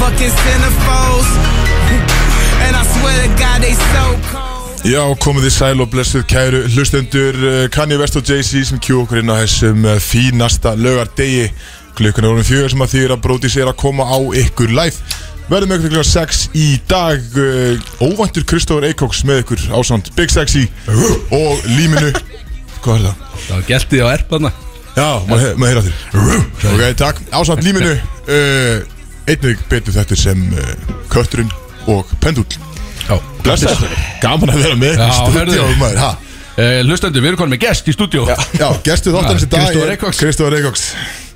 fucking centerfolds. And I swear to God, they so cold. Já, komið þið sæl og blessuð kæru hlustendur eh, Kanye West og Jay-Z sem kjú okkur inn á þessum eh, fínasta lögardegi Klukkan er orðin fjögur sem að því er að bróti sér að koma á ykkur live Verðum ykkur klukkan 6 í dag eh, Óvæntur Kristófur Eikóks með ykkur ásand Big Sexy og líminu Hvað er það? Það var gælt því á erpana Já, maður he- maður heyra þér Ok, takk Ásand líminu uh, Einnig betur þetta sem uh, kötturinn og pendull Já, Blessaður, gaman að vera með Já, stúdíu herðu. maður, ha? Eh, Hlustandi, við erum konum með gest í stúdíó Já, gestur þáttanins í Já, dag Kristófer Eikóks. Kristóður Reykjóks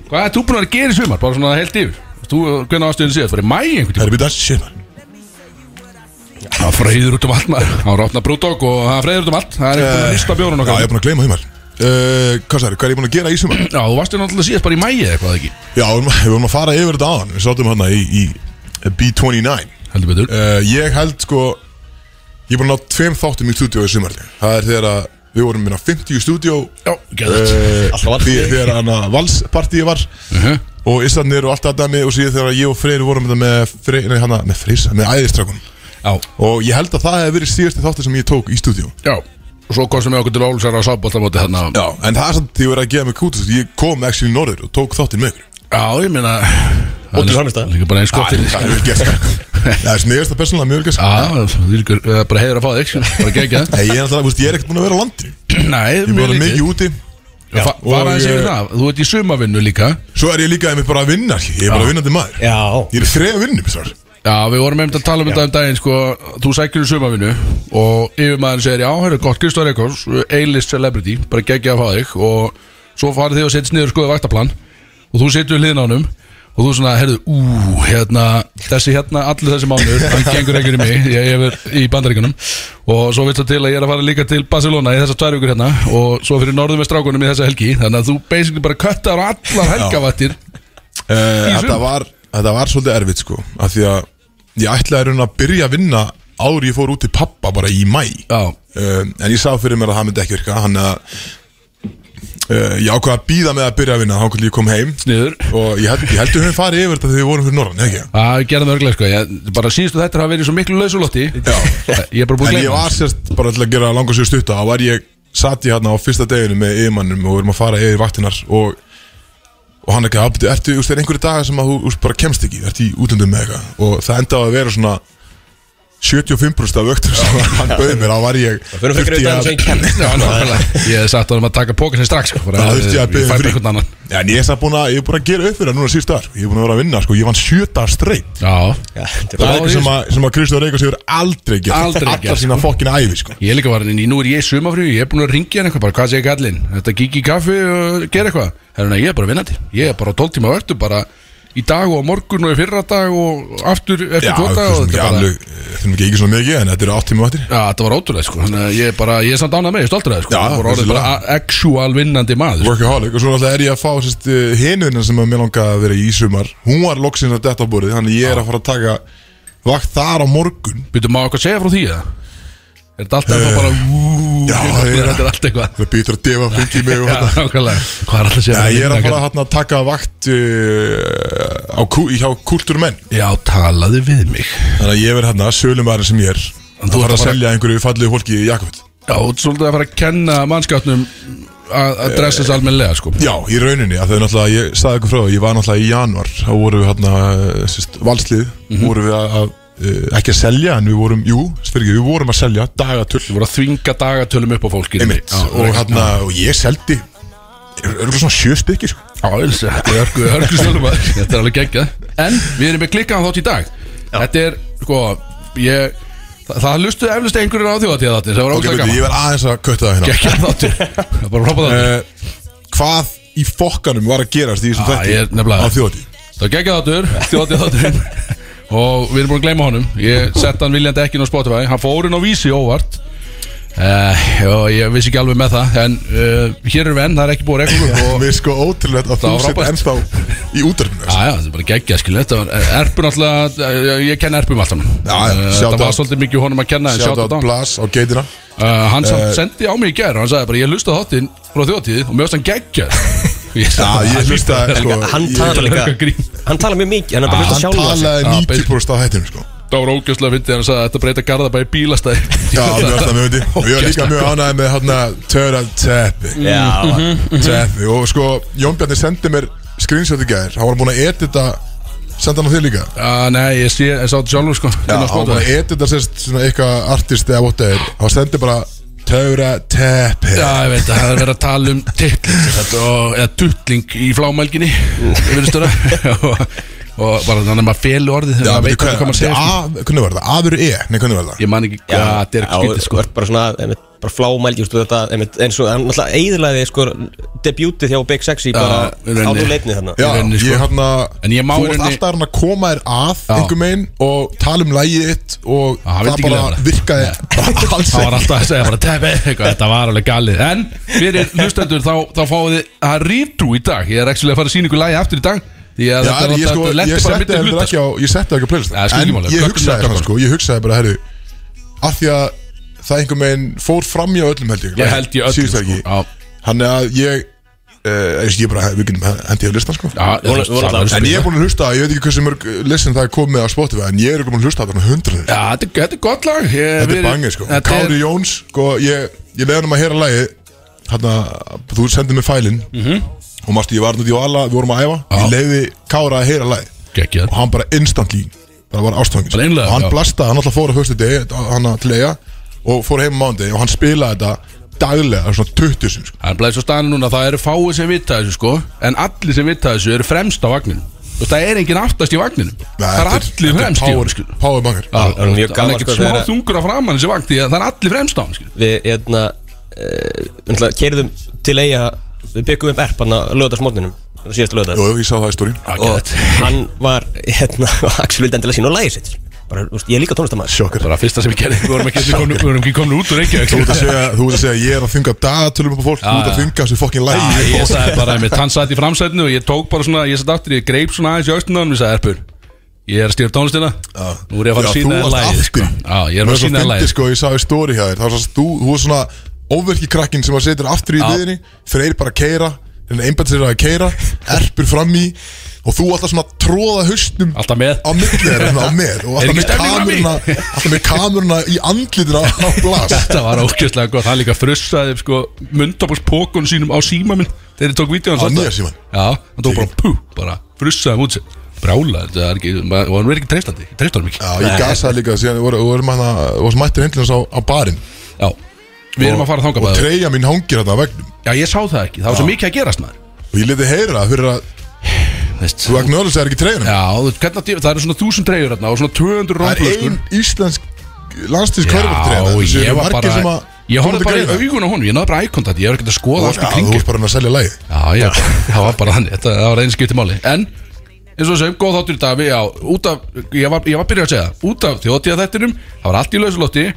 Hvað er þú búin að gera í sumar? Bara svona heilt yfir Þú, eh, hvernig ástöðin séð? Það var í mæ einhvern Það tíma er býtað, shit man Það freyður út um allt maður Það var opnað brúdók og það freyður út um allt Það er einhvern veginn að lista bjórun Eh, Já, ég okkar Eh, er búin að gleyma því maður uh, Hvað sagður, hvað er ég búin að gera í sumar? Já, þú varst náttúrulega síðast bara í mæi eða eitthvað ekki Já, við vorum- við vorum að fara yfir þetta aðan Við sáttum hann í, í B29 Heldur betur uh, Ég held sko Ég er búin að ná tveim þáttum í stúdíu í sumar Það er þegar að við vorum minna 50 í stúdíu Já, gæðið uh, Alltaf var því- Þegar hann að valspartíi var Mhm. Og Íslandir og allt þetta með Og síðan þegar ég og Freyr vorum þetta með Freyr, nei, hana, með Freysa, með æðistrakun Já, Og ég held að það hefði verið síðusti þáttur sem ég tók í stúdíu já Og svo kostum við okkur til Ólusar á sábóltamóti þarna Já, en það er samt því að vera að gefa mig kútus Ég kom actually norður og tók þáttinn með ykkur Já, ég meina Og til Hannestad. Líka bara eins gott til Það er vel gert sko. Það er sniðast að persónulega mjög vel gert sko. Já, það er bara heiður að fá þig sko. Bara gegja Nei, Ég er alltaf, veist, ég er ekkert búin að vera á landi Ég Nei, er bara mikið úti Já, fa og, fara aðeins yfir eh, það, þú ert í sumavinnu líka Svo er ég líka einmitt bara að vinna ekki. Ég er bara vinnandi maður Já Ég er í þreja vinnum þar Já, við vorum einmitt að tala um þetta um daginn sko, þú sækir í sumavinnu og yfirmaðurinn segir, já, hérna, gott, Kristóð Reykjós A-list celebrity, bara geggja að fá þig og svo farið þið og setjast niður skoðið vaktaplan og þú setjum hliðin á honum og þú svona, herðu, ú, hérna þessi hérna, allir þessi mánuður hann gengur ekkert í mig, ég ég er í bandaríkunum og svo viltu til að ég er að fara líka til Barcelona í þessa tvær vikur hérna og svo fyrir norðum með strákunum í þessa helgi þannig að þú basically bara köttar á allar helgavattir Eh, Í Þetta sum. var, þetta var svolítið erfitt sko af því að ég ætlaði raun að byrja að vinna áður ég fór út til pappa bara í mæ Já, um, en ég sá fyrir mér að það myndi ekki virka hann að uh, ég ákvað að býða með að byrja að vinna þá hvernig ég kom heim niður og ég, held, ég heldur hún farið yfir þetta þegar við vorum fyrir norðan ekki? Það við gerðum örglega sko ég, Bara síðustu þetta hafa verið svo miklu lausulotti Já. Ég er bara búin en að ég gleyma var sérst bara til að gera langa sér stutta þá var ég, satt ég hérna á fyrsta deginu með yfirmannum og við erum að fara yfir vaktinar og og hann ekki afbyrði, ertu, þú veist, er einhverju dagar sem að þú úst, bara kemst ekki, ertu í útlöndum með eitthvað og það endaði að vera svona 75% af öktur sem hann bauði mér, þá var um ég Fyrir að fyrir um þurfti að það sem ég kenn Já, nákvæmlega. Ég hef sagt að að taka pókan sér strax sko, bara, Það þurfti ég að Ég beðið fæ bara frí einhvern annan Já, En ég er samt búinn að, ég er búinn að gera upp fyrir það núna síðust dagar sko. Ég er búinn að vera að vinna, sko, ég vann sjö dagar streitt Já Það Já, er eitthvað ég- sem að, sem að Kristján Reykjás hefur aldrei gert Aldrei gert, Allar sína fokkin æfi, sko Ég er líka varin inn í, nú er ég sumafrý Ég er búin að ringja hann eitthvað, bara hvað segir kallinn Þetta gík í kaffi og gera eitthvað Herruna, ég er bara vinnandi Ég er bara á 12 tíma vörtu bara Í dag og á morgun og í fyrra dag og aftur eftir Já, tvo það dag og þetta er er ekki bara- alveg, þurfum ekki ekki svona mikið En þetta eru 8 tíma vattir Já, þetta var ótrúlega sko Þannig að ég er bara, ég er samt ánað með, ég er stoltur að það sko Já, Ég voru orðið vissulega. bara actual vinnandi maður sko. Workaholic Og svo náttúrulega er ég að fá sérst, hinuðina sem að mér langaði að vera í í sumar Hún var loksins að detta á borðið Þannig ég er að fara að taka vakt þar á morgun Eh, Býtum maður eitthvað að segja frá því eða? Er þetta alltaf uh, bara úúú Já, ég- Þetta er allt eitthvað Það býtur að defa fengi mig og Já, þetta nákvæmlega Hvað er alltaf að segja Já, frá ég er að því? fara hérna að taka vakt uh, á, kú- hjá kulturmenn Já, talaðu við mig Þannig að ég verð hérna, sölumæðin sem ég er En þú ert að fara að að fara- selja einhverju fallegu fólki í Jakobit Já, þú ert svolítið að fara að kenna mannskapnum að að dressa Eh, þess almennilega sko Já, í rauninni, að þau náttúrulega, ég sagði ykkur frá því, ég var náttúrulega í januar þá vorum við hérna, eh, sérst, valslið Mhm. vorum við að, að, eh, ekki að selja en við vorum, jú, fyrir ekki, við vorum að selja dagatöl, Þú voru að þvinga dagatölum upp á fólki einmitt og hérna, og ég seldi örgulega svona sjö stykki, sko Já, eins, þetta er örgu, örgu stjórnum að Þetta er alveg geggjað En við erum með klikkaðan þátt í dag Þetta er, sko, ég Það, það lustuði eflust einhverjur á þjóðatíða þáttir Það var Ok, ógæð veitu, ég gaman verð aðeins að kötta það hérna Geggjað þáttir Það er bara að hrópa þáttir Eh, Hvað í fokkanum var að gerast í þessum Ah, ég er þetta nefnilega- á þjóti? Það var geggjaðatur, þjóðatíðaturinn Og við erum búin að gleyma honum Ég sett hann viljandi ekki inn á Spotify Hann fór inn á vísi óvart uh, Og ég vissi ekki alveg með það En uh, hér er venn, það er ekki búið reglum Og Mér er sko ótrúlega að Það þú var sitt frábært. ennþá í útdarfinu Já, já, þetta er bara geggjað, skilja Þetta var eh, erpun alltaf, eh, ég kenn erpum alltaf Já, já, shout Þetta Eh, var out. svolítið mikið honum að kenna en Sjátt shout out á á hann. Eh, Blas á geitina Eh. Uh, Hann samt sendi á mig í gær og Hann sagði bara, ég hlusta þáttinn frá þjóðatíð Og mér varst hann geggjað Ég- Já, ég hlusta sko, Hann ég- Ég- talar líka Ég- grín. Hann talar mjög mikið, hann er bara hlusta Hann sjálf sig talaði Já, 90% á hættinum sko Það var ógjörslega fyndið hann sagði að þetta breyta Garðabæ í bílastæði Já, mjög alltaf mjög myndi Og ég var líka mjög ánægði með hérna, hann að Töra teppi Já, Mhm. Teppi Mhm, Og sko, Jón Bjarni sendi mér screenshot í gær Hann var búin að edita Senda hann á þig líka Já, nei, ég sé, ég sá þetta sjálfur sko Já, Inn á hann var Spotify. búin að edita sérst Svona eitthvað artist eða what ever Hann sendi bara Töra teppi Já, ég veit að það er verið að tala um titling sem sagt, og, eða tutling í flámælginni Mm. yfirstöra og, og bara þannig að maður felu orðið þegar Já, maður veitu veit ekki hvað maður segja sko. hvað Hvernig var það? Aður E? Nei, hvernig var það? Ég man ekki, já, þetta er ekki já, skytið sko þú ert bara svona, einmitt, bara flámælgi úr þetta, einmitt, eins og hann náttúrulega eiðlaði sko debutið hjá Big Sexy bara í rauninni. á nú leifni þannig Já, í rauninni, sko. ég hann að En ég má Þú í varst rauninni- alltaf hann að koma þér að Já. einhver megin og tala um lægið þitt og hann það vildi ekki bara leyfa það. virkaði bara alls Það var ekki alltaf að segja bara tefi eitthvað, þetta var alveg galið En fyrir hlustendur þá, þá fáið þið að rýtru í dag Ég er ekki að fara að sína ykkur lagi aftur í dag Því að Já, þetta en er ég sko, alltaf, ég letti bara setti myndið heldur hluta ekki sko. á ég setti það ekki á playlist Já, það skiptir en máli, ég gögnin hugsaði er það gögnin. sko, ég hugsaði bara, herru af því að það einhver megin fór fram í öllum held ég Ég held ég öll síðustu helgi. Já, Hann er að ég eh, eins og ég bara, við getum hendi á listan sko já, þú veist, vonandi- það En verður ég er spila. búin að hlusta, ég veit ekki hversu mörg listin það er komið á Spotify en ég er ekki búin að hlusta þetta hundrað Já, þetta er- þetta er gott lag Ég- Þetta við- er bangið sko þetta er- Kári Jóns, sko, ég, ég leiði hann um að heyra lagi Hanna, þú sendið mér fælin Mhm. Og mástu, ég var hann út í Vala, við vorum að æfa Já. Ég leiði Kára að heyra lagi Geggjað. Og hann bara instantly, það var ástofangis Bara einlega, Og hann já. blastaði, hann alltaf fór á höstu degi Hann að tlega og fór heim á mándi Og hann spilaði þetta daglega, svona 20 sem sko Það er blæðið svo staðan núna, það eru fáið sem vita þessu sko En allir sem vita þessu eru fremst á vagninum Og það er enginn aftast í vagninum Nei, Það er þetta allir þetta er fremst í power- honum skilur. Power banger Já, Það er mjög Hann gaman, er sko, ekkert smá þegar- þungur á framann þessi vagn Því að það er allir fremst á sko. hann skilur. Við, hérna, uh, keirðum til eiga, við byggum upp erp hann að löða smókninum, síðast löða Jú, jú, ég sá það í stórin og hann var, hérna, Axel vildi endilega sína og lægi sitt bara, þú veist, ég er líka tónlistamæður Sjokkar Það var að fyrsta sem ég gerði Við vorum ekki, komin, við vorum ekki komin út úr Reykjavík Þú skilur. ert að segja, þú ert að segja, ég er að þunga dagatölum upp á fólk, þú ert að já. þunga þessu fokkin Já, lægi Ég sagði bara einmitt, hann satt í framsætinu og ég tók bara svona, ég satt aftur, ég greip svona aðeins í austinu og ég sagði, Erpur, ég er að stýra tónlistina Nú er ég að fara að Já, sína þú þér varst lagið sko. aftur í. Já, ég er að sína þér Það lagið sko, ég sagði stóri hjá þér Það var svo þú, þú var svona óverki krakkin sem að setja þér aftur í Já. liðinni Freyr bara að keira, en einbætt sér að keira Erpur fram í Og þú alltaf svona að tróða hausnum Alltaf með. Á milli þeir, á með Er Og alltaf ekki með stemning fram í? kameruna Alltaf með kameruna í andlitina á glas Þetta var ókjörslega gott, hann líka frussaði sko, mundabalspókun sínum á síma minn þegar ég tók vídeo Á hans nýja símann? Já, hann tók bara pú, bara frussaði mútið sér Brála, þetta er ekki, maður- og hann verið ekki treystandi, treystur hann ekki Já, ég gasaði líka síðan, voru, voru, voru, voru hérna- mættir heimlins á, á barinn Já, við erum að fara þangað Og bæði treyja mín hangir þarna á vegnum Já, ég sá það ekki, það var svo mikið að gerast maður Og ég leti heyra það fyrir að Veist. Þú acknowledge er ekki treyjunum Já, þú veist, hvernig að dýfa- það eru svona þúsund treyjur hérna og svona 200 Það er rómflöskur ein íslensk landstíðs Já, körfartreyna ég var bara, ég horfði bara í augun augun á honum, ég náði bara ækontakt, ég var ekkert að skoða allt í Já, þú kringi varst bara hann að selja lagi Já, já, það var bara þannig, þetta það var einu skipti máli En, eins og þessum, góð þáttur í dag við, já, út af, ég var, ég var byrjað að segja það, Út af þjóttíða þættinum, það var allt í lausulotti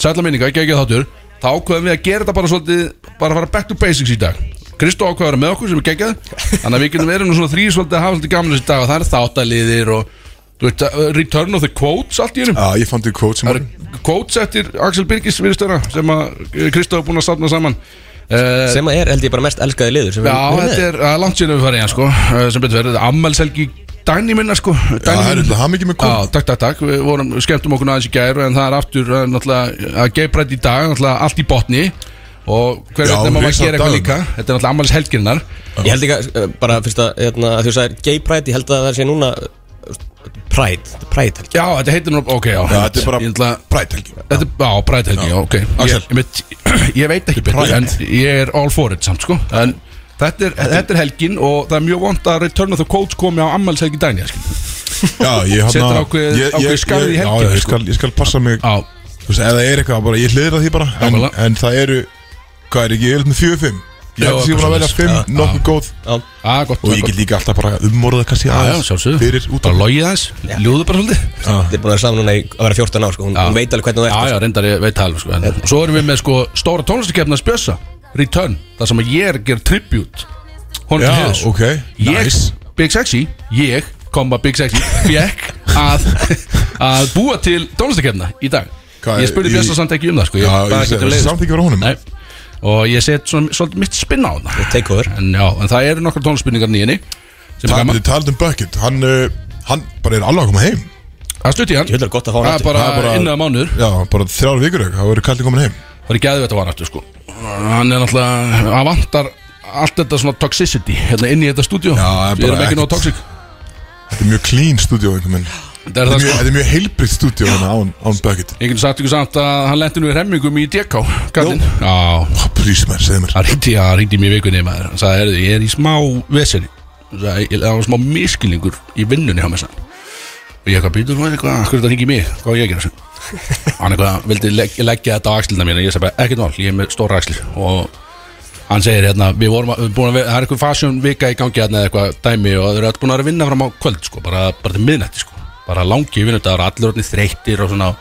Sætla minninga, ekki ekki þáttur Þá ákveðum við að gera þetta bara svolítið Bara að fara back to basics í dag Kristó ákveður með okkur sem er geggjað Þannig að við getum verið nú svona þrý svolítið að hafa svolítið gamlega þessi dag Og það er þáttaliðir og þú veist, uh, Return of the Quotes allt í hennum Já, ég fann þig kvót sem Það var eru quotes eftir Axel Birgis virðistöra sem að Kristóf Eh, er búin að safna saman uh, sem að er, held ég, bara mest elskaði liður sem Já, við erum þetta með er uh, langt síðan við farið í hann sko uh, sem betur verið, ammælselgi Dæni minna sko Já, það er minna. alltaf hammingi með Já, kvót takk, takk, takk, við vorum, skemmtum okkur aðeins í gæru en það er aftur, uh, náttúrulega, að geibrætt í dag, náttúrulega allt í botni og hver Já, veit nema maður risa gera eitthvað dagur. líka þetta er náttúrulega ammælis helgirinnar Ég held ekki, að, eh, bara fyrst að, hérna, að þú sagðir gay pride, ég held að það sé núna eh, pride, pride held ég Já, þetta heitir nú, ok, já, Já, þetta er bara Ég ætla- præthelgi Þetta er, já, Pride helgi, já, ok Axel. ég, ég, ég veit ekki betur, Pride. en ég er all for it samt, sko En þetta er, þetta er helgin og það er mjög vond að Return of the Codes komi á sko. ammælis helgi dæni, skil Já, ég hann Setur ákveðið- ákveðið skarð í Já, helgina, já, ég sko. skal- ég skal passa mig Já, Þú veist, ef það er eitthvað, bara ég hliðra því bara en- Nákvæmlega. En það eru, hvað er ekki, ég held með fjögur fimm Ég Já, held að ég var að velja persónulega. fimm, Já, nokkuð góð Já, að, gott, Og ég gott get líka alltaf bara umorðað kannski Já, já, aðeins sjálfsögðu Fyrir út Bara logið aðeins, ljúðu bara svolítið Þið er búin að vera saman núna í að vera 14 ár sko. hún, hún veit alveg hvernig þú Já, ert já, reyndar ég veit það alveg, sko en, og Svo erum við með, sko, stóra tónlistakefna spjösa Return, það sem að ég er að gera tribute Honum Já, til hefðis ok, Ég, nice. Big Sexy, ég, komma Big Sexy Fekk að, að búa til tónlistakefna í dag Hvað, Ég spurði í- Bjösta samt ekki um það, sko Já, ég, ég bara segi, getur leiðist. samt ekki vera honum Nei og ég set svona, svolítið mitt spinna á það Take over en, já, en það eru nokkar tónspinningar nýjini sem er Tal- gaman, Þið talað um Bucket Hann, uh, hann bara er alveg að koma heim það stutti hann Ég vil það gott að fá hann það er aftur. bara, Það er bara- innan að mánuður Já, bara þrjár vikur ekki Það voru kallið komin heim það er gæðið þetta var aftur sko hann er náttúrulega, hann vantar allt þetta svona toxicity hérna inn í þetta stúdíu Já, það er við bara erum ekki nóg ekkert- toxic Þetta er mjög clean stúdíó einhvern veginn það er Þetta það er mjög- sko þetta er mjög heilbrikt stúdíó hérna án, án Bucket ég geti sagt ykkur samt að hann lendi nú í remmingum í DK kallinn já, Prís mér, segðu mér hann ringdi, hann ringdi mér í vikunni maður, hann sagði, "Heyrðu, ég er í smá veseni það var smá miskilningur í vinnunni hann með sann og ég eitthvað býtur hann eitthvað, hvernig það ringi mig hvað á ég að gera þessu hann eitthvað, vildi legg, leggja þetta á axlina mína ég sagði bara, ekkert mál, ég er með stóra axlir og hann segir hérna, við vorum að- við búin að vera- það er eitthvað fasjón vika í gangi hérna eða eitthvað dæmi og þau eru öll búin að vera að vinna fram á kvöld sko, bara, bara til miðnætti sko bara langi vinnudagur, allir orðni þreyttir og svona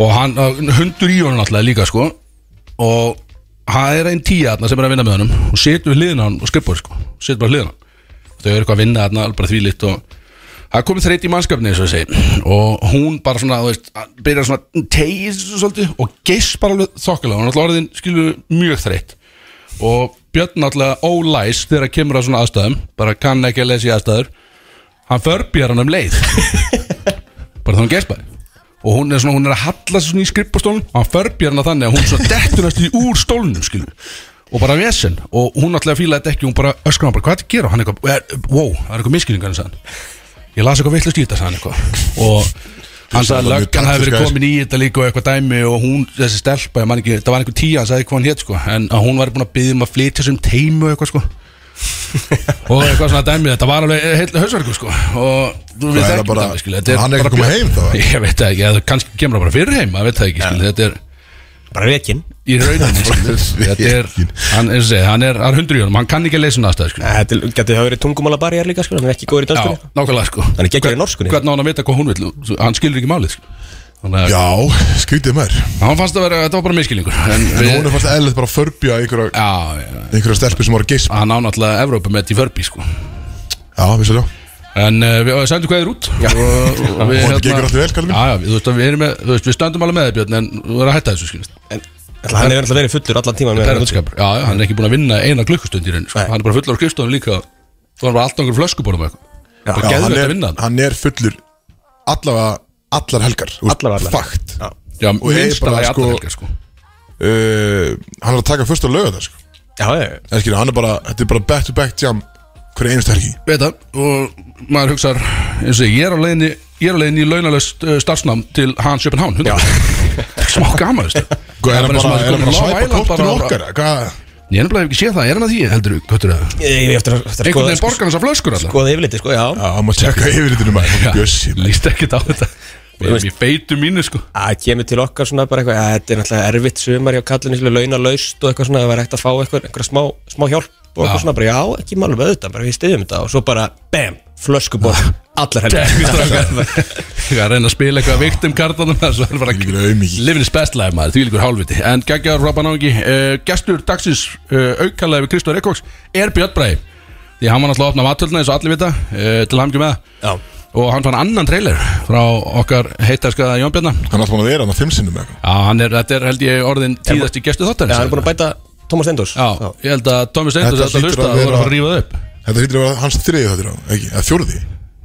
og hann, hundur í honum alltaf líka sko og það er einn tíja þarna sem er að vinna með honum og setur við hliðina á hann og skrifbóri sko setur bara hliðina á hann. þau eru eitthvað að vinna þarna bara þvílitt og það er komið þreyt í mannskapni eins og ég segi og hún bara svona, þú veist, byrjar svona tegið svolítið og geispar alveg þokkilega, hún er alltaf orðin skilur mjög þreytt og Björn alltaf ólæs þegar að kemur að svona aðstæðum bara kann ekki að lesa í aðstæður hann förbjar hann um leið bara þá hann gespaði og hún er svona, hún er að halla sig svona í skrippastólun og hann förbjar hana þannig að hún svona dettur næstu í úr stólunum skilur og bara vesen og hún alltaf fílaði þetta ekki hún bara öskra hann bara hvað er þetta að gera og hann eitthvað er, wow það er eitthvað misskilningar hann ég las eitthvað veitlust í þetta sagði hann eitthvað og hann sagði að Þetta er löggan hafi verið taktiska komin í þetta líka og eitthvað dæmi og hún þessi stelpa ég man ekki það var einhver tíja hann sagði hvað hann hétt sko en að hún var búin að byggja um að flytja sem teimi og eitthvað sko og eitthvað svona dæmi þetta var alveg heil hausverku sko og þú Hvað veist er það ekki bara- dæmi skilur, þetta hann er ekki að koma björn- heim þá, eða? ég veit það ekki, eða kannski kemur það bara fyrir heim maður veit það ekki, skilur, þetta er Bara rekin í rauninni skilur, þetta er, hann, eins og segja, hann er hann er hundur í honum, hann kann ekki að leysa um næsta skilur. Þetta getur hafa verið tungumálabarjar líka sko Hann er ekki góður í já, danskunni nákvæmlega sko Hann er geggjör í norskunni hvernig á hann að vita hvað hún vil, hann skilur ekki málið skilur. þannig að Já, skrítið mér hann fannst að vera, þetta var bara miskilningur en En við, hún er fast eðlilegt bara að förbja einhverja, já, já, einhverja stelpi sem var að geispa hann á náttúrulega Evrópa með í förbi sko Já, vissulega En uh, við sendum hvað þér út og, og við, hérna- Vonandi gengur allt vel, Kalli minn. Já, já, þú veist að við erum með Þú veist, við stöndum alveg með þér Björn En þú verður að hætta þessu, skilist En hann hefur alltaf verið fullur allan tíma Perðskapur, já, já, hann er ekki búin að vinna eina klukkustund í raun sko. Nei. Hann er bara fullur á skrifstofunum líka Þú hann bara alltaf einhver flöskuborðum eitthvað Bara Já, geðvegt hann, að er, vinna hann hann er fullur allavega allar helgar Allar allar. Fakt Já. Já, og er minnst að það er bara, sko, alltaf helgar, sko uh, Hann er að taka fyrst að löga það sko. Já, já, já En skilja, hann er bara, þetta er bara back to back jam Hverja einust helgi Veit það, og maður hugsar eins og ég, ég er á leiðinni Ég er á leiðinni í launalöst uh, starfsnám til Hans Jöpenhán Smá gaman, veistu Það Hvað, Sko, er bara hann eins og maður komin bara, er hann bara að á svæpa Island kortinu bara- okkar eða Hvað, Ég er nefnilega ekki séð það, er hann að því, heldur þú, hvað er það? Ég ég- eftir að eftir að Einhvern veginn sko- borgar hans að flöskur alltaf skoða yfirliti sko, já já, hann má tjekka yfirritinu maður Já, Bjössi maður. líst ekkert á þetta Við erum í feitu mínu sko að kemur til okkar svona bara eitthvað að þetta er náttúrulega erfitt sumar hjá kallinu svona launalaust og eitthvað svona það var ekkert að fá eitthvað, einhverja smá, smá hjálp og eitthvað Já. svona bara já, ekki málum auðvitað bara við stiðum þetta og svo bara bam, flöskuborð allar Ekki helgar strákar Ég er að reyna að spila eitthvað viktum kartanum Það er bara Ég er auðmikið. Livin is best life maður, því líkur hálfviti En geggjaður Robban Ángi uh, Gestur dagsins uh, aukalega við Kristóð Reykjóks Er Björn Bræði Því hann var náttúrulega að opna mattölna eins og allir vita uh, Til hamngjum með það já, Og hann fann annan trailer frá okkar heitarskaða Jón Björna Hann er alltaf búin að vera hann að fimm sinnum eða eitthvað. Já, hann er, þetta er held ég orðin tíðasti gestu þáttar já, hann er búin að bæta Thomas Endors Já, ég held að Tommy Steindus Þetta Þetta hlýtur hlusta að og voru að fara að vera- rífa það upp Þetta hýttir að vera hans þriði þetta Ekki, eða fjórði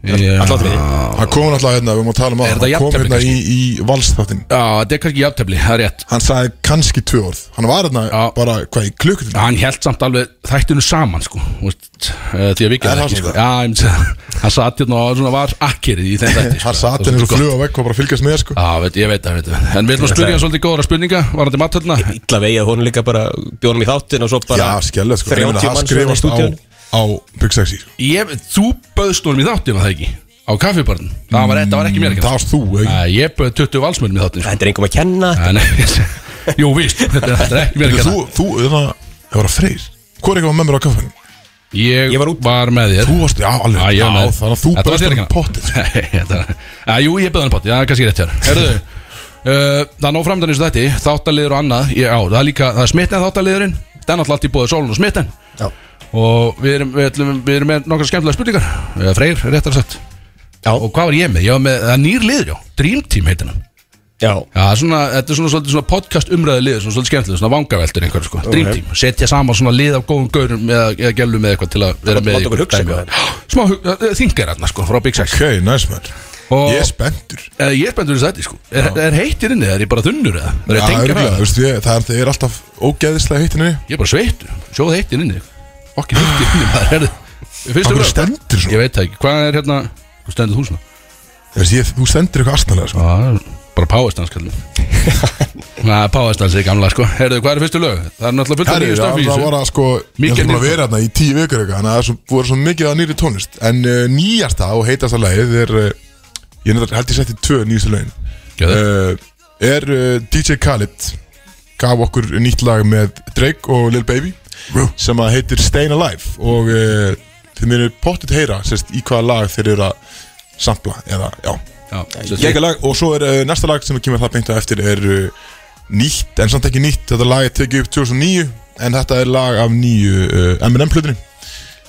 Já. allar þriði Hann kom náttúrulega hérna, við máum að tala um Er að þetta Hann kom jafntefli hérna í, í valstáttin Já, þetta er kannski jafntefli, það er rétt Hann sagði kannski tvö orð Hann var hérna Já. bara, hvað, í klukkutíma hann held samt alveg þættinu saman sko, þú veist, eh, því að við Er gerðum það ekki svo? sko. já, ég myndi segja hann satt hérna og svona var akkerið í þeim þætti sko. Hann satt henni svo flug á vekk og bara að fylgjast með sko. já, veit, ég veit það, veit það en við ætlum að spyrja hann svolítið góðra spurninga varandi matthöldna illa vegið að hún líka bara bjónum í þáttin og svo bara Já, skjælega sko. Ég meina, 30 hann manns hérna í skrifast á, stúdíun á Big Sexy sko. ég, þú böðst honum í þáttin var það ekki á kaffibarn, það var, það var ekki mér Mm, Það ekki varst þú, ekki? ég böði 20 valsmönnum í þáttin sko. þetta er engum að kenna Æ, nei, jú, víst, þetta er- þetta er ekki mér Þú, ekki þú, þú, hérna, það það var að freyr Hvor er ekki var með mér á kaffanum? ég ég var út. var með þér Þú varst, já, alveg Já, ég var með. þannig að þú Þetta var bæðst þér um ekki. pottið sko. Nei, þetta er- Já, jú, ég beðan pott, já, kannski rétt hér Herðu, uh, það er nóg framdann eins og þetta Þáttaliður og annað, ég, á, það er líka Það er smitten þáttaliðurinn, það er náttúrulega allt í bóði sólun og smitten Já. Og við erum, við, ætlum, við erum með nokkar skemmtilega spurningar Eða Freyr, réttar sagt Já. Og hvað var ég með? Ég var með, það er nýr liður, já Dream Team heitir hann Já, Já, það er svona, þetta er svona, svolítið svona podcast umræði lið, svona svolítið skemmtilega, svona vangaveltur einhver, sko, dream team, setja saman svona lið af góðum gaurum eða, eða gælum eða eitthvað til að vera Láta- með láta okkur hugsa dæmi á- eitthvað. Já, Smá þingar hérna, sko, frá Big Sex Ok, næs maður Og- Ég er spenntur Eh, Ég er spenntur í þess að sko, er, er heitt í rinni, er ég bara þunnur eða? Er ég Já, tengja örugglega, það? þú veist, ég- Það er- það er alltaf ógeðislega hittinni Ég er bara sveittur, sjóð heitt í rinni, okkur heitt í rinni, maður, herðu, fyrstu Akkur umræða. stendur svona Ég veit það ekki, hvað er hérna, hvað stendur þú svona? Þú veist, ég- Þú stendur eitthvað astnalega sko. Já, bara páastans kallum Na, páastans er gamla sko Herðu, hvað er fyrstu lög? Það er náttúrulega fullt af Herri, nýju það stöfi í það var þessu að sko Ég Mikið ætlum að nýtt. vera hérna í tíu vikur eitthvað Þannig að það er svo- voru svo mikið að nýri tónlist En uh, nýjasta og heitasta lagið er uh, Ég nefndar- held ég setti tvö nýjastu lögin Geðveikt. uh, Er uh, DJ Khaled Gaf okkur nýtt lag með Drake og Lil Baby Sem að heitir Stayin' Alive Og uh, þið mér er pottet heyra sérst, Í hvaða lag þeir eru að sampla Eða, já Já, svo því- Gekka lag og svo er uh, næsta lag sem kemur það beint á eftir er uh, nýtt en samt ekki nýtt þetta lag er tekið upp 2009 en þetta er lag af nýju uh, M&M plötunni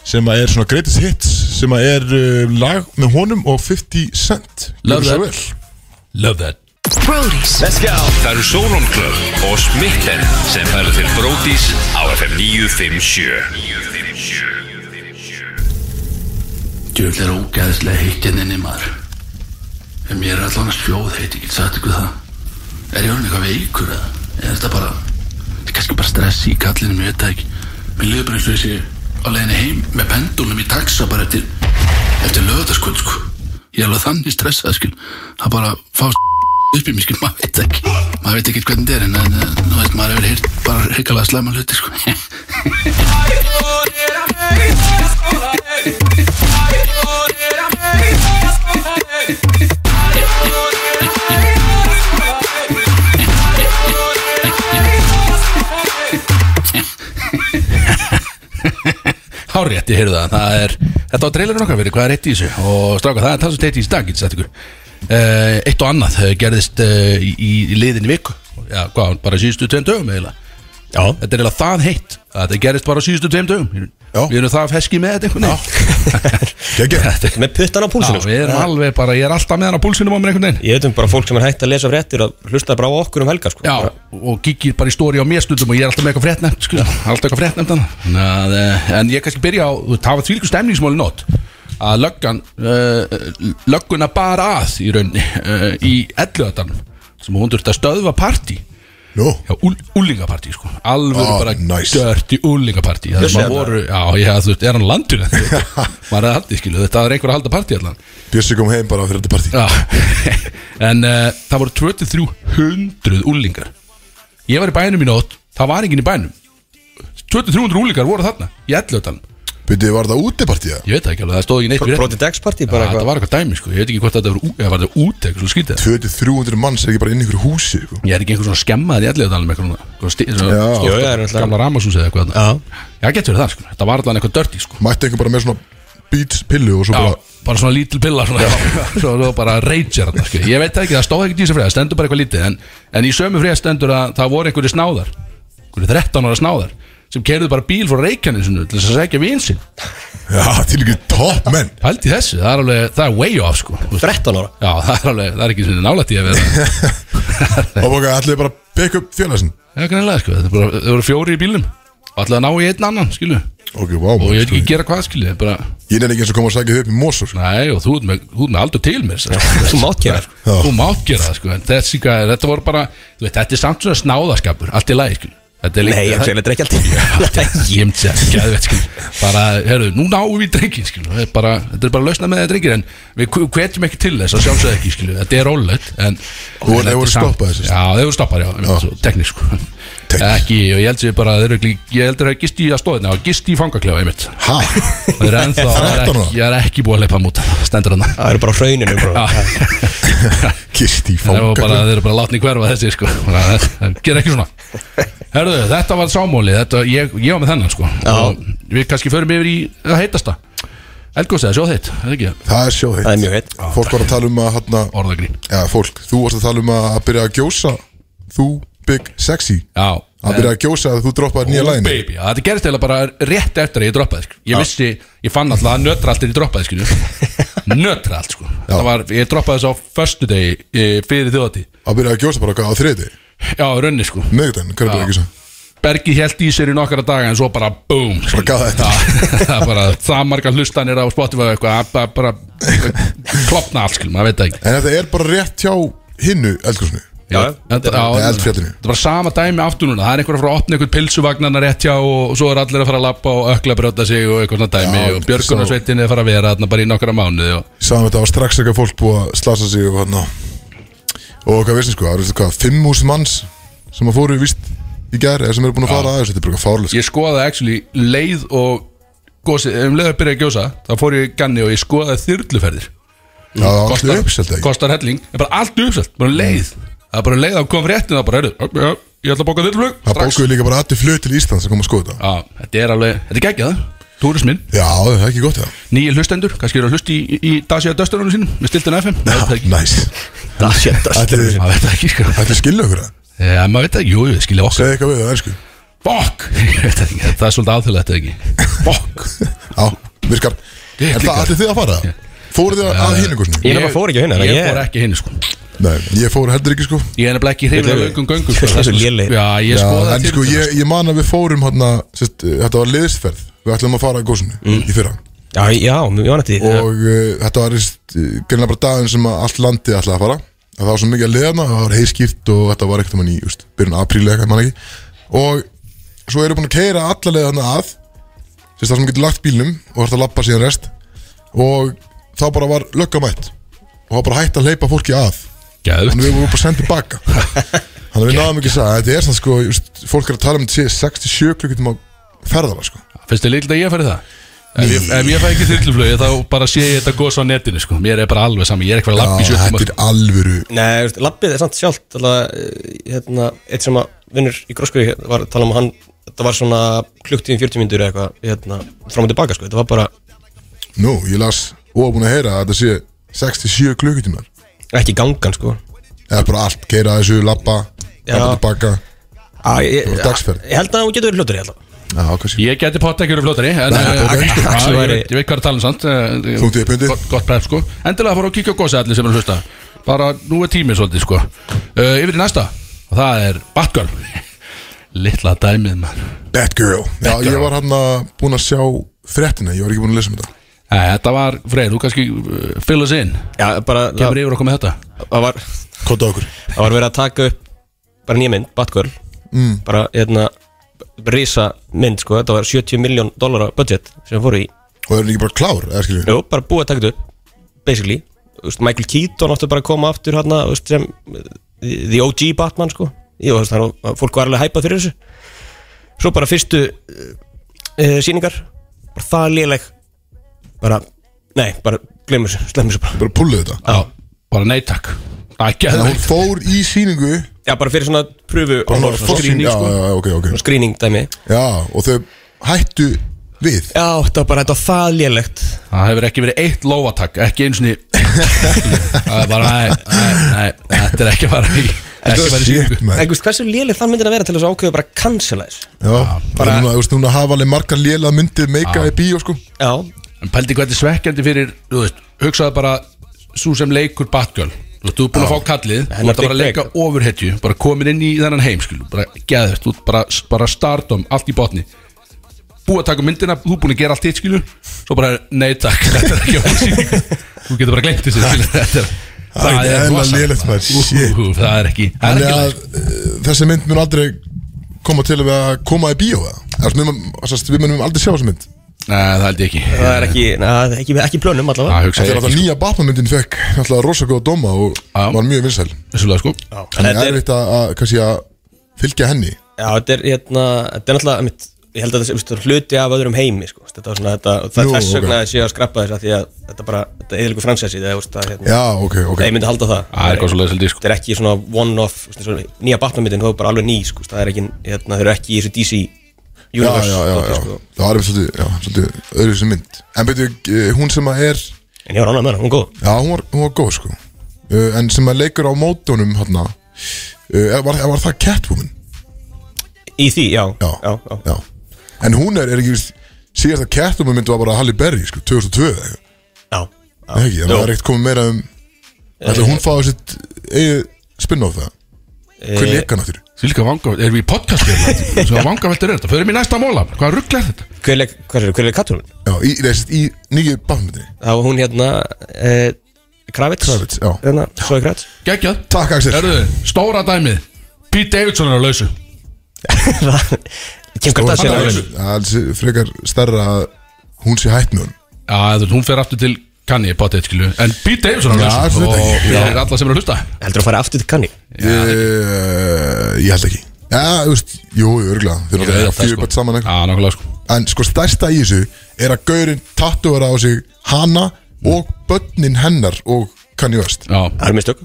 sem að er svona greatest hits sem að er uh, lag með honum og 50 cent Love Gjörðu svo that. vel. Love that Brody's Það eru Solon Club og Smitten sem færðu til Brótis á FM 957 Djöfull er ógæðislega heittinn inni maður En mér er allan að sjóð heitt, ég get sagt ykkur það Er ég orðin eitthvað veikur eða? Eða er þetta bara Þetta er kannski bara stress í kallinu, mér veit það ekki Mér liður bara eins og þessi á leiðinni heim Með pendulum í taxa bara eftir Eftir lögðarskvöld sko Ég er alveg þannig stressað skil Það bara fást upp í mig skil, maður veit það ekki Maður veit ekki hvernig þetta er En eh, nú veit maður hefur heyrt bara hrikalega slæma hluti sko Hárétt, ég heyrðu það, það er Þetta var trailerinn okkar fyrir, hvað er eitt í þessu Og stráka, það er það sem teitt í þessu dag, getur sagt ykkur uh, Eitt og annað eh, gerðist uh, í, í liðinni viku Já, hvað, bara síðustu tveim dögum eiginlega Já Þetta er eiginlega það heitt að Þetta gerðist bara á síðustu tveim dögum Já. Við erum það feski með þetta einhvern Geggjað. veginn Þetta- með puttan á Já, púlsinu sko. við erum alveg bara, ég er alltaf með hann á púlsinum á mér einhvern veginn Ég veit um bara fólk sem er hægt að lesa fréttir að hlusta bara á okkur um helgar sko. Já, Bara- og kíkir bara í stóri á mér stundum og ég er alltaf með eitthvað fréttnæmt sko, alltaf eitthvað fréttnæmt hann Þannig að, eh, en ég kannski byrja á, þú veist, það var þvílíku stemningsmáli nótt að löggan uh, lögguna bar að í rauninni uh, í elluðatanum sem hún þurfti að stöðva partí Nú, Já, úl, úlingapartí sko Alvöru Ah, bara nice. dörti úlingapartí Það sem að voru, já, ég hefði, þú veist, er hann landur Þetta var að haldið, skilu, þetta var einhver að halda partí allan Bjössi kom heim bara fyrir þetta partí Já, en uh, það voru 2300 úlingar Ég var í bænum í nótt, það var enginn í bænum 2300 úlingar voru þarna í ellöðan Byrjuði, var það úti partí það? Ég veit það ekki alveg, það stóð ekki neitt við Broti dagsparti Það bara það eitthvað var eitthvað dæmi, sko, ég veit ekki hvort þetta var, ú- eða var þetta út eitthvað svo skrítið 2300 manns er ekki bara inn í ykkur húsi sko. Ég er ekki einhver svona skemmaður í ellöðanum eitthvað Sko, svona Já. Jú, það er stort náttúrulega- gamla ramasús eða eitthvað þarna. Já, getur verið það, sko, þetta var allan eitthvað dörti, sko Mætti einhver bara með svona beats pillu og svo Já, bara bara svona lítil pilla svona, svo, svo bara rager hann sko. ég veit það ekki, það stóð ekki í þessu frétt, það stendur bara eitthvað lítið en, en í sömu frétt stendur að það voru einhverju snáðar einhverju 13 ára snáðar sem kerðu bara bíl frá reikjaninsinu til þess að segja vinsinn Já, til ykkur top menn held í þessu, það er alveg, það er way off sko. 13 ára já, það er alveg, það er ekki svona nálætt í að vera Og bara ætlaði bara að pick up félagsinn já, greinlega, sko, það er bara, það voru fjóri í bílum og ætlaði að ná í einn annan, skilu og Ok, wow, ég veit ekki gera hvað, skilu bara, Ég nefnir ekki eins og koma að sækja þau upp í Mosó sko. nei, og þú ert með, þú ert með aldur til mér sko. Þú mátt gera sko. Já. þú mátt gera það sko en þessi gæði, þetta voru bara þú veit, þetta er samt svona snáðaskapur, allt í lagi sko þetta er Nei, ég það, segir þetta er ekki alltaf ég myndi að gæði veit sko bara, herru, nú náum við drengin sko þetta er bara, þetta er bara lausna með það drengir en við hv- hvetjum ekki til þess að sjálfsögðu ekki sko þetta er rólegt en Þú voru- en þetta þeir voru er samt- stoppaðir, sem sagt. já, þeir voru stoppað, já, já. Svo, teknik sko Teknísk. ekki, og ég held sér bara þeir eru ekki- ég held þeir hafi gist í að stóðina og gist í fangaklefa einmitt Ha? þeir eru ennþá, það er 13 ára? ekki, ég er ekki búið að leipa múta stendur hann Það eru bara á hrauninu bro. Kist í Það eru bara, fangaklefa þeir eru bara látni hverfa þessi sko Þannig að það Gera ekki svona Herðu, þetta var sámóli þetta, ég, ég var með þennan sko Og Við kannski förum yfir í það heitasta Elgósið, sjóð heitt, er það ekki Það er sjóð heitt Það er mjög heitt Fólk var að tala um að hérna orðagrín Já, fólk, þú varst að tala um að að byrja að gjósa Þú, Big Sexy Já, Það byrjaði að kjósa að þú droppaði nýja læginu Oh, baby, já, þetta gerist eða bara rétt eftir að ég droppaði sko. ég vissi, ég fann alltaf að nötralt er í droppaði sko. nötralt sko. Það var, ég droppaði þess á förstu degi e, fyrir þjóðati Það byrjaði að kjósa bara hvað á þriði já, í raunni sko Mögdæn, hvað er bara ekki svo? Bergi held í sér í nokkara daga en svo bara boom skilur. gaf það eftir. Já, það er bara það margar hlustanir á Spotify og eitthvað það bara, bara klopna allt skil, maður veit það ekki En þetta er bara rétt hjá hinnu eldgjósinu Já, þetta, á, Eða þetta eldfjallinu er bara sama dæmi aftur núna það er einhver að fara að opna einhvern pilsuvagnarna rétt hjá og svo er allir að fara að lappa og ökla að brjóta sig og eitthvað svona dæmi Já, og björgunarsveitin er að fara að vera þarna bara í nokkra mánuði og Sáðum um þetta var strax eitthvað fólk búið að slasa sig og hann Og hvað veist sko, það eru eitthvað 5.000 manns sem að fóru víst í gær eða sem eru búin að fara aðeins, þetta er bara eitthvað fárlega sko. ég skoðaði actually leið og gósi, um leið að byrja að gjósa þá fór ég í ganni og ég skoðaði þyrluferðir Já, það var allir kostar, uppselt ekki kostar helling er bara allt uppselt, bara um leið það er bara um leið að kom fréttin það bara, heyrðu, já, ég ætla að bóka þyrluflug Það strax. bókuðu líka bara allir flöð til Íslands að koma að skoða þetta Já, þetta er alveg, þetta er geggjað túrismin, Já, það er ekki gott það nýju hlustendur kannski eru að hlusta í, í Dacia Dusterunum sínum með stiltun FM, maður veit það ekki Næs Það sé þetta Ætli maður veit það ekki, sko ætli skilja okkur það Já, maður veit það, jú, jú, skilja okkur Segðu eitthvað við það, elsku Fokk, ég veit það ekki, það er svolítið aðþjóðlega þetta ekki Fokk Já, virkar Ég Er það klikkar. allir þið að fara? Fóruð þið að hinningusinu? Ég nefnilega fór ekki á hina, Ég, ég- fór ekki hinn, sko Nei, ég fór heldur ekki sko Ég er nefnilega ekki Ég- hreinlega lögum göngu sko. Ég- Það er Ég- svo- Ég- Já, ég Já, skoða en sko ég, ég man að við fórum hérna, sérst, eh, þetta var liðsferð við ætlum að fara að góðsunu í fyrra Mm. Já, já, mjög annað því og uh, þetta var gerðina bara daginn sem að allt landið ætlaði að fara að það var svo mikið að liðna, það var heiskýrt og þetta var ekkert um hann í just, byrjun apríli eitthvað, man ekki og svo erum við búin að keira alla leið þarna að sérst, það sem getur lagt bílnum og þarf að lappa síðan rest og þá bara var löggamætt og það bara hægt að hleypa fólki að Gæðvögt Þannig við vorum bara sendið tilbaka Þannig að við náðum ekki að segja Þetta er sann sko, ég veist, fólk er að tala um þetta sé 67 klukkutum á ferðala sko. Finnst þið líklega að ég færi það? Ef ég, ef ég fæ ekki þyrluflögi þá bara sé ég þetta gos á netinu sko. Mér er bara alveg sami, ég er ekki að lappa í sko. Já, sjöttum Þetta er alvöru Nei, veist, lappið er samt sjálft alveg, eh, hérna, eitt sem að vinnur í grósku var að tala um að hann þetta var svona klukktíðin 40 mínútur eða eitthvað hérna, fram og tilbaka sko, þetta var bara Nú, ég las og búin að heyra að þetta sé 67 klukkutum ekki gangan sko Eða bara allt, keira þessu, lappa Já. Lappa tilbaka Á, ég, var dagsferð. ég held að hún getur verið hlutur ég held að Já, kannski Ég geti pott ekki verið fljótari en, Nei, eh, ok, sko. já, Axel ég, væri- veit, ég veit hvað er talan samt eh, Punktur í pundi. gott, gott prep sko Endilega fór að kíkja á gósi allir sem er að hlusta Bara nú er tímið svolítið sko uh, Yfir í næsta og það er Batgirl Litla dæmið mann Batgirl Já, Batgirl. ég var hann að búin að sjá fréttina Ég var ekki búin að lesa um þetta Æ, Eh, Þetta var Freyr, þú kannski uh, fill us in Já, bara, það, Kemur yfir okkur með þetta það, var, Kota okkur það var verið að taka upp bara nýja mynd, Batgirl mm. bara, hérna, risa mynd sko, þetta var 70 miljón dólara budget sem fóru í Og það er ekki bara klár, eða skiljum Jú, bara búið að taka þetta upp basically, Þú veist, Michael Keaton átti bara að koma aftur hérna, þú veist, sem eh, the OG Batman sko Jú, þú veist, þannig að fólk var alveg hæpað fyrir þessu svo bara fyrstu uh, síningar, bara það léleg bara, nei, bara glemur þessu, slemmur þessu bara Bara púlið þetta Já, bara nei takk Ekki að En hún fór í sýningu Já, bara fyrir svona pröfu Bara hún var svona fór- screening, Já, sko. já, já, ok, ok Svona screening dæmi Já, og þau hættu við Já, þetta var bara, þetta var það lélegt Það hefur ekki verið eitt lóatak Ekki einu sinni Það er bara, nei, nei, nei Þetta er ekki bara í Ekki bara í Shit, sýningu man. En þú veist, hversu léleg það myndin að vera til þess að ákveða bara að cancela þess Já, bara núna, þú veist, núna hafa alveg margar lélega myndir meika í bíó, sko Já, Ah. En pældi hvað þetta er svekkjandi fyrir Þú veist, hugsaðu bara Sú sem leikur Batgirl Þú veist, þú er búin að fá kallið Þú Hennar ert bara Dick að leika ofurhetju Bara komin inn í þennan heim, skilu Bara geðvist, þú ert bara, bara stardom Allt í botni Búið að taka myndina, þú er búin að gera allt hitt, skilu Svo bara, nei takk, þetta er ekki á sýningu Þú getur bara gleymt þessu, skilu Þetta er Það er eðlilega rosalegt, lélegt, maður. Ú, Shit. ú, Það er ekki Það er Þannig ekki að lélegt. eh, þessi mynd mun aldrei koma til við að koma í bíó, eða? Eða, þú veist, við munum- Þess að við munum aldrei sjá þessi mynd Nei, það held ég ekki það er ekki, na, ekki, ekki plönum allavega Það hugsa Þegar ég alltaf ekki sko. nýja Batman-myndin fekk alltaf rosa góða dóma og Já. var mjög vinsæl Þessulega sko En það Þetta er- er veit að, að, kannski að fylgja henni Já, þetta er hérna, þetta er náttúrulega mitt, ég held að þetta sé veist, hluti af öðrum heimi sko. þetta var svona, þetta, það Nú, er þess ok. vegna okay. að sé að skrappa þess að því að þetta bara, þetta eða ykkur fransæsi það, veist, það, hérna, Já, ok, ok ég myndi halda það Það er eitthvað svo leiðsildi sko þetta er ekki svona one-off þú veist, eins og nýja Batman-myndin, það er bara alveg ný sko. það er ekki, hérna, þeir eru ekki í þessu DC Já, universe já, já, dóti, já Sko. Það var einhver svolítið, já, svolítið öðru sem mynd En betur, hún sem að er en ég var ánægð með hana, hún er góð Já, hún var, hún var góð sko uh, eh, En sem að leikur á mótunum hérna uh, var, var það Catwoman? Í því, já Já, já, já. já. En hún er, er ekki víst, síðasta kettum mynd var bara Halle Berry, sko, 2002 eða eitthvað. já. Eh, Nei, ekki, þannig að Jú. það er ekkert komið meira um Ætli hún fáið sitt eigið spinn-off það Eh, Hver leika náttur? Svílika vangaveldur, erum við í podcast hérna? Svo vangaveldur er þetta, förum í næsta móla Hvað rugl er þetta? Hver leik, hvað er, hver leik kattunum? Já, í, nei, sitt, í nýju bafmyndinni Það var hún hérna eh, Kravitz Kravitz, já. Hérna, Svoði Kravitz Gægjað Takk Axel Erðu, stóra dæmið Pete Davidson er á lausu Kim Kardashian Stóra er dæmið. alveg- Það Sko, er þessi frekar stærra að hún sé hætt með hún Já, þú veist, hún fer aftur til Kanye, potið, skilu En Pete Davidson er á Já, lausu þetta Og ekki. fyrir alla sem eru að hlusta Heldur að fara aftur til kanni Eh, Ég ég held ekki Já, þú veist, jú, jú, örgulega Ég Þeir náttúrulega held eiga það, fjögur sko. bætt saman Já, eitthvað nákvæmlega sko En sko stærsta í þessu er að gaurinn tattuara á sig hana og börnin hennar og Kanye West Já, Það er mistök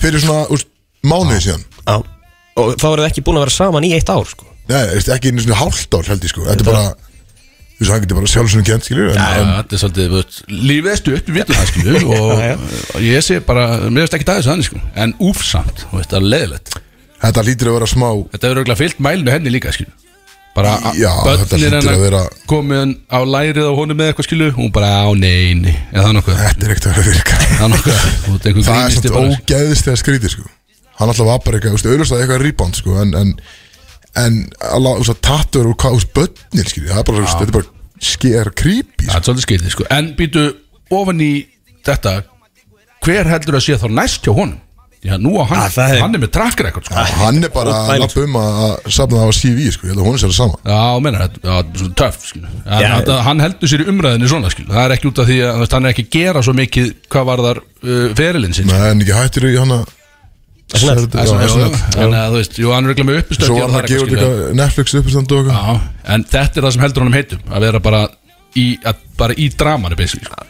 Fyrir svona, þú veist, mánuði síðan Já Og þá eru þið ekki búin að vera saman í eitt ár sko Nei, þú veist, ekki einu svona hálft ár held ég sko Þetta er bara, þú veist, hann getur bara sjálfsögum kent, Já, skilur já, þetta er svolítið, þú veist, lífið er stutt, við vitum það, skilu og Já, já. og ég sé bara, mér veist ekki dæðis þannig, sko en úfsamt, þú veist, það er leðilegt Þetta lítur að vera smá Þetta er auðvitað fyllt mælinu henni líka, skilu bara, Já, þetta börnin hlýtur hennar að vera- komin á lærið á honum með eitthvað, skilu hún bara, á neini, eða það nokkuð Þetta er ekkert að vera að virka það er nokkuð, þú veist, einhver Það er grínisti samt bara ógeðist eða skrítið sko Hann alltaf var bara eitthvað, þú veist, auðvitað eitthvað rebound sko En, en, en alla, þú veist, tattur og hvað, þú veist, börnin skilur Það er bara, þú veist, þetta er bara sker það creepy sko. er svolítið skeitið, sko, en býtu ofan í þetta hver heldur að sé þá næst hjá honum Já, nú á hann, Ah, það er- hann er með trakkar eitthvað, sko Hann er bara óþægilegt, að lappa um að að safna það á CV sko Ég held að hún er sér það sama Já, þú meinar, þetta já, þetta er svona töff skilu. en Já. þetta, hann heldur sér í umræðinni svona skilu. það er ekki út af því að þú veist, hann er ekki að gera svo mikið hvað var þar uh, ferilinn sinn Nei, en ekki hættur í hann að Snell. Seld- Það er svona, já, jú, snell. þannig að uh, þú veist, jú, hann er ekki með uppistökk Svo var hann að gefa út eitthvað Netflix uppistand og eitthvað Já, en þetta er það sem heldur honum heitum að vera bara í, að, bara í dramanu basically, sko.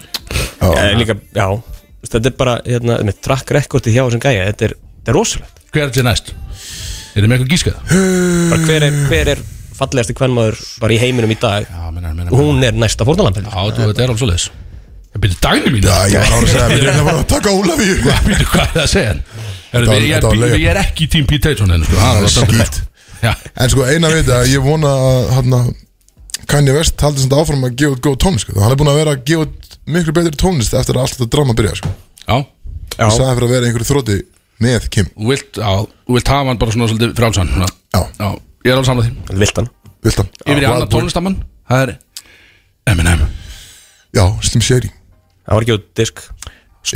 Já, Eh, líka, já Þú veist, Þetta er bara, hérna, með track recordi hjá þessum gæja Þetta er, þetta er rosalegt hver er þetta næst? Er þið með eitthvað gískað? Bara hver er, hver er fallegasti kvenmaður bara í heiminum í dag Já, meinar, meinar, meinar. Hún er næsta fórnalamb heldur. Já, þú, þetta er alveg svoleiðis Það byrja dæmi mín Já, ég var ára að segja, við erum bara að taka Ólafíu Býtu, hvað er það að segja? Er, Þetta var- ég, er, þetta var ég, leiðin. ég er ekki í Team Pete Davidson henni, sko. Það er alveg Skít. dálítið. Já, En sko eina veit að ég vona að hana, Kanye West haldi samt áfram að gefa út góð tónlist sko. Hann er búin að vera að gefa út miklu betri tónlist eftir að allt þetta drama byrja sko. já Það sagði fyrir að vera einhverju þróti með Kim Þú vilt, á, þú vilt hafa hann bara svona svolítið frálsan svona. Já. já Ég er alveg samla því Viltan Viltan Yfir í annan tónlistamann Það er Eminem Já, Slim Shady Það var ekki á disk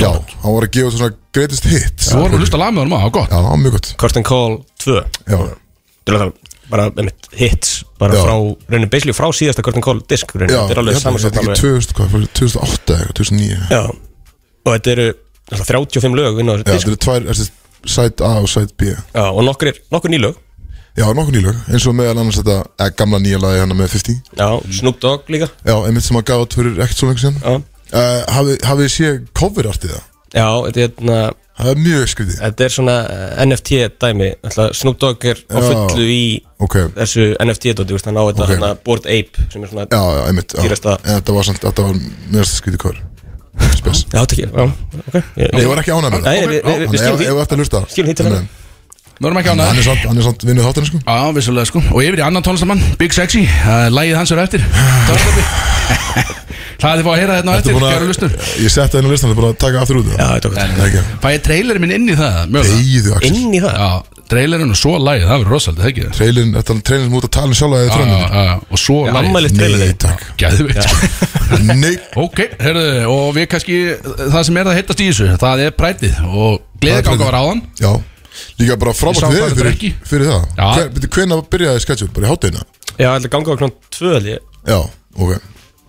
Já, hann var að gefa út svona greatest hits Þú vorum að hlusta lag með honum á, það var gott Já, mjög gott Curtain Call 2 Já, Þetta er alveg bara einmitt, hits bara Já. frá, raunin basically frá síðasta Curtain Call disk raunin, já hérna, þetta er alveg ég held að samansett þetta alveg ekki 2000, hvað, fyrir 2008 eða eitthvað, 2009 um. Já, og þetta eru alltaf 35 lög inn á þessu Já, disk þetta er tvær, þessi side A og side B Já, Já, og nokkur, nokkur nýlög nokkuð nýlög, eins og meðal annars þetta eh, gamla nýja lagi hana með 50 Já, Snoop Dogg líka Já, einmitt sem að gaf út fyrir ekkert svo lengur síðan Já, Uh, hafið hafi séð coverartið það? já þetta, er, hérna, Það er mjög skrítið þetta er svona eh, NFT dæmi Ætla, Snoop Dogg er á Já. fullu í Ok, já, þessu NFT dóti hann á þetta Ok. okay. Bored Ape sem er svona já, einmitt já. Dýrasta. En Þetta var samt, þetta var mjög skrítið cover Spes Já, þetta ekki Já, ok Ég, Ég var ekki ánægð með Nei, það við, við, við, Þannig við skilum ef- því Ef þetta hlusta Skilum því til Þannig- Við vorum ekki á en Hann hann er samt, hann er samt vinnið þáttina sko Já, vissulega sko Og yfir í annan tónlistamann Big Sexy Það er lagið hans er eftir Tónlistabbi Það er þið fá að heyra þetta á Ertu eftir búin Kæra lustur að Ég sett það inn á listan Það er bara að taka aftur út Já, þetta er En- ok Nei, ekki Fæ ég trailerinn minn inn í það Mögulega Eyðu, Axel Inn í það Já, trailerinn og svo lagið Það verður rosalega, það ekki Trailin, þetta er trailin sem út að tala um sjálf að þið Já, tröndum já, já, Og svo lagið Ammælið trailerinn Nei, takk Gæðveikt sko. Nei Ok, herðu, og við kannski það sem er það heitast í þessu, það er prætið og gleðganga var áðan Já Líka bara Ég sá frábært bara við fyrir, drekki. fyrir það Já. Hver- byrju, Hvenær byrjaði sketchup? Bara í hátdeina? Já, þetta ganga á knón 2 held ég Já, ok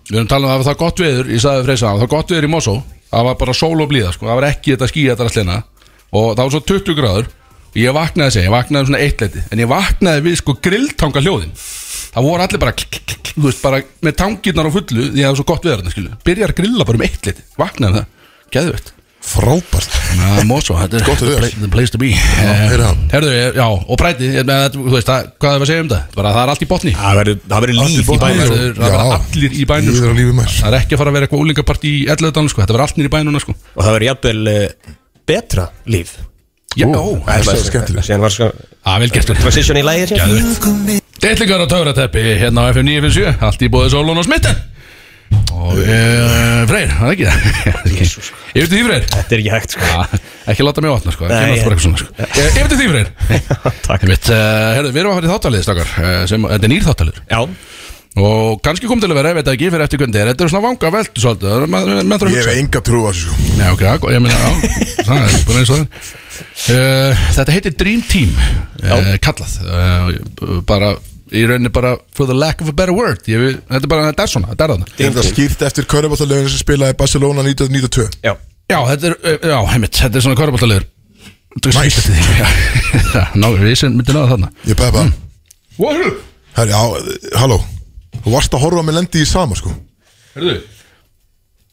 Við erum talað um að það var gott veður, ég sagði freysa það var gott veður í Mosó, það var bara sól og blíða sko. það var ekki þetta skýja þetta allina hérna. og það var svo 20 gráður ég vaknaði segja, ég vaknaði um svona eittleiti en ég vaknaði við sko grilltanga hljóðin það voru allir bara, klik, klik, klik, þú veist, bara með tangirnar á fullu því að það var svo gott veður þarna, skilju. byrjar að grilla bara um eittleiti vaknaði um það, geðvögt Frábært Na, Mosó, þetta er Gott að the vera. pla- the place to be Eh, heyrðu það. Herðu, já, og præti ég meina, þetta- Þú veist, það- hvað er að segja um það? Bara, það er allt í botni Það verður- Það verður Allt í líf í botni. bænum sko. Það er- það verða Já. allir í bænum sko. Lífið er á lífi maður. Það er ekki að fara að vera eitthvað úlingapartí í 11. dana sko. Þetta verður allt nýri í bænuna sko. Og það verður jafnvel eh, betra líf Já, Ó, ó, það er svo skemmtilegt Síðan var sko það er vel gert sko. Transition í lægir Look at me. Deitlingar og töfrateppi hérna á FM 957 Allt í bóði sólun og smitten Og uh, Freyr, það er ekki það Jésús Yfir til því Freyr Þetta er ekki hægt sko. Ja, Ekki láta mig vatna sko, það Nei, kemur alltaf bara eitthvað svona sko Eh, Yfir til því Freyr Takk Einmitt, uh, herðu, við erum að fara í þáttalið stakar uh, sem, Þetta er nýr þáttaliður Já, Og kannski kom til að vera, ég veit það ekki, fyrir eftir hvernig þetta er Þetta er svona vanga veldu svolítið það er- maður- maður þarf að Ég hef hugsa. enga trú á þessu sko. Já, ok, já, ég meina, já, það er bara eins og það er. uh, Þetta heitir Dream Team uh, Kallað uh, Bara, í rauninni bara For the lack of a better word ég, Þetta er bara, þetta er svona, þetta er þarna Er þetta skýrt eftir Körbáttalögin sem spilaði Barcelona 1992 já Já, þetta er, uh, já, heimitt, þetta er svona kvörubáttalegur Næs Ná, við sem myndi náða þarna Mm. Ég pæði bara Wahoo! Herri, já, halló Þú varst að horfa með lendi í sama sko Herðu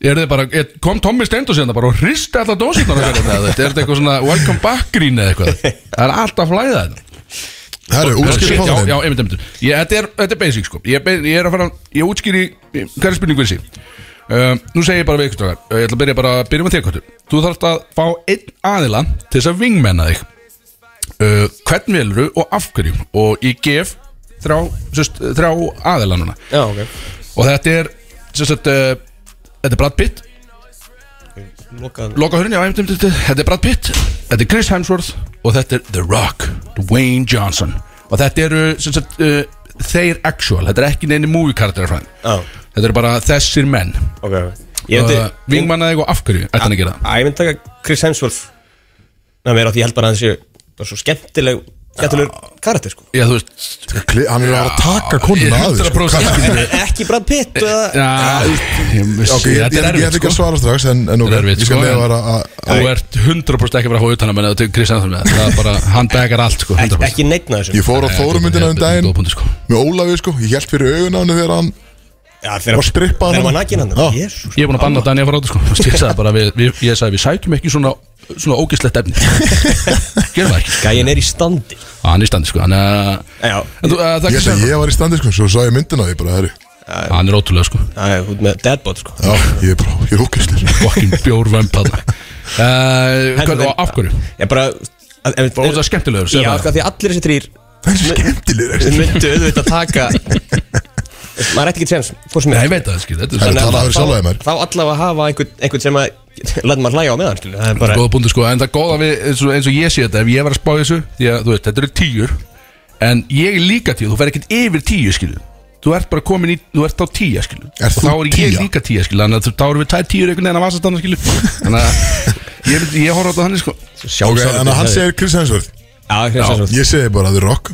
Er þið bara, er, kom Tommi Steindos hérna bara og hristi alltaf dósirnar okkar hérna, eða þetta Er þetta eitthvað svona welcome back grín eða eitthvað Það er alltaf flæða þetta Herri, útskýri Já, fáðan já, einmitt, einmitt ég, þetta, er, þetta er basic sko Ég, be- ég er að fara, ég útskýri Hverja spurningu þessi uh, Nú segi ég bara við ykkur strákar. Uh, Ég ætla að byrja bara að byrja með þér kvartur Þú þarft að fá einn aðila Til þess að vingmenna þig uh, Hvern veluru og af hverju Og ég gef þrjá, sest, þrjá aðila núna Já, ok Og þetta er sest, uh, Þetta er Brad Pitt Lokaðan Loka hörun, já, einmitt, einmitt, einmitt. þetta er Brad Pitt Þetta er Chris Hemsworth Og þetta er The Rock Dwayne Johnson Og þetta eru sem sagt, uh, Þeir actual, þetta er ekki neini movie karakter frá þeim Já, Þetta eru bara þessir menn ok Ég myndi uh, Vingmannaði og af hverju ætti hann að gera það? Æ, ég myndi taka Chris Hemsworth Nei, mér átti ég held bara að þessi Það er svo skemmtileg Skemmtilegur karakter sko Já, þú veist Hann er að vera að taka konuna að því sko. 100% Kannski- Ekki Brad Pitt eða Já, ég vissi, Ah. Ok, þetta ég ég- ég er ætla ekki erfitt að sko svara strax En en ok, Þetta er erfitt, ég skal sko, leiða en- að að- Þú ert 100% ekki að fara að hóða utan að menna til Chris Hemsworth með það. Það er bara, hann begar allt sko 100% Ekki neitna þessu Ég fór á Þórumyndina um daginn Góða punktur, sko. Með Ólafi sko, ég held fyrir augun á henni þegar hann Já, þegar Og strippa hann Þegar maður hann. nakin hann Já. Jésús Ég er búin að banna Dani að fara át sko. Ég sagði bara, við, við, ég sagði, við sækjum ekki svona, svona ógislegt efni Gerum það ekki Gæin er í standi Á, Hann er í standi sko Hann er, Já, en þú, uh, Ég sagði ég var í standi sko, svo sá ég myndina og ég bara, herri Hann er ótrúlega sko það er út með deadbot sko Já, ég er bara, ég er ókvæslir Fokkin bjórvömb hann uh, Og af hverju? Ég bara að- ef- Og það er skemmtilegur Já, segðu sko, það. því að allir þessi trýr Það er svo skemmtilegir ekki? myndu auðvitað taka maður ætti ekki séns hvort sem Nei, er ég veit það skil Þetta er Herri, svona það- talaðu að fyrir sjálfa þig, maður. þá allavega hafa einhvern, einhvern sem að læt maður hlæja á meðan skilur. það er bara góða búndu sko En það góða við eins og, eins og ég sé þetta Ef ég var að spá í þessu Því að þú veist, þetta eru tíur En ég er líka tíu Þú fer ekkert yfir tíu skilu Þú ert bara komin í Þú ert á tíu skilu Ert Og þú Þá er ég tía? líka tíu skilu Þannig að þú- þá erum við tæð tíur einhvern veginn að vasast annað skilu Þannig að ég, myndi- ég horf á þetta þannig sko Ok, en hann segir Chris Hemsworth já, já, já, Ég segi bara The Rock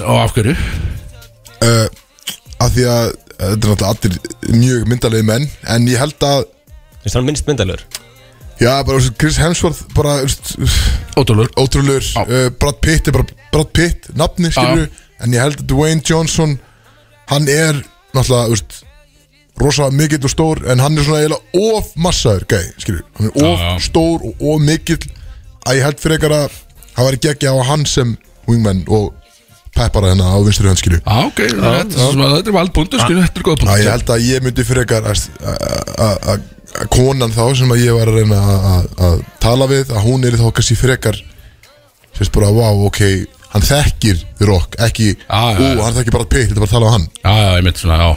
Og af hverju? uh, Af því að uh, þetta er náttúrulega allir mjög myndalegi menn En ég held að, finnst hann minnst myndalur já, bara þú veist, Chris Hemsworth Bara, þú veist, Ótrúlegur ótrúlegur Já. uh, Brad Pitt er bara Brad Pitt, nafni, skilur En ég held að Dwayne Johnson Hann er náttúrulega, þú veist rosa mikill og stór en hann er svona eiginlega of massaður gæ, skilur, hann er of Já, já. stór og of mikill að ég held fyrir eitthvað að hann væri geggja á hann sem wingman og peppara hennar á vinstri hönd, skilur Já, ok, þetta er- þetta er valdbundu, skilu, þetta er góða Já, ég punktur held að ég myndi frekar að, að, að, að, að konan þá sem að ég var að reyna að, að, að tala við að hún er þá kannski frekar sérst bara, wow, ok hann þekkir The Rock, ekki Já, já, ú, já. hann þekkir bara pitt, þetta er bara að tala á hann Já, já, ég myndi svona, já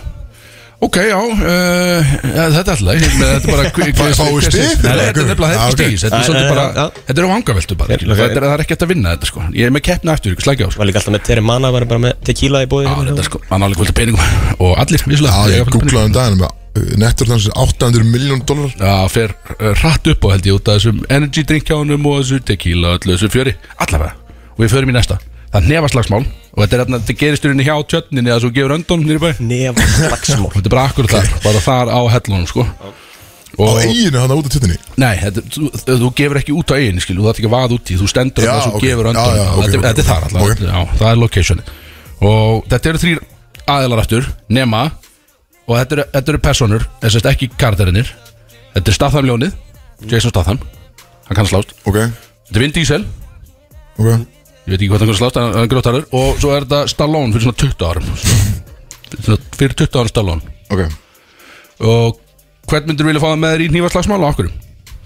Ok, já, uh, þetta er alltaf ég- Þetta er bara hver- hver- Fáum við hver- stig? Nei, nei, Þetta er nefnilega Já, þetta ok. stíð Þetta er Já, svolítið já, bara, já. þetta er á vangaveltu bara Já, skilur. ok. Þetta er- það er ekki hægt að vinna þetta, sko Ég er með keppna eftir, ykkur, slækja á sko. var líka alltaf með Terry Manna var bara með tequila í bóði Já, þetta er sko, hann álega kvöldi peningum Og allir, vissulega Já, eiga fullt af ég peningum. googlaði um daginn með, uh, nettur þannig 800 miljón dólar Já, fer uh, hratt upp á held ég út af þessum energy drink hjá honum og þessu tequila og öllu þessu fjöri, allavega og við förum í næsta, það er nefaslagsmál og þetta er þarna, þetta gerist í rauninni hjá tjötninni að þú gefur öndun nýri bæ nefa slagsmál og þetta er bara akkur þar, bara þar á hellunum sko á og, eiginu hann út af tuttinni nei, þetta, þú, þú gefur ekki út á eigin skilu, þú þarf ekki að vaða út í þú stendur Já, þarna og þú ok. gefur Já, öndun já, ok, þetta, ok, þetta er þar allavega, ok. já, það er location og þetta eru þrýr aðilar aftur, nema og þetta eru, þetta eru personur, þess að ekki kardarinnir Þetta er Statham ljónið Jason Statham Hann kann slást Ok, Þetta er Vin Diesel ok Ég veit ekki hvað hann kann slást Hann hann er grótarur Og svo er þetta Stallone fyrir svona 20 árum Svona Fyrir 20 árum Stallone Ok, Og hvern myndir vilja fá það með þér í nýfarslagsmál og okkur?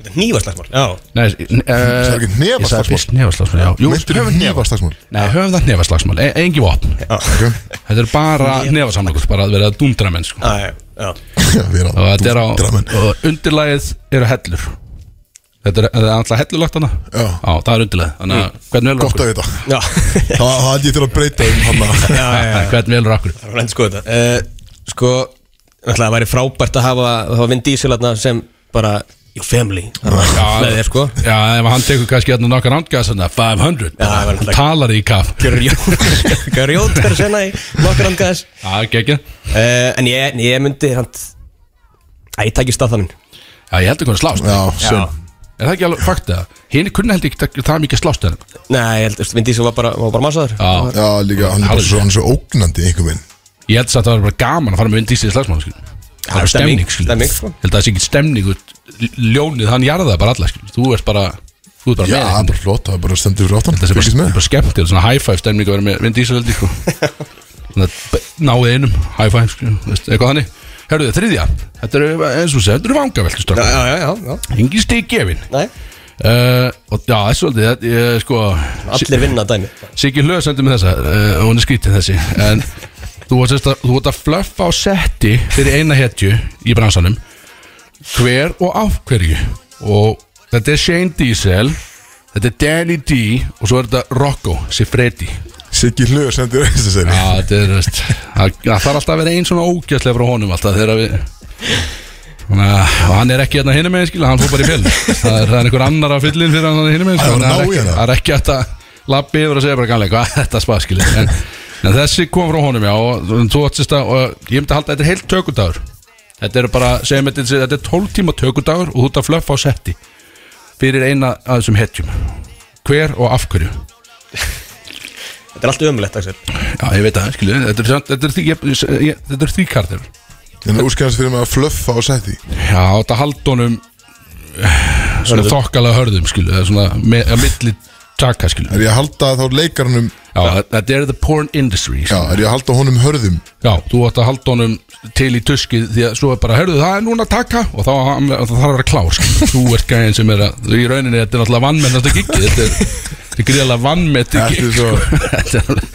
Nývaslagsmál Já, Nei, uh, ekki hnefaslagsmál? Nefaslagsmál, já Jú, Meintur höfum hnefa- hnefaslagsmál? Nei, höfum það nefaslagsmál, e engi vopn Þetta er bara nefasamlokur, bara að vera að dundra menn sko. já, já Vera Og þetta er á, dúndramenn. og undirlægið eru hellur Þetta er, það er alltaf hellulagt hana Já. Mm. það er undirlægið Þannig að hvern velur Gott okkur að vita Já, Það það held ég til að breyta um hann að- Hvern velur okkur það var endur sko þetta uh, Sko, náttúrulega það væri frábært að hafa hafa Vin Diesel þarna sem bara Your family Já. Með þér sko Já, ef hann tekur kannski hérna nokkar ándgæðs 500, Já, það var bara, náttúrulega- talar í kaf Grjótar senna í nokkur angaðis Já, geggja uh, En ég, en ég myndi hann Æ, ég tæki stað þannig Já, ég heldur hvernig slást Já, sem Er það ekki alveg faktið það? Hinn kunni heldur ekki tak- það mikið slást en Nei, ég held, veist, Vin Diesel var bara, var bara masaður Já, Já, líka, hann er bara svo, hann er svo ógnandi einhvern veginn ég held samt að það var bara gaman að fara með undir í sig slagsmál skil. Það Já, var stemning, stemning, skil. stemning, sko. Ég held að það sé ekki stemning út- Ljónið, hann jarðaði bara alla skil. Þú ert bara, þú ert bara Já, með hann er bara flott, það er bara stendur fyrir áttan Það er Fylgist bara, með bara skemmt, þetta er svona high five stemning að vera með Vin Diesel heldur sko. Þannig að b- náið einum high five, skil, veist, eitthvað þannig Herðu þið, þriðja, þetta eru eins og sé, þetta eru vangaveltu já, já, já, já. Engi stig gefin Nei, uh, Og já, það er svolítið, þetta er sko allir vinna dæmi Siggi Hlöð sendi mig þessa uh, og hún er skrítið þessi en þú varst sérst að, þú varst að flöffa á setti fyrir eina hetju í bransanum hver og af hverju og þetta er Shane Diesel þetta er Danny D og svo er þetta Rocco Sifredi Siggi Hlöð sendur þess að segja Já, þetta er, þú veist, það það þarf alltaf að vera einn svona ógæslega frá honum alltaf þegar við Þannig að og hann er ekki hérna hinum meginn skilja, hann fór bara í fjöld það, er- það er einhver annar að fyllin fyrir hann hérna hinum meginn Það skilja, þannig að það er ekki- var ná í hana. það er ekki hægt að lappi yfir og segja bara ganlega hvað þetta spað skilja en, en þessi kom frá honum já og þú- þú áttist að, og ég myndi að halda að þetta er heilt tökudagur þetta er bara, segjum þetta, sé- þetta er 12 tíma tökudagur og þú ert að flöffa á setti fyrir eina af þessum hetjum hver og af hverju Þetta er allt ömulegt, Axel Já, ég veit það, skilju, þetta er, samt- þetta er, því, ég, ég, þetta er því kartir En úrskæðast fyrir mig að flöffa á sæti Já, þetta haldunum svona Hörðum. þokkalega hörðum, skilju, eða svona me, að milli taka, skilju Er ég að halda þá leikarnum Já, þetta er the porn industry, Já, skilju er ég að halda honum hörðum Já, þú átt að haldunum til í tuskið því að svo er bara, hörðu, það er núna taka og þá hann- það þarf að vera klár, skilju Þú ert gæðin sem er að, þú í rauninni, þetta er náttúrulega vannmennast að giggi Þetta er, þetta er gríðalega vannmett Þetta er svo- sko. Þetta er alveg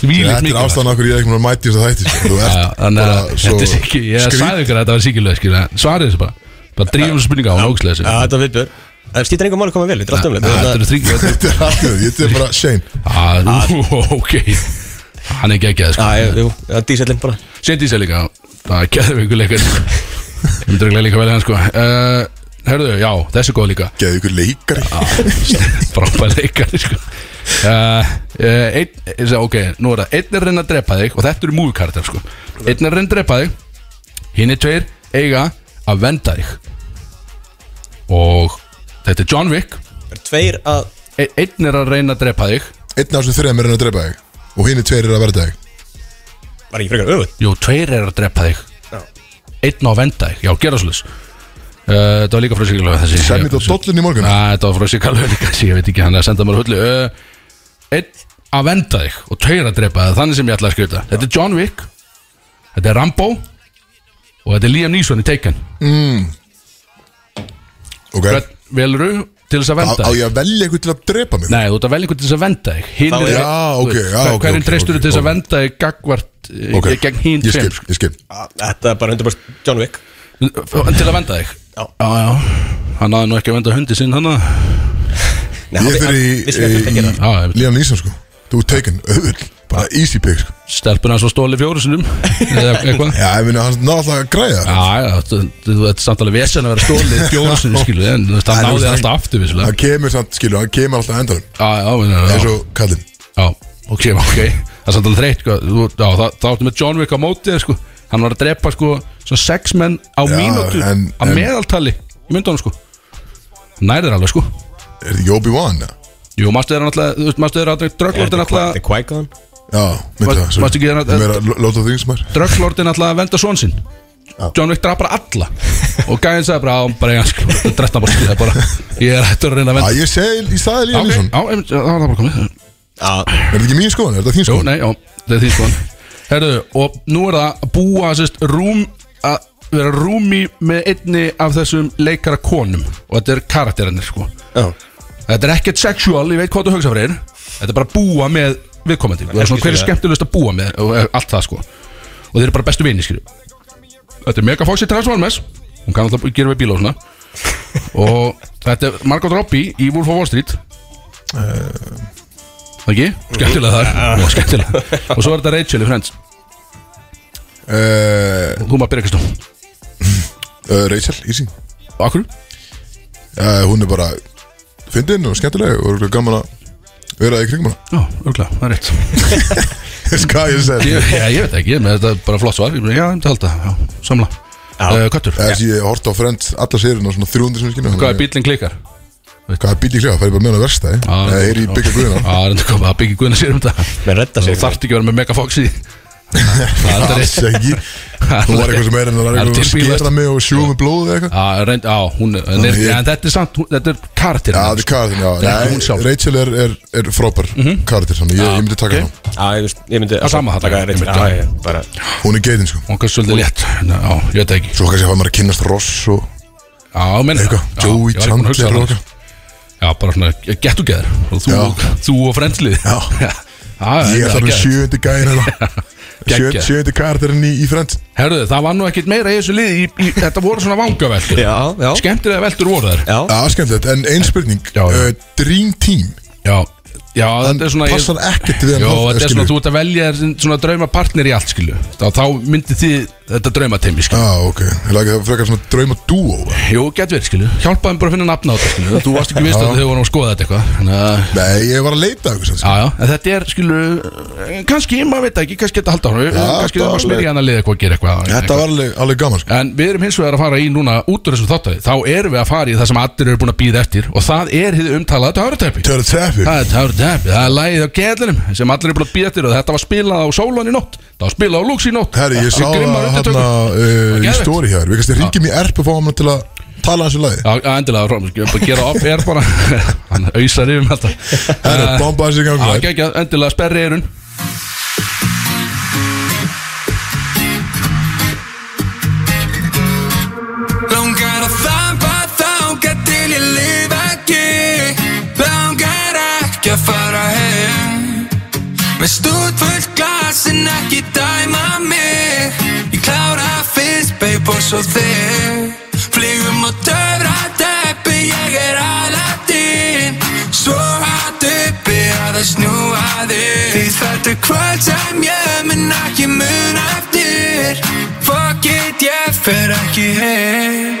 þvílíkt Þetta er mikilvægt. ástæðan okkur ég er ekki mér að mæti þess að þætti sko. Þú Já, ert já, þannig að bara svo þetta er sikki ég skrýt- sagði ykkur að þetta var sikkilega skilja svarið þessu bara, bara drífum þessu spurninga á nógslega Já, þessu þetta var viðbjör Það skýtir engum mál að koma vel, þetta er allt um ömulegt þetta um eru þrýkja Þetta er allir, þetta er bara Shane Ah, ok hann er geggjað sko Já, já, Ah. jú, það er dísellin bara Sendi sér líka, það er geðum ykkur leikar ég myndi reglega líka velja hann sko uh, herðu, já, þessi er góð líka Geðu ykkur leikari frábæð leikar sko Uh, uh, ein, ég sagði, ok, nú er það einn er að reyna að drepa þig og þetta eru múikartar sko einn er að reyna að drepa þig hinn er tveir eiga að venda þig og þetta er John Wick Það er tveir að e einn er að reyna að drepa þig Einn af þessum þreim er hann að drepa þig Og hinn er tveir er að verða þig Var ekki frekar öfut jú, tveir er að drepa þig Já. einn á að venda þig, já, gera svolítið uh, þetta var líka frá sigalöf þessi Sæmi þetta á dollun í morgun Næ, þetta var frá sigalöf líka þessi, ég veit ekki, hann er að senda mér hullu uh, einn að venda þig og tveir að drepa þig, þannig sem ég ætla að skjuta þetta er John Wick, þetta er Rambo og þetta er Liam Neeson í Taken Ok, hvern veluru til þess að á venda á þig ég að velja ykkur til að drepa mig Nei, þú ert að velja einhvern til þess að venda þig Hinn Þá er- er- Já, þú ok, veist, já, ok, Hverjum ok, treystur ok, til þess að ok. venda þig gagvart Ok, okay. gegn hinn Ég tveim, skil, sko. ég skil Ah, Þetta er bara 100% John Wick Til að venda þig Já. já, Hann hafði nú ekki að venda hundi sinn hann að- Nei, Ég hann- fyrir hann- í- vissulega þurfti að í gera það. Já, ég veit. Líðan Ísson sko Þú er taken, auðvöld Bara easy pick sko Stelpuna svo stóli fjóru sinnum Eða eitthvað Já, ég minna, hann náði alltaf að græja það. Já, já, þú þú- þetta er samt alveg vesen að vera stóli fjóru sinnum skilu En þú veist, hann En, náði þú þér veist, alltaf aftur vissulega Hann kemur samt, skilu, hann kemur alltaf að endanum Já, já, já, já, eins og kallinn já Ok, ok, það er samt alveg þreytt sko. Þú- Já, það, það áttu með John Wick á móti þér, sko. Hann var að drepa sko Svona sex menn á Já, mínútu en- Á en- meðaltali í myndunum sko Nærðir alveg sko Er þetta Jóbi Wan? eða? Jú, mastu þeirra náttúrulega Þú veist, mastu þeirra náttúrulega Drögglortin Þetta náttúrulega er Qui-Gon Já, myndi Varst- það varstu ekki hérna- Mér að lóta þig sem er Drögglordin alltaf að venda svon sinn John Wick draf bara alla og gæðin sagði bara, "Á, bara ég sko, drefna bara skilja bara ég er hættur að reyna að Já, venda ég segi, ég sagði Já, Líðan ok, Ísson já, einmitt, já, það var það bara komið Já, Er þetta ekki mín skoðan, er þetta þín Jú, skoðan? nei, já, það er því sko Herðu, og nú er það að búa sérst, rúm að vera rúmi með einni af þessum leikara konum og þetta er karakterinir sko Já. Þetta er ekkert sexual, ég veit hvað þú hugsa fyrir Þetta er bara að búa með viðkomandi Það er svona hverju skemmtilegust að búa með og eh, allt það sko Og þeir eru bara bestu vini, skilju Þetta er mega fóksi transformers Hún kann alltaf gera með bíla og svona Og þetta er Margot Robbie í Wolf of Wall Street Það ekki? Skemmtilega þar Já, skemmtilega Og svo er þetta Rachel í Friends uh, Þú maður byrja Kristó uh, Rachel, Ísing Akkur? uh, Hún er bara fyndin og skemmtileg og örugglega gaman að vera í kringum hana Já, örgla, það er rétt Þess hvað ég segi ég, Já, ég veit ekki, menn þetta er bara flott svar Ég meina, Já, þetta held að, já, samla uh, Köttur, Þess ég horta á Friends alla sérina svona 300 sem skynna hvað er bílinn klikkar? Hvað er bíl í kliða? Færi bara með hana versta Já, Það er í byggja guðina Já, reynda að koma að byggja guðina sér um þetta Menn redda Þú sig þarft ekki að vera með megafox í því. Það er þetta Alls rétt ekki Hún var eitthvað sem er en það var Það er eitthvað tilbílast. skera mig og sjúga með blóð eða eitthvað Já, reynda, já, hún er, en, er, ég- en þetta er samt, hún, þetta er karakter Já, það er karatinn, já Það er ekki Nei, hún sjálf. Rachel er, er, er frábær mm -hmm. karatinn, þannig ég, ég myndi taka ok. okay. Já, ég veist, ég myndi Já, sama þarna. Taka rétt fyrir- Ég Já, myndi- já, bara hana Hún er geitin, sko Hún er svolítið létt, Ná, já, ég veit það ekki Svo kannski að maður að kynnast Ross og Já, menn eitthvað Joey um Chandler og eitthvað Já, bara svona, get together og þú, Já. þú og frendslið Já. já, já, Ég er já, þarna geggjað. sjöndi gæðin hérna Sjö- Geggjað. Sjöndi karakterinn í, í Friends Herðu, það var nú ekkit meira í þessu liði í, í, Þetta voru svona vangaveltur Já, já Skemmtilega veltur voru þær Já, Já, skemmtilegt, en ein spurning Já, já. uh, Dream Team Já, já þetta er svona ég- Passar ekkert við hann Jó, hóp, þetta er skilur. svona, þú ert að velja þér svona draumapartner í allt, skilju Þá, þá myndi þið þetta draumateimi, skilju Já, Ah, ok Það er það frekar svona drauma dúo Jú, gett verið, skilju Hjálpaðum bara að finna nafna á þetta, skilju Þú varst ekki vist að þau vorum að skoða þetta eitthvað Þannig að, Nei, ég var að leita að sko. já, eitthvað sem já En þetta er, skilju, kannski, maður veit það ekki, kannski þetta halda honum Kannski það þetta var var leik. smyrja hann að liða eitthvað að gera eitthvað Þetta eitthvað. var alveg, alveg gaman, sko En við erum hins vegar að fara í núna út úr þessum þáttæði Þá erum við að fara í það sem allir eru búin að býða eftir Og það er hið umtalað törutæpi Törðu teppir Það er törutæpi, það er lagið á gæðlinum Sem allir eru búin að býða eftir Og þetta var spilað á Sólon í nótt Það var spilað á Lux í nótt Herri, ég sá Við grimmar það hann undirtökum. uh, í geðveikt. stóri hér Við kannski ringjum í erp og fáum hann til að tala hans í lagi Já, já, endilega, Róm, ég bara gera upp er bara Hann auðsar yfir með alltaf Herri, bomba þessi í gangi Já, maður. geggja, endilega, sperri erun Langar að þamba þanga til ég lifa ekki Langar ekki að fara heim Með stúd fullt glas en ekki dæma mig Ég klára fyrst, babe, og svo þig Flygum á töfra teppi, ég er Aladdin Svo hatt uppi að það snúaði Því þetta er kvöld sem ég mun ekki mun eftir Fuck it, ég fer ekki heim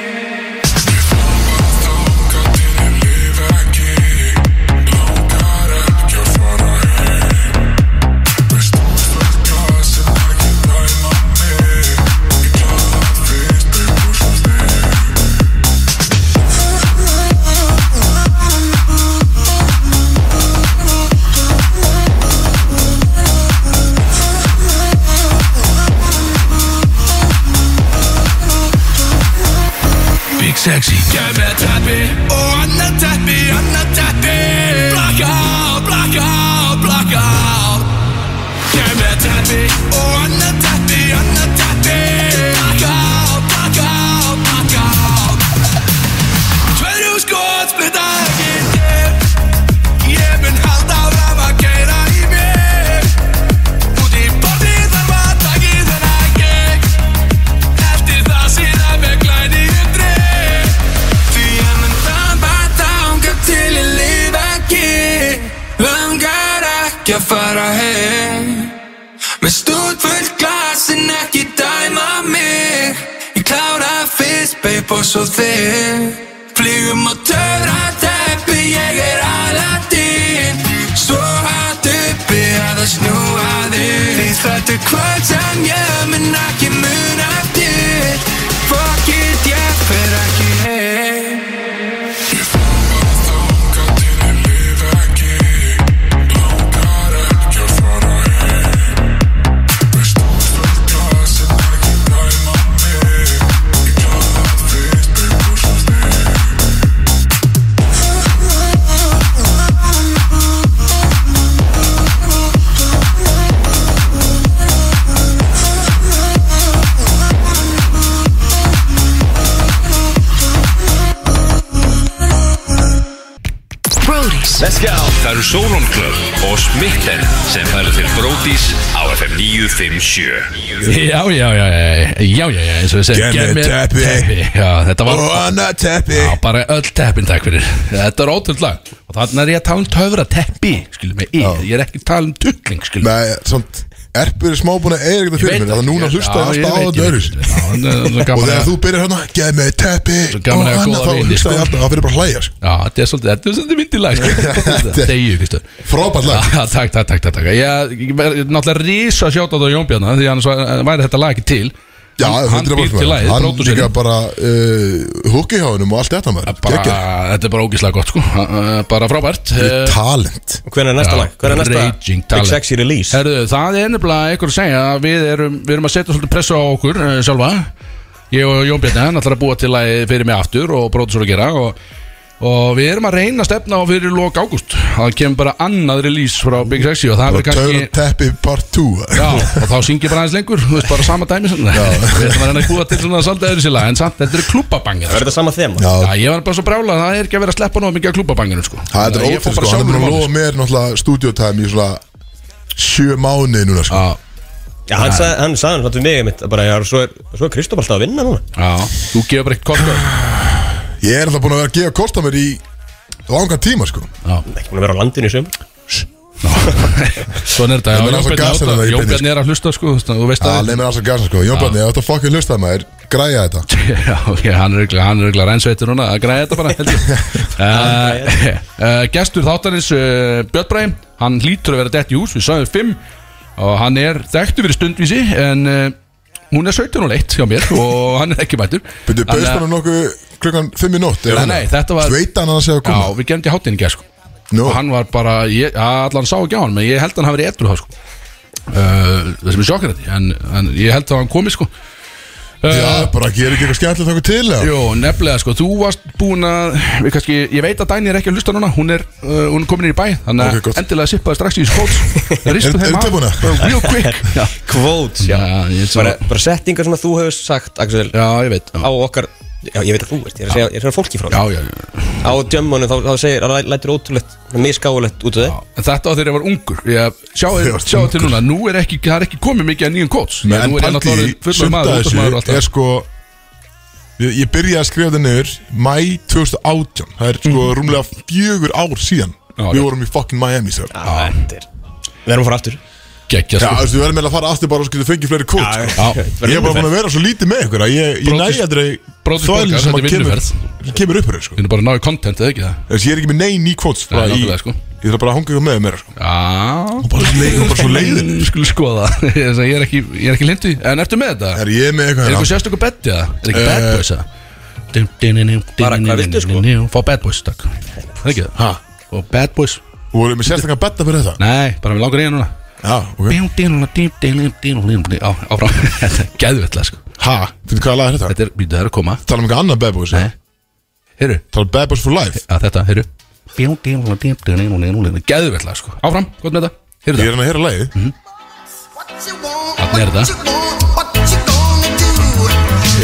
Big Sexy Gæð með teppi og annar teppi, annar teppi Blackout, blackout, blackout Gæð með teppi og annar teppi, annar teppi Blackout, blackout, blackout Tverju skot splitta ekki þér Ég mun halda áram að gæra í mér Út í borði þarf að taki þennan gegn Eftir það síðan með glæni undri Því ég mun þamba þanga til ég lifa ekki Langar ekki að fara heim Með stúd fullt glas en ekki dæma mig Ég klára fyrst, babe, og svo þig Flygum á töfra teppi, ég er Aladdin Svo hatt uppi að það snúaði Því þetta er kvöld sem ég mun ekki mun eftir Fuck it, ég fer ekki heim Ég Let's go Það eru Solon Club og Smitten sem færa til Brodís á FM 957 Já, já, já, já, já, já, já, eins og við segjum Gef mér teppi. Já, þetta var Óna teppi Já, bara öll teppin takk fyrir Þetta er ótrúld lag Og þannig er ég að tala um töfra teppi Skilum mig, ég, ég er ekki að tala um tuggling Skilum Nei, svont Erpur er smá búin að eiga þetta fyrir mér Það er núna að hlusta alltaf á þetta öðru Og þegar þú byrjar hérna Gef mig teppi Svo gaman að eiga annað, góða Þá vini, hlusta sko. ég alltaf Það fyrir bara að hlæja sko. Já, þetta er svolítið, þetta er svolítið myndilag Þetta er- Degju, Kristur Frábært Já, lag takk, takk, takk, takk, takk. Ég, ég verð náttúrulega rísa sjátt á það Jónbjörna Því annars var- væri þetta lag ekki til Já, Hann- hann hundrað býr prósent til lagið, Hann pródúserinn. líka bara Húki hjá hennum og allt þetta maður bara, Gekkja Þetta er bara ógislega gott sko Eh, Bara frábært Eh, Talent Hvernig er næsta Já, lag? Hvernig er Raging næsta Talent. Big Sexy Release? Herðu, það er nefnilega einhver að segja að við erum, við erum að setja svolítið pressu á okkur uh, sjálfa Ég og Jón Bjarni, hann ætlar að búa til að fyrir mig aftur og bróðsvöld að gera og, og við erum að reyna að stefna á fyrir lok ágúst Það kemur bara annað release frá Big Sexy og það Og verður Töfra kannski teppi part 2 Já, og þá syngir bara aðeins lengur, þú veist bara sama dæmi sem Við ætlum að reyna að búa til svona svolítið öðru síla En samt, þetta er klúbbabangir Er þetta sama þema? Já, Já, ég var bara svo brjála það er ekki að vera að sleppa nóg mikið af klúbbabanginu sko. Það er Ég ótrúð fór bara sko, hann er sjálfur í búin að málið, lofa sko. mér náttúrulega stúdiótæmi í svona sjö mánuði núna sko Já, Já, hann sagði hann sagði hann við mig mitt bara, já, svo er, svo er Kristof alltaf að vinna núna já, þú gefur bara eitt sko. korkur Ég er alltaf búin að vera að gefa kost á mér í langan tíma sko Ekki búin að vera á landinu í söm Svona er þetta, Ég meina, já, það er svo gasan að Jónbjarni það í Jón beinni, Bjarni er að hlusta sko, þú veist- þú veist Það að leið mér alls að gasa sko Jón Bjarni, ef þetta fucking hlusta maður Græja þetta Já, ok, hann er örugglega- hann er örugglega reynsveitur núna að græða þetta bara held ég. Eh, eh, Gestur þáttarins uh, Björn Bræm, hann hlýtur að vera dett í hús, við sagðum fimm og hann er þekktu fyrir stundvísi en uh, hún er 17 og leitt hjá mér og hann er ekki mættur Byrju, Þannig bauðst að- bara nokkuð klukkan 5 í nótt Nei, nei, þetta var- Sveit hann að hann sé að Já, koma við gemdi hátinn í gerð sko Nú, og hann var bara, ég, ja, allan sá ekki á hann menn ég held að hann hafi verið etru þá sko uh, það sem er sjokkrati en, en ég held að hann komi sko já, uh, bara gerir ekki eitthvað skemmtilegt okkur til eða? Jó, nefnilega sko, þú varst búin að við kannski, ég veit að Dæni er ekki að hlusta núna hún er, uh, hún er komin inn í bæ þannig Ok, gott. að endilega sippaði strax í þessu kóts Er- ristu er þeim tilbúna? af, bara real quick Já, Quotes, já já, ég, svo, bara, bara settingar sem að þú hefur sagt, Axel já ég veit já, á okkar Já, ég veit að þú ert, ég er að segja, ég er að segja fólki frá já, það já, já. Á djömmunum þá, þá segir, það lætur ótrúlegt, misgáulegt út af þig En þetta á þegar ég var ungur ég, sjá, Þegar varst sjá til ungur. núna, nú er ekki, það er ekki komið mikið að nýjum kóts Nei, Nú En er ég náttúrulega paldi, orðinn fullorðinn sunda maður, þessu útvarpsmaður og allt það. er sko Ég ég byrjaði að skrifa þetta niður Mæ 2018 Það er sko rúmlega fjögur ár síðan Mhm. Já, Við rétt. vorum í fucking Miami sér Já, Þetta er Ah, Við erum að fara aftur Gekkja þú sko veist, við verðum meðal að fara aftur bara og skilja fengið fleiri kót sko. Já, Ég er bara búin að vera svo lítið með ykkur að Ég, ég Brodís- næði að Brodís þvæli borgar, þetta er sem að kemur, vinnuferð. sem kemur upp hér sko. Við erum bara að ná í content eða ekki það Þess, Ég er ekki með nein í kvots Nei, í, nákvæmlega, sko. Ég þarf bara að hanga ykkur með mér sko. Já bara svo leið- hún bara svo leiðin. Við skulum skoða það. Ég er- ég er ekki, ég er ekki lindu En ertu með þetta? Er ég með Er eitthvað eitthvað hérna? sérstöku betti eða? Er ekki bad Eh, boys eða? Bara, hvað viltu, sko? Fá bad boys, takk Það er ekki það? Ha? Fá bad boys Þú voru með sérstaklega betta fyrir þetta Nei, bara við langar í hann núna Já, ok Á, áfram Gæðvetla, sko Ha? Þetta hvaða lag er þetta? Þetta er, býttu, það er að koma Tala um eitthvað annað Bad Boys Nei. Heyrðu Tala um Bad Boys for Life að þetta, heyrðu Gæðvetla, sko Áfram, gott með þetta Heyrðu Ég það er hann að heyra lagið Þarna er þetta.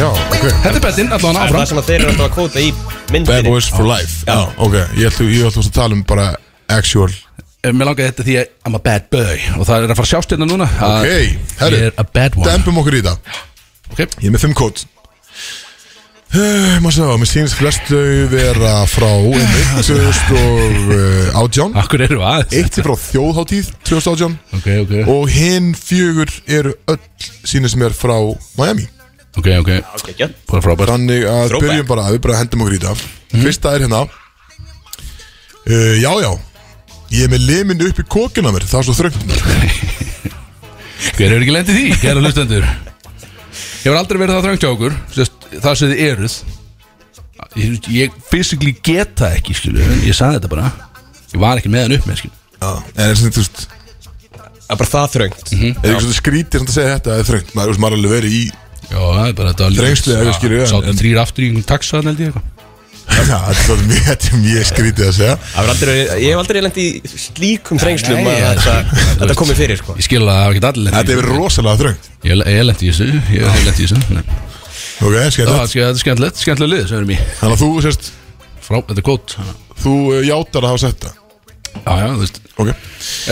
Já, ok Þetta er bettinn, allan Það er áfram það sem að þeir eru alltaf að kvóta í Bad myndinni Boys for Life Já, ok Ég ætlum ég ætlum að tala um bara actual Eh, Mér langaði þetta því að I'm a bad boy Og það er að fara að sjást hérna núna að Ok, Ég herru er a bad one Dempum okkur í það Ok, Ég er með fimm kót Uh, maður sagði á, mér sýnist flest þau vera frá einmitt 2018 akkur eru að Eitt er frá þjóðháttíð 2018 Ok, ok, og hinn fjögur eru öll sínir sem er frá Miami ok, ok Geggjað. Bara Mhm. frábært þannig að Throwback. byrjum bara við bara hendum okkur í þetta fyrsta er hérna uh, já já ég er með limin upp í kokina mér það er svo þröngt Hver hefur ekki lendið því, kæra hlustendur Hefur aldrei verið það þröngt hjá okkur sérst, Það sem þið eruð Ég, ég fysikli get það ekki, skilu En ég sagði þetta bara Ég var ekki með hann upp með, skilu Já, en er sem þú veist Það er bara það þröngt Mhm. er ekki svona skrítið sem það segja þetta það er þröngt maður, þú veist, maður er alveg verið í Já, það er bara þetta Þrengsli, eða skilur við, en- Sáttum en- þrýr aftur í einhvern taxa, held ég eitthvað Já, þetta er svolítið mjög- þetta er mjög skrítið að segja Það er aldrei, ég hef aldrei lent í slíkum Nei, þrengslum að ég- þetta, þetta komið fyrir sko Ég skil að það hafa ekki allir lent í þetta er verið rosalega þröngt Ég ég lent í þessu, ég hef lent í þessu Nei. ok, Já, skemmt Þetta er skemmtilegt, skemmtilegt lið sem við erum í þannig að þú sérst Frá, þetta er gótt þú uh, játar að hafa sett það Já, já, þú veist Ok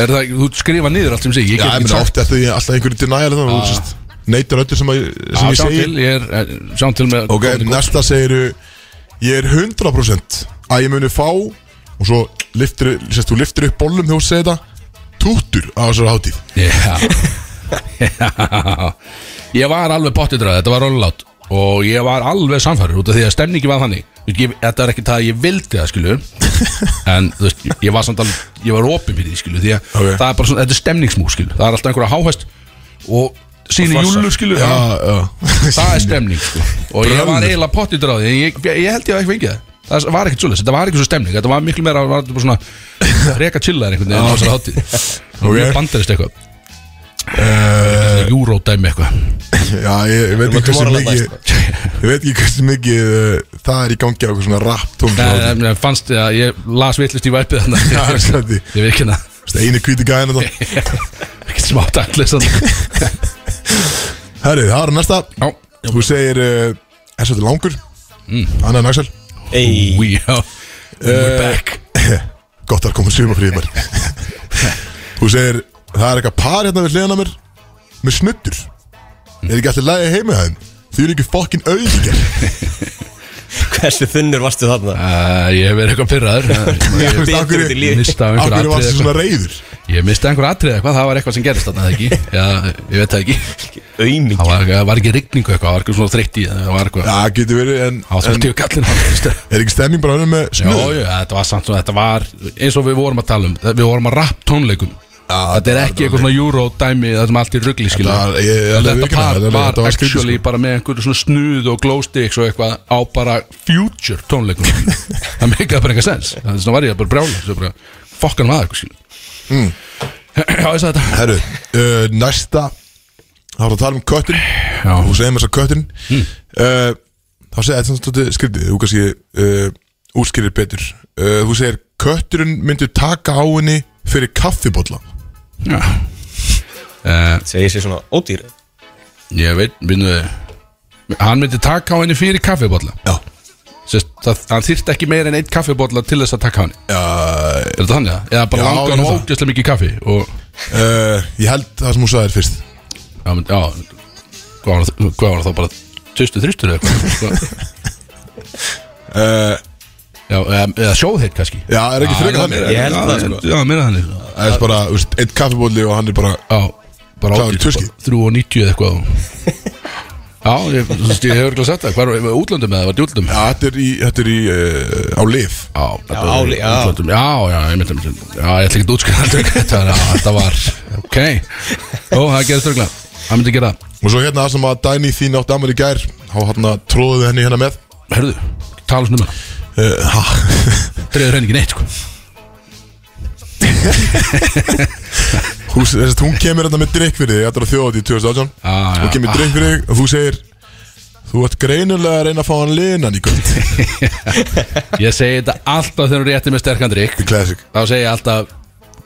Er það, þú skrifa niður allt sem ég segi Ég get Já, ég ekki meina sagt oft eftir því alltaf einhverju denial þannig að þú sérst neytar öllu sem, að, Já, sem ég sjáum segi til, ég er eh, Sjáum til með Ok, komandi góð. næsta segiru Ég er 100% að ég muni fá og svo liftir, sérst, þú liftir upp bollum þegar þú segir þetta túttur á þessari hátíð Já Já. Ég var alveg pottidrað, þetta var rollout Og ég var alveg samfæður út af því að stemningi var þannig Þú veist, ég, Þetta var ekki það að ég vildi það skilu En þú veist, ég var samt alveg Ég var opið fyrir því skilu Því að Ok. það er bara svona, þetta er stemningsmú skilu Það er alltaf einhverja háhæst Og síni júlu skilu Já, já Það er stemning sko. Og ég var Bröður. eiginlega pott í dráði ég, ég ég held ég að ekki fengið það Það var ekkert svolítið, þetta var ekki svo stemning Þetta var miklu meira, var þetta bara svona Reka chillar einhvern veginn á þessari hátíð okay. Mjög bandarist eitthvað Eh, hérna Eurodæmi eitthvað Já, ég, ég veit Erum ekki að hversu Tomorrowland mikið Ég veit ekki hversu mikið uh, það er í gangi á eitthvað svona Nei, nei, rap tónlist nei, Fannst ég að ég las vitlist í væpið þarna Já, það er slætti Ég veit ekki hana Einu kvíti gæðin þetta Ekkert smá daglis Já, Herrið, það er næsta Þú segir uh, Þessu þetta er langur mm. Anna en Axel Ey, we are We're back Eh, Gott að koma sumafríðið mér Þú segir Það er eitthvað par hérna við hliðan á mér Með snuttur Er ekki alltaf lægi heima þeim Þið eru ekki fokkin auðvíkjar hversu þunnur varstu þarna? Uh, Ég hef verið eitthvað pyrraður Ég veist Betur út í lífi. Mista af Akkur einhverju var atriði þessi eitthvað. svona reyður Ég misti einhver atrið eitthvað, það var eitthvað sem gerist þarna eða ekki Já, ég veit það ekki Aumingi Það var, það var ekki rigningu eitthvað, það var eitthvað svona þreytt í það var eitthvað, Já, getur verið En, það var en þreytt í kallin er ekki stemming bara henni með Jó, snuð jó, þetta var samt svona, þetta var eins og við vorum að tala um, við vorum að rapp tónleikum Þetta er ekki eitthvað svona euro dæmi það sem allt er ruggli skilja Þetta var- ég- ég- alveg Þetta viðurkenni par það, þetta- var þetta var skrítið, actually sko. bara með einhverju svona snuð og glow sticks og eitthvað á bara future tónleikum Það meikaði bara eitthvað sens, þannig að var ég bara brjála svo bara fokkan maður eitthvað skilja Já, ég sagði þetta Herru, uh, næsta Það var að tala um köttin Já. Hmm. Þú segir mér þess að köttin uh, Þá segir þetta svolítið skriftið Þú kannski uh, útskýrir betur uh, Þú segir kötturinn myndi taka á henni Fyrir kaffibólla Já Eh, Segir sér svona ódýr Ég veit, minnu Hann myndi taka á henni fyrir kaffibólla Já Sest, það, Hann þyrfti ekki meira en einn kaffibólla til þess að taka á henni uh, Er þetta þannig að? Eða Já, bara langa hann ég veit ógjöslega mikið kaffi og, uh, Ég held það sem hún sagði þér fyrst Já, mynd, já Hvað var, það- hvað var það bara Tustu þrýstur eða eitthvað uh, Já, eða, eða sjóðheit kannski Já, er ekki frekar já, þannig? meira- Ég held já, það, sko. Já, meira þannig sko. Það er bara, þú veist, eitt kaffibólli og hann er bara Já, bara Kláður í ágjöld tuski? 3 og 90 eða eitthvað Já, ég, þú veist, ég hefur ekki að setja Hvað er útlöndum eða var þetta í útlöndum? Já, þetta er í, þetta er í uh, á lif Já, þetta var áli- já. útlöndum. já, já, ég myndi, myndi Já, ég ætla ekki að útskriða þetta Þetta var, já, þetta var, ok Ó, það gerist örgla, það myndi gera það. Og svo hérna það sem að Dæni þín átt amal í gær Há hérna tróðuðu henni hérna með Herðu, tala svona um það uh, ha, Dreður henni ekki neitt, sko Þú, þess, hún kemur hérna með drikk fyrir þig Þetta er að þjóða því 2018 Já, Ah, já. Hún kemur með drikk fyrir þig og þú segir Þú ert greinilega að reyna að fá hann linan í kvöld Ég segi þetta alltaf þegar hún rétti með sterkan drikk Classic Þá segi ég alltaf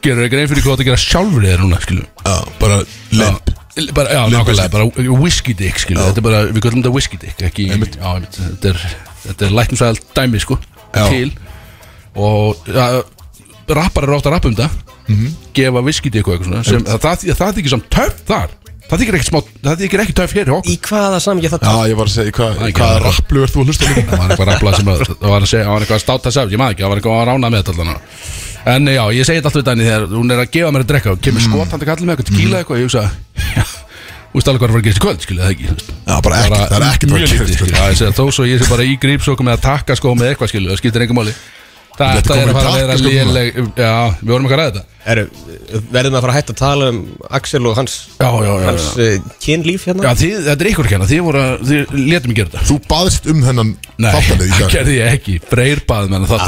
Gerur þau grein fyrir hvað það gera sjálfur þér núna, skilum Já, bara lemp Bara, já, nákvæmlega, bara whisky dick, skilum Þetta er bara, við kallum þetta whisky dick Ekki, já, einmitt Þetta er, þetta er læknisvæðal dæmi, sko Já. Til Og, já, rappar eru átt að rappa um þetta Gefa whisky dick og eitthvað svona sem, það, það, það þykir samt töf þar Það þykir ekki smá, það þykir ekki töf hér hjá okkur Í hvaða samhengi er það Já, ég var að segja, hvað Það er ekki hva alveg. rapplu ert þú að hlusta líka? það var eitthvað raflað sem að, það var að segja, það var eitthvað að státa sér, ég maður ekki, það var eitthvað að rána með þetta allan á. en já, ég segi þetta alltaf þannig þegar hún er að gefa mér að drekka og Mm. kemur skotandi kallið með eitthvað tequila eitthvað, ég hugsa já, þú veist alveg hvað er að fara að gera í kvöld, skilja það ekki þú veist. Já, bara ekkert, það er ekkert að mjög gera lítið, í kvöld. skilja, já, ég segi þó svo ég sé bara í grípsókum með að taka skó með eitthvað, skilja, það skiptir engum máli Þú ert þetta er komin að fara í að vera takkaskó núna? léleg já, við vorum ekki að ræða þetta Er, sko, verðum við að fara að hætta að tala um Axel og hans, já, já, já, hans já. uh, kynlíf hérna? Já, þið, þetta er ykkur kenna, þið voru að, þið letum ekki gera þetta Þú baðst um þennan Nei, þáttalið í það dag gerði ég ekki Freyr bað með hann Æ, bað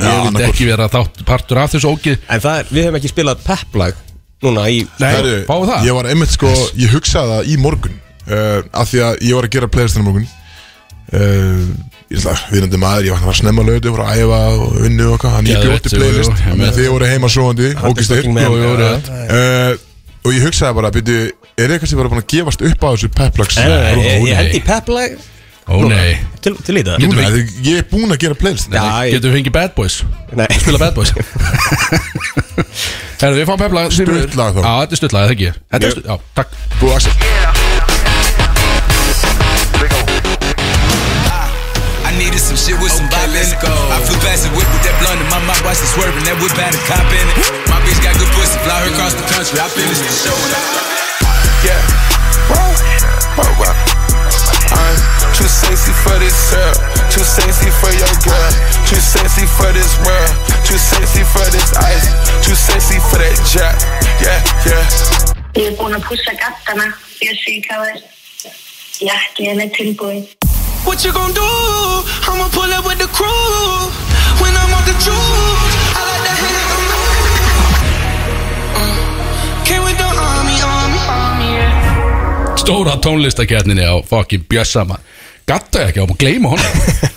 með. Já, Ég vildi annað ekki vera þátt partur af þessu ógið En það er, við hefum ekki spilað pepplag núna í Nei, Herru, fáum það Ég var einmitt sko, ég hugsaði það í morgun uh, Af því að ég var að gera playlistinu morgun uh, Ég ætla, viðnandi maður, ég var að fara snemma lögðu Ég var að æfa og vinnu og eitthvað Þannig Geðveikt, ég bjótti jú, jú, playlist ég með Þannig að það. þið voru heima svoandi, ógistir fucking man. Jú, jú, Já, rétt. uh, Og ég hugsaði bara, byrju, er ég kannski bara búin að gefast upp á þessu peplags Nei, nei, nei, ég- nei. Ég hendi í pepplag Ó nei til, til í það Núna, þið- ég er búinn að gera playlist Já, ég, Getum við fengið Bad Boys nei, Spila Bad Boys Herðu, við fáum pefla Stutt lag þá. Já, þetta er stutt lag, það ekki Þetta er Mjög. stutt, já, takk Bú Axel I needed some shit with some bop in it. I flew past the whip with that blunt in my mouth, watched it swerving. That whip had a cop in it. My bitch got good pussy, fly her across the country. I finished the show and I. Yeah. Whoa. Whoa, whoa. I'm too sexy for this girl, too sexy for your girl, too sexy for this world, too sexy for this ice, too sexy for that jet. Yeah, yeah. Ég er búin að pússa gattana. Ég sé hvað er jakkinn er tilbúin. What you gonna do? I'ma pull up with the crew when I'm on the juice. I like to hit it. Mm, Uh, Came with the army, army, army. Yeah. Stóra tónlistakjarninni á fucking Bjössamann Gatta ég ekki, ég var búin að gleyma honum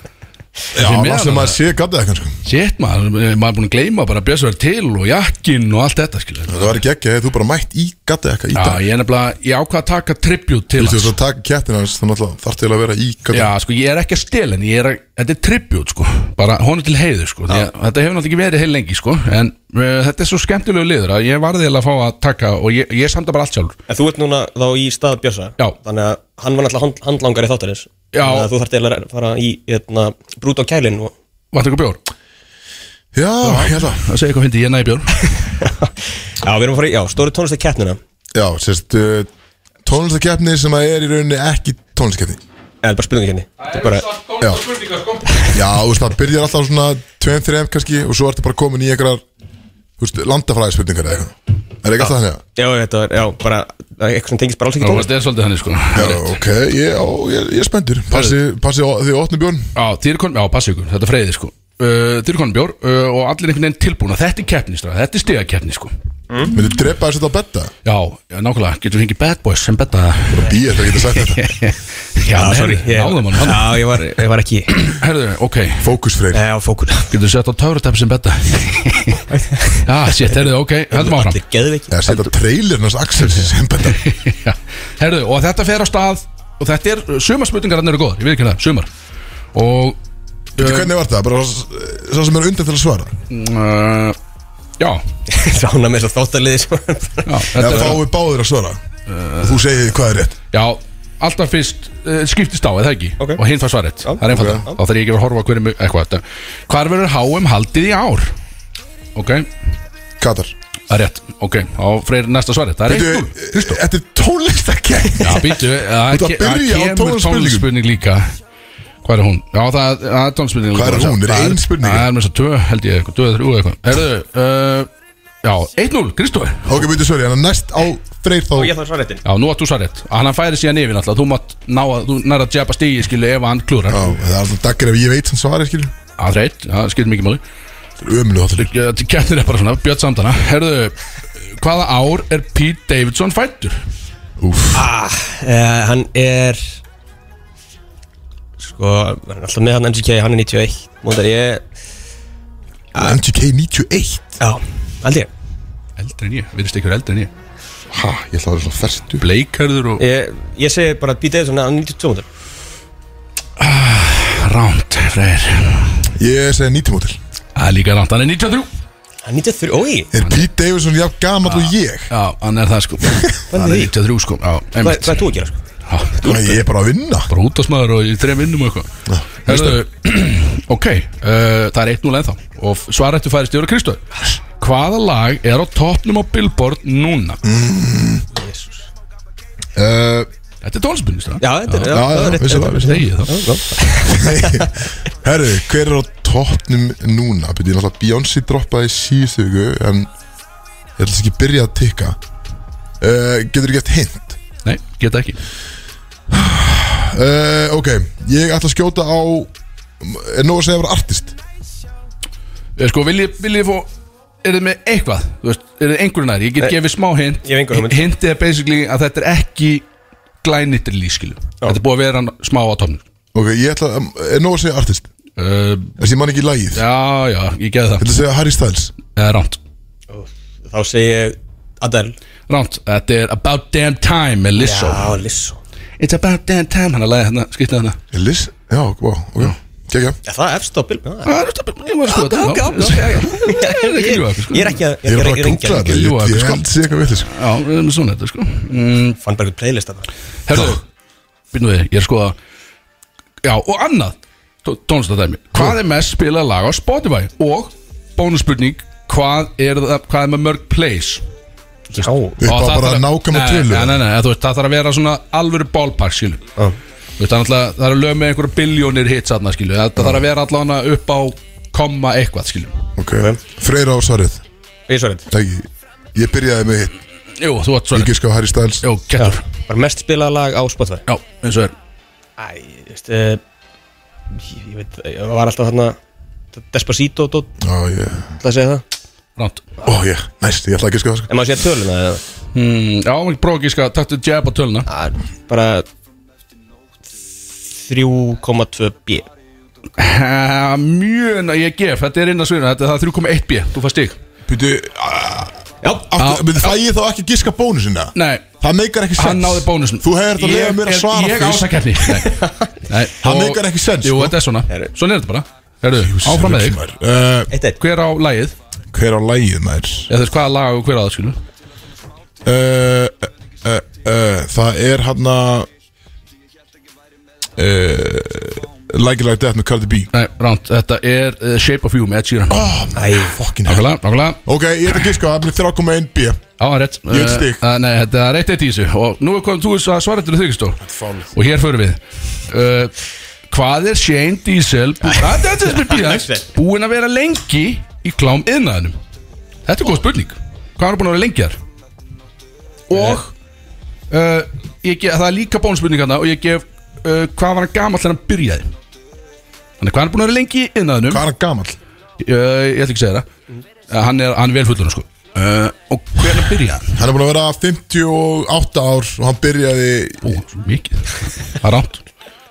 Já, Því lástum meðan maður sé gata það kannski Sétt maður, eh, maður er búin að gleyma bara að Bjössar til og jakkinn og allt þetta skilur Það var ekki ekki, þú bara mætt í gata ekka í Já, dag ég er nefnilega, ég ákvað að taka tribute til Þú hans veist að taka kettin hans, þannig að þarf til að vera í gata Já, sko, ég er ekki að stela henni, ég er að, þetta er tribut, sko, bara honum til heiður, sko, því að þetta hefur náttúrulega ekki verið heil lengi, sko, en uh, þetta er svo skemmtilegu liður að ég varði eiginlega að fá að taka og ég, ég samta bara allt sjálfur. en þú ert núna þá í stað Björsa Já. Þannig að hann var náttúrulega hand, handlangari þáttarins Já. Þannig að þú þarft eiginlega að fara í hérna, brút á kælin og Vantu ykkur bjór? Já, hérna. ég held að Það segir eitthvað fyndi, ég næði bjór. Já, við erum að fara í, já, stóri tónlistu keppnina Já, sérst uh, Tónlistakeppni sem að er í rauninni ekki tónlistakeppni Eða bara spurninga henni Það er bara, Já. sko. Já, þú veist, það byrjar alltaf svona 2-3 kannski og svo ertu bara komin í einhverjar Þú veist, landafræði spurningar eða eitthvað Er ekki alltaf þannig að? já, þetta var, já, bara Eitthvað sem tengist bara alls ekki Það var tónlist stela svolítið henni, sko. Já, ok, ég, á, ég, ég er spenntur Passi, passi á- þið opnum björn Já, þið er konum, já, passi ykkur, þetta er freyði, sko. Uh, þið er konum bjór uh, og allir einhvern veginn tilbúna, þetta er keppni, stráð, þetta er stigakeppni, sko. mm. Myndu drepa þessu þetta á betta? Já, já, nákvæmlega, getur við hengið bad boys sem betta Ég er það ekki að segja þetta Já, Já, herri, Ah, sorry, ég, náðum hann, hann. já, ég var, ég var ekki Herðu, ok, Fókusfreyr Já, fókur Getur þú sett á töfratæpi sem betta? Já, sétt, herðu, ok, höldum áfram Allir geðveiki Eða setja trailerinn hans Axel sem betta Já, Herðu, og þetta fer á stað Og þetta er, sumar spurningar hann eru góðar Ég veit ekki það, sumar Og, Veitu hvernig var það? Bara s- sá sem er undan til að svara uh, já, Sána með þess að þáttarliði sem- já, Eða þetta er, fáið báðir að svara og Þú segir hvað er rétt já Alltaf fyrst uh, skiptist á, eða ekki Ok. Og hinn fær svarið, það er einfalda Þá þarf ég ekki að horfa á hverju mig, eitthvað þetta Hvar verður HM haldið í ár? Ok, Katar það er rétt, ok Þá freyr næsta svarið, það er Veitu, eitt e- Þetta er tónlistakæk Já, býtu, það Þú ert að ke- það byrja á kemur tónspurningum. tónspurning líka Hvað er hún? Já, það það er tónspurning Hvað er líka. hún? Er Það ein spurning? Það er með þess að tvö, held ég, eitthvað, tvö, eða þrjú eða eitthvað Herðu, uh, já, 1-0, Kristóður Ok, byrju, sorry, en næst á Freyr þá Og ég þarf svarréttin Já, nú átt þú svarett Hann færi síðan yfir náttúrulega, þú mátt ná að, þú nær að jabba stígi, skilu, ef hann klúrar Já, það er alltaf daggar ef ég veit sem svarið, skilur Það er reitt, það skilir mikið máli Það er ömulega þáttur Kjættir er bara svona, bjött samtana Herðu, hvaða ár er Pete Davidson fættur? Úf, uh, Hann er Sko, hann er alltaf með hann NGK, hann er 91 Móndar ég, MGK 91 já, aldrei Eldri en ég, við erum eldri en ég Ha, ég ætla að vera svona ferstu Blake, herður og Ég, ég segi bara að býta eða hann er 92 móndar Ránt, freyr Ég segi 90 mótil Það er líka ránt, hann er 93 Hann er 93, ói Er Pete Davidson jafn gamall og ég? Já, hann er það sko Hann er því? 93 sko Já, Hvað einmitt hvað er þú að gera, sko? Já, Nei, ég er bara að vinna Bara út af smaður og í þrejum vinnum og eitthvað Herðu, Ok, uh, það er 1-0 ennþá Og svarættu færist yfir að Kristóð Hvaða lag er á toppnum á Billboard núna? Mm. uh, Þetta er tónlisbunni stað Já, þetta er, Já, já, það er vissi það, vissi það Þegið þá Herru, hver er á toppnum núna? Byrju, ég náttúrulega Beyoncé droppaði í síðustu viku En ég ætla þess ekki að byrja að tikka uh, Getur ekki eftir hint? Nei, geta ekki Uh, ok, ég ætla að skjóta á Er nóg að segja að vera artist? Eh, Sko, viljið vilji fó Er þið með eitthvað? Þú veist, er þið einhverjum nær? Ég get Nei. gefið smá hint Ég hef enga hugmynd. Hintið er basically að þetta er ekki glænitri skilu Þetta er búið að vera smá á toppnum Ok, ég ætla, um, er nóg að segja artist? uh, Þessi ég man ekki lagið Ég Já, já, ég geði það ætla að segja Harry Styles Það er rámt Þá segi ég Adele Rámt, þetta er About Damn Time með Lizzo Já, Lissó It's about damn time, hann er að leiða hérna, Mm. skýtna hérna Liz, Já, vá, ok, kekja Já, það Ah, er efst á bil já, Það er þetta, ég var að skoða þetta já. Ég er ekki ljúga, sko. Ég er ekki að Ég er er bara að ekki googla ringja þetta, Jú, ég- ég sko. held sé eitthvað vitlis Já, við erum með svona þetta sko mm, Fann bara eitthvað playlist þarna Herðu, býnum við, ég er sko að Já, og annað Tónstadæmi, hvað er mest spilað lag á Spotify? Og, bónusspurning Hvað er það, hvað er með mörg plays? Já, Og Upp á það bara þarf að- nákvæma Nei, tölu Nei, nei, nei, þú veist, það þarf að vera svona alvöru ballpark, skilu Já. Þú veist, það er náttúrulega- það er að lög með einhverja biljónir hits aðna, skilu Það þarf að vera allavega upp á komma eitthvað, skilu Ok, Freyra á svarið ég svarið Nei, Ég byrjaði með hitt Jú, þú ert Ég svona gíska á Harry Styles Jú, kettur Bara mest spilaða lag á Spotify Já, eins og er Æ, ég veist eh, Ég ég veit, ég var alltaf þarna Despacito, þú Já, ég ætla að segja það Ránt Ó, ég, næst, ég ætla að gíska á það sko. En maður sé töluna eða mm, Já, ekki prókíska, taktu jab á töluna Það er bara 3,2B Ha, Mjög, ná- ég gef, þetta er inn að svina Þetta það er 3,1B, þú fæst stig Býtu, Já, áttu- býtu, fæ ég þá ekki gíska bónusina? Nei, Það meikar ekki sens hann náði bónusinn Þú hefur þetta leiðið mér að svara Ég fyrst. ásakerni Hann Hann meikar ekki sens, Jú, sko. þetta er svona Herru. Svona er þetta bara Herru, áfram með þig Uh, eitt eitt Hver á lagið? Hver á lægið nær? Eða þú veist hvaða lag og hver á það skilu Uh, uh, uh, það er hann að uh, Like It Like That með Cardi B Nei, ránt, þetta er uh, Shape of You með Ed Sheeran oh, Æ, Fucking hell Nákvæmlega, nákvæmlega Ok, ég ætla að gíska, það er 3,1 B Já, það er rétt Ég veit stig. Eh, eh, Nei, þetta er eitt eitt í þessu Og nú er komið þú að svara til þau stól Og hér förum við uh, Hvað er Shane Diesel bú- Ah, Þetta er spyr býðan Búin að vera lengi í klám yðnaðinum Þetta er góð spurning Hvað er hann búin að vera lengi þar Og uh, ég gef, Það er líka bónspurning hann Og ég gef uh, Hvað var hann gamall þegar hann byrjaði Þannig hvað er hann búin að vera lengi í yðnaðinum Hvað er hann gamall? Ég, ég ætla ekki að segja það Eh, Hann er, hann er vel fullur sko uh, Og hvernig byrjaði hann? Hann er búin að vera 58 ár og hann byrjaði Ó, svo mikið Það er rámt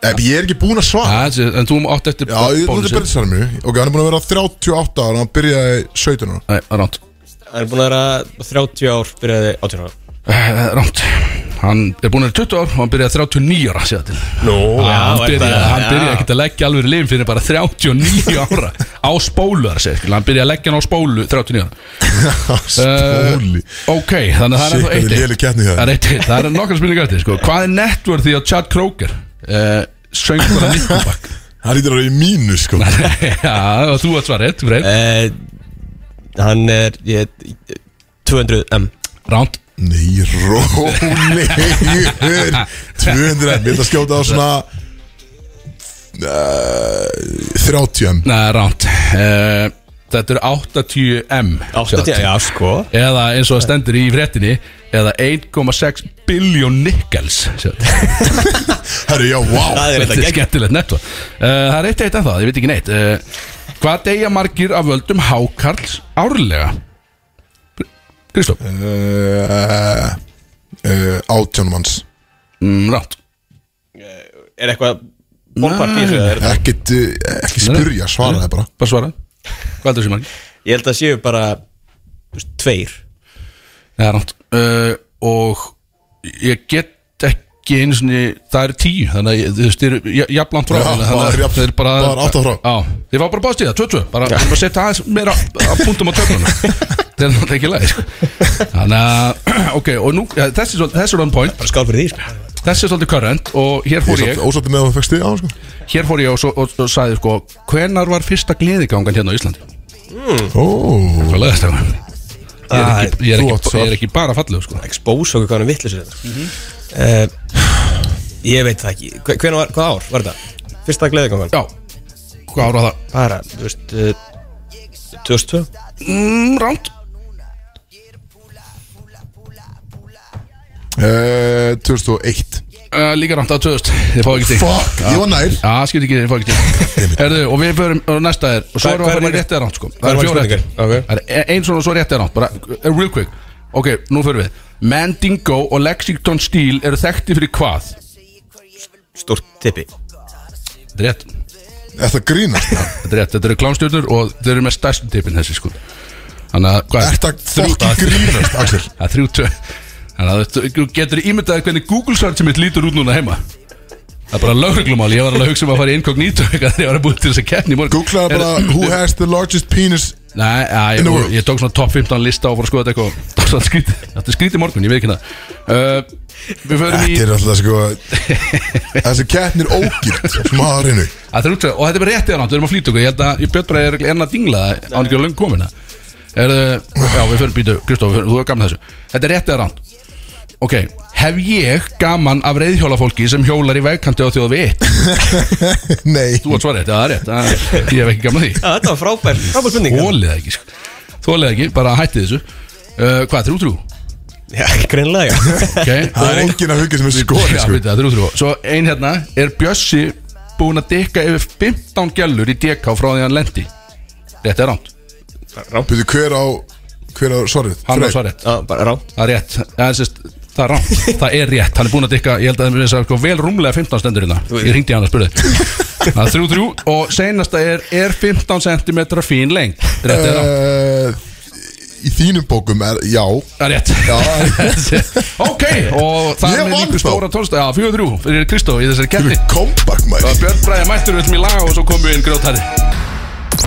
Ef ég er ekki búin að svara Það er- En þú átt eftir Já, ég þetta er bónusinn. byrjaði mér Ok, hann er búin að vera 38 ára og hann byrjaði 17 ára Nei, það er rámt Það er búin að vera 30 ár byrjaði 18 ára Það er Rámt Eh, Hann er búin að vera 20 ár og hann byrjaði 39 ára séða til Nú, Hann byrjaði, hann byrjaði ekkert að leggja alveg liðin fyrir bara 39 ára Á spólu þar segja skil Hann byrjaði að leggja hann á spólu 39 ára Stóli Ok, þannig að það er Sitt, ennþá eitt við léleg keppni hjá þér. Það er eitt eitt, það er nokkar spurningar eftir sko. Hvað er networth í á Chad Kroger? Uh, Söngvara Nickelback Hann lítur að vera í mínu sko Já, og þú að svara rétt Freyr. Eh, Hann er ég, 200M Rámt Nei, rólegur 200 M, ég ætla að skjóta á svona uh, 30 M Nei, ránt uh, Þetta eru 80M 80, já sko Eða eins og það stendur í fréttinni Eða 1,6 biljón nikkels Þetta Herru, já, wow Það er þetta er gegn skemmtilegt netto uh, Það er eitt eitt en það, ég veit ekki neitt uh, Hvað deyja margir af völdum hákarls árlega? Kristof, uh, uh, Átján manns mm, ránt Er eitthvað bólpart í þessu eða er- Ekkit, uh, ekki spyrja, svara það bara Bara svara Hvað er þessi margir? Ég held að séu bara þú veist, Tveir Nei, ránt uh, Og ég get ekki einu sinni Það eru tíu Þannig að ég- þú veist, þið eru jafnlant frá Já, þannig að bara það er- jafn- það er bara bara átta frá. Já, þið var bara báðst í það, 22 Bara, bara setja aðeins meira á punktum á töflunum Það er náttúrulega ekki læg Þannig að, ok, og nú ja, Þessi svol- þessi er on point, Bara skál fyrir því sko. þessi er svolítið current Og hér fór Ég ég, er ósáttu með að það fækst þig á hann, sko hér fór ég og, svo- og, og sagði sko Hvenar var fyrsta gleðigangan hérna á Íslandi? Ó, Hvað leðast það? Ég er, ekki, ég, er þú átt ekki, svar. ég er ekki bara fallegu sko Mhm. Expose okkur hvað hann vittlis þetta mm Ég veit það ekki Hve- hvenær var, Hvað ár var þetta? Fyrsta gleðigangan Já, hvað ára það? Bara, þú veist eh, 2002 Mm, rámt uh, 2001 Uh, líka rámt að 2000 Þið fá ekki stig Fuck, ég var nær Já, skilt ekki, þið fá ekki stig Herðu, og við förum, og næsta er Og svo Hvað- hvað erum við er að fara í margir- réttið að rámt sko hvað Það eru er fjóra margir rétt spurningar? Ok. Það er ein svona og svo réttið að rámt Bara, uh, real quick Ok, nú förum við Mandingo og Lexington Steel eru þekkti fyrir hvað? Stórt tippi Þetta er rétt Þetta grínast Þetta er rétt, þetta eru klámstjörnur Og þeir eru með stærstu tippin þessi sko Þannig að, hvað Þetta Þrjú- fokkin grínast, Axel Það er þrjú tvö Þannig að þú- þú getur ímyndað hvernig Google search mitt lítur út núna heima Það er bara lögreglumál, ég var alveg að hugsa um að fara í inkognito eitthvað þegar ég var að búið til þess að keppni í morgun Googlaði bara Er- Who has the largest penis Nei, já, In the ég, world. ég tók svona top 15 lista og fór að skoða þetta eitthvað Það var svona skrítið, þetta er skrítið morgun, ég veit ekki það uh, Við förum í, Þetta er alltaf sko Þessi keppnir ógilt Smaðurinu að það er útsæð, og þetta er bara réttið á nátt, við erum að flýta okkur Ég held að, ég björn bara er enn að dingla það, án ekki að löng komin það Er, uh, já, við förum býtu, Kristof, við förum- þú er gaman að þessu Þetta er réttið á nátt Ok, hef ég gaman af reyðhjólafólki sem hjólar í vegkanti á þjóð við eitt? Nei Þú var svarið, það er rétt, það er- ég hef ekki gaman af því Já, þetta var frábær, frábær spurning hérna. Þólið það ekki sko Þólið það ekki, bara hætti þessu uh, Hvað, þrjú þrjú? Já, greinlega Okay. Það er enginn að hugga sem þessi skori Já, sko veit það, þrjú þrjú Svo ein hérna, er Bjössi búin að dykka yfir 15 gellur í DK frá því hann lendi? Þetta er ránt, Byrju hver á Hver á svarið hann Freyr. var svarið Já, bara rátt Það er rétt, það er, sérst, það er ránt Það er rétt, hann er búin að dykka, ég held að það er sko, vel rúmlega 15 stendur hérna Ég ringdi hann að spurði Það er þrjú þrjú og seinasta er, er 15 cm fín lengd? Þetta er ránt, Eh, Í þínum bókum er Já það er rétt Já Ok, og það Ég er með vann líku þá. stóra tólsta Já, fjögur þrjú fyrir Kristó í þessari keppni Kompakt Og maður Björn Bræði mættur við mér laga og svo komum við inn grjótarri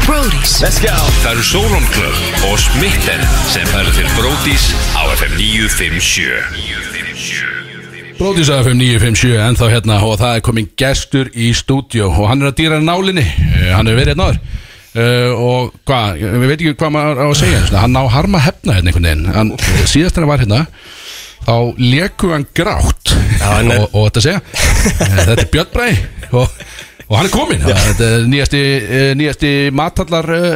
Það eru Solon Club og Smitten sem færa til Brótis á FM 957 Bróðis FM 957 en þá hérna og það er komin gestur í stúdjó og hann er að dýra nálinni Eh, hann hefur verið hérna áður uh, og hvað, við veitum ekki hvað maður á að segja svona. hann ná harma að hefna hérna einhvern veginn hann, síðast hann var hérna þá leku hann grátt Já, en- og, og þetta segja eh, þetta er Björn Bræ og, og hann er komin þetta er nýjasti, eh, nýjasti matallar uh,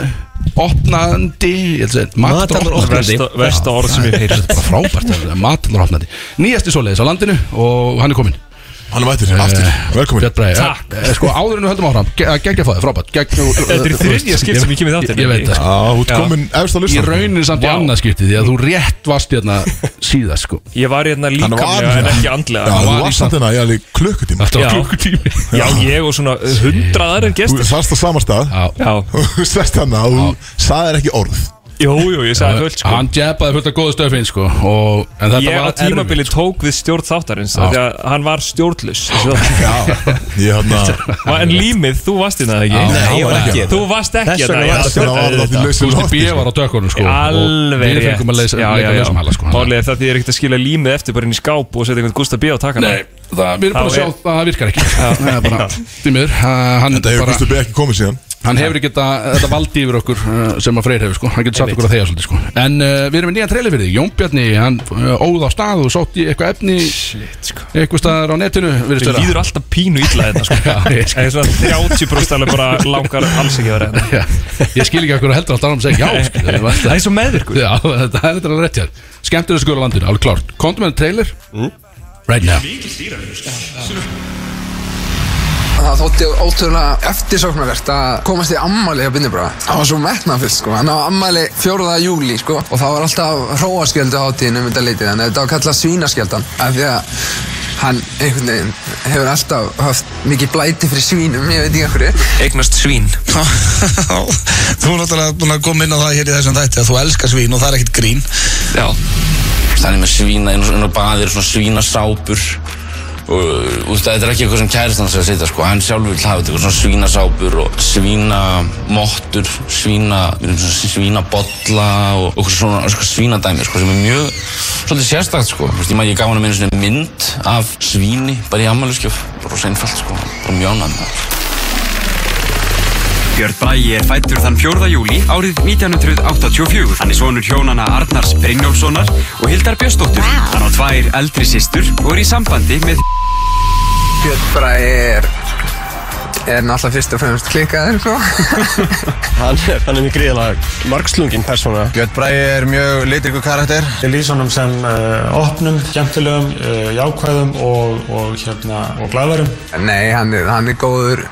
opnandi ég ætla að segja, matallar opnandi Versta orð sem ég heyrst bara frábært, það er matallar opnandi nýjasti svoleiðis á landinu og hann er komin Hann er mættir Aftur Velkomin Björn Bræði Takk Sko áður en við höldum áfram ge- að Geggja fæði, frábært gegg- Þetta er í þriðja skipt sem ég kem í þáttinn. Ég veit það sko. Já, þú ert komin efst Í á listan raunin samt í Vá. annað skipti Því að þú rétt varst hérna síðast sko Ég var hérna líkamlega en ekki andlega Já, þú var varst samt hérna í alveg klukkutíma Þetta Já. var klukkutími Já, ég og svona eh, hundrað aðrir Þú gestir sast á sama stað Já Já, og Þú sest hann að þú sagðir ekki orð jú, jú, ég sagði fullt sko Hann jabbaði fullt af góðu stöfin sko og, En þetta Ég á var sko. tímabili tók við stjórn þáttarins af Því að hann var stjórnlaus Ég hérna En límið, þú varst hérna það Já. ekki Nei, ég var ekki Þú varst ekki Þess vegna hérna, já. var þetta Þess vegna var það því lausin Gústi lofti B var á dökkunum sko og Alveg Við fengum að leysa leika lausum hala sko Pálið, það því er ekkert að skila límið eftir bara inn í skáp og setja einhvern Gustaf B á takkana Nei, það, við erum bara að Þá sjá er- að það virkar ekki Það er bara, tímur Hann Þetta hefur bara- Gusti B ekki komið síðan Hann hefur ekki þetta, þetta valdi yfir okkur uh, sem að Freyr hefur sko, hann getur satt okkur að þegar svolítið sko En uh, við erum með nýjan treyli fyrir því, Jón Bjarni, hann uh, óð á stað og sótt í eitthvað efni Shit, sko eitthvað staðar á netinu virðist Við vera. líður alltaf pínu illa þetta sko Já, ég skil. Það er svona 30 brústalega bara langar alls ekki að vera hérna Já, Ég skil ekki okkur að heldur alltaf að segja já skil, ég var- Það er svo meðvirkur Já, þetta er þetta rétt hér Skemmt er þessu góður á landinu, alveg klárt Komdu með trailer Mm. Right now Það þótti ótrúlega eftirsóknarvert að komast í ammali hjá Binni Braga. Það var svo metnafill, sko. Hann á ammali 4. júli, sko. Og það var alltaf hróaskjöldu hátíðin um þetta leitið. Þannig að þetta var kallað svínaskjöldan. Af því að hann einhvern veginn hefur alltaf haft mikið blæti fyrir svínum, ég veit ekki af hverju. Eignast svín þú er náttúrulega búin að koma inn á það hér í þessum þætti að þú elskar svín og það er ekkert grín Já Þannig með svína inn og, inn og baðir svona svínasápur og uh, úst, þetta er ekki eitthvað sem kærist hans er að setja sko. hann sjálfur vil hafa þetta eitthvað svona svínasápur og svínamottur svína, við erum svona svínabolla og okkur svona sko, svínadæmi sko, sem er mjög svolítið sérstakt sko. Vist, ég, man, ég gaf hann að minna svona mynd af svíni bara í ammæluskjöf bara sænfælt sko, bara mjónan Björn Bræi er fættur þann 4. júli árið 1984. Hann er sonur hjónana Arnars Brynjólfssonar og Hildar Björnsdóttur. Hann á tvær eldri systur og er í sambandi með Björn Bragi er, er náttúrulega fyrst og fremst klikkaður, sko. Hann er, hann er mjög gríðalega margslungin persóna Björn Bræði er mjög litriku karakter Ég lýs honum sem uh, opnum, gentilegum, uh, jákvæðum og, og, hérna, og glæðarum Nei, hann er, hann er góður,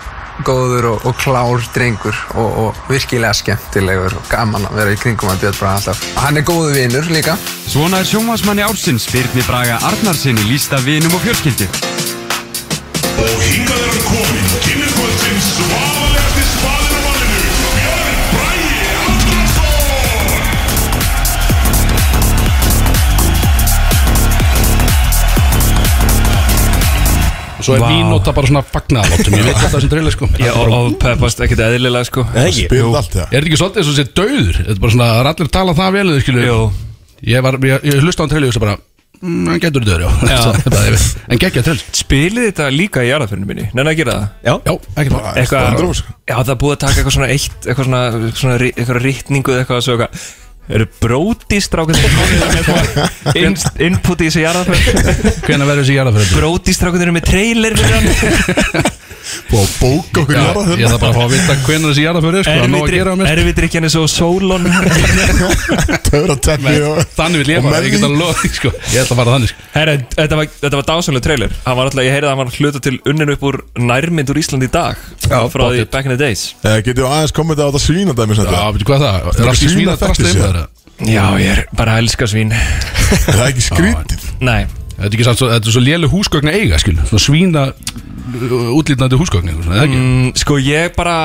góður og, og klár drengur og, og virkilega skemmtilegur og gaman að vera í kringum að Björn Braga alltaf. Hann er góður vinur líka. svona er sjónvarsmanni ársins Birni Braga Arnarsinni lísta vinum og fjölskyldu. Og hingað er hann komin, kynningkvöldin svafalegasti spaðin á manninu Björn Bræi Andrason Svo er Vá. mínúta bara svona fagnaðalóttum Ég veit alltaf þessum trailer sko Já, og- og peppast ekkert eðlilega sko Jú. Er þetta ekki svolítið eins og sé döður Þetta er bara svona, það er allir að tala það vel þau skilur Ég var, ég, ég hlusta á hann trailer og ég hugsa bara "Mm, Hann getur döður, já Já. Það er bara, ég veit. En geggja trailer sko. Spilið þetta líka í jarðaförnum minni, nenni að gera það? Já, já ekkert mál. Eitthvað, Standard. já það er búið að taka eitthvað svona eitt, eitthvað svona, svona ri- eitthvað rítningu eða eitthvað svo eitthvað Eru brótistrákur hérna Input í þessi jarðaförn Hvenær verður þessi jarðaförn? Brótistrákur eru með trailer fyrir hann Búið að bóka okkur jarðarför. Ég þarf bara að fá að vita hvernig þessi jarðaför er sko, það er nóg að gera á mér. Erfidrykkjan er svo sólon Töfra teppi og Þannig vil ég og bara, ég get menning. að loða sko. Ég ætla að fara þannig sko. Herra, þetta var, þetta var dásamlega trailer Hann var alltaf, ég heyrði að hann var hluta til unnin upp úr nærmynd úr Íslandi í dag Já, Frá því back in the days Eh, Getur við aðeins komið þetta á þetta svínadæmi Já, veitu hvað það? Er allt í svínafetti sér? Já, ég er bara að elska svín Það er ekki skrítið Nei Þetta er ekki samt, svo- þetta er svo lélu húsgögn að eiga skil Svona svína útlýtnandi húsgögn eitthvað svona, eða ekki? Mm, sko ég bara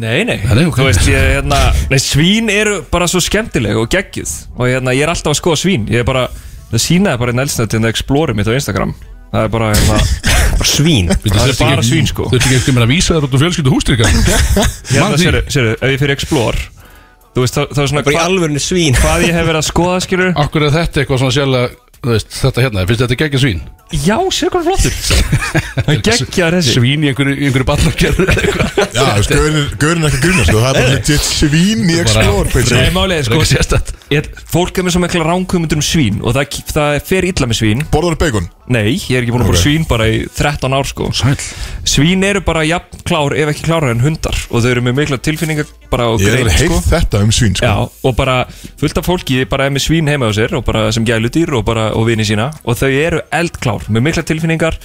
Nei, nei, Nei, nei, ok. Þú veist, ég, hérna, nei, svín eru bara svo skemmtileg og geggjuð og hérna, ég er alltaf að skoða svín ég er bara, það sínaði bara einn elsnætt en það explori mitt á Instagram það er bara, hérna, bara svín það er bara svín sko Þú ert ekki ekki meira að vísa þér út úr fjölskyldu hústrykka hérna, séru, séru, ef ég fyrir explore þú veist, það, það er svona Bara í alvörinu svín hvað ég hef verið að skoða skilur Akkur er þetta eitthvað svona sjálf Þú veist, þetta hérna, finnst þetta geggja svín? Já, sér hvað flottur Hann geggjaður þessi. Svín í einhverju, í einhverju barnakerðu eða eitthvað. Já, þú veist, gaurinn- gaurinn er ekki að grunna sko. Það er bara legit svín í Explore basically. Nei, málið er sko ég, Fólk er með svo mikla ránkvömmundur um svín Og það, það fer illa með svín Borðar bacon? Nei, ég er ekki búin að borða Ok. svín bara í 13 ár sko Sæl Svín eru bara jafn klár ef ekki klárar en hundar Og þau eru með mikla tilfinningar bara og Ég hef grein heilt sko þetta um svín sko. Já, og bara fullt af fólki bara er með svín heima á sér og bara sem gælu dýr og bara og vini sína og þau eru eldklár með mikla tilfinningar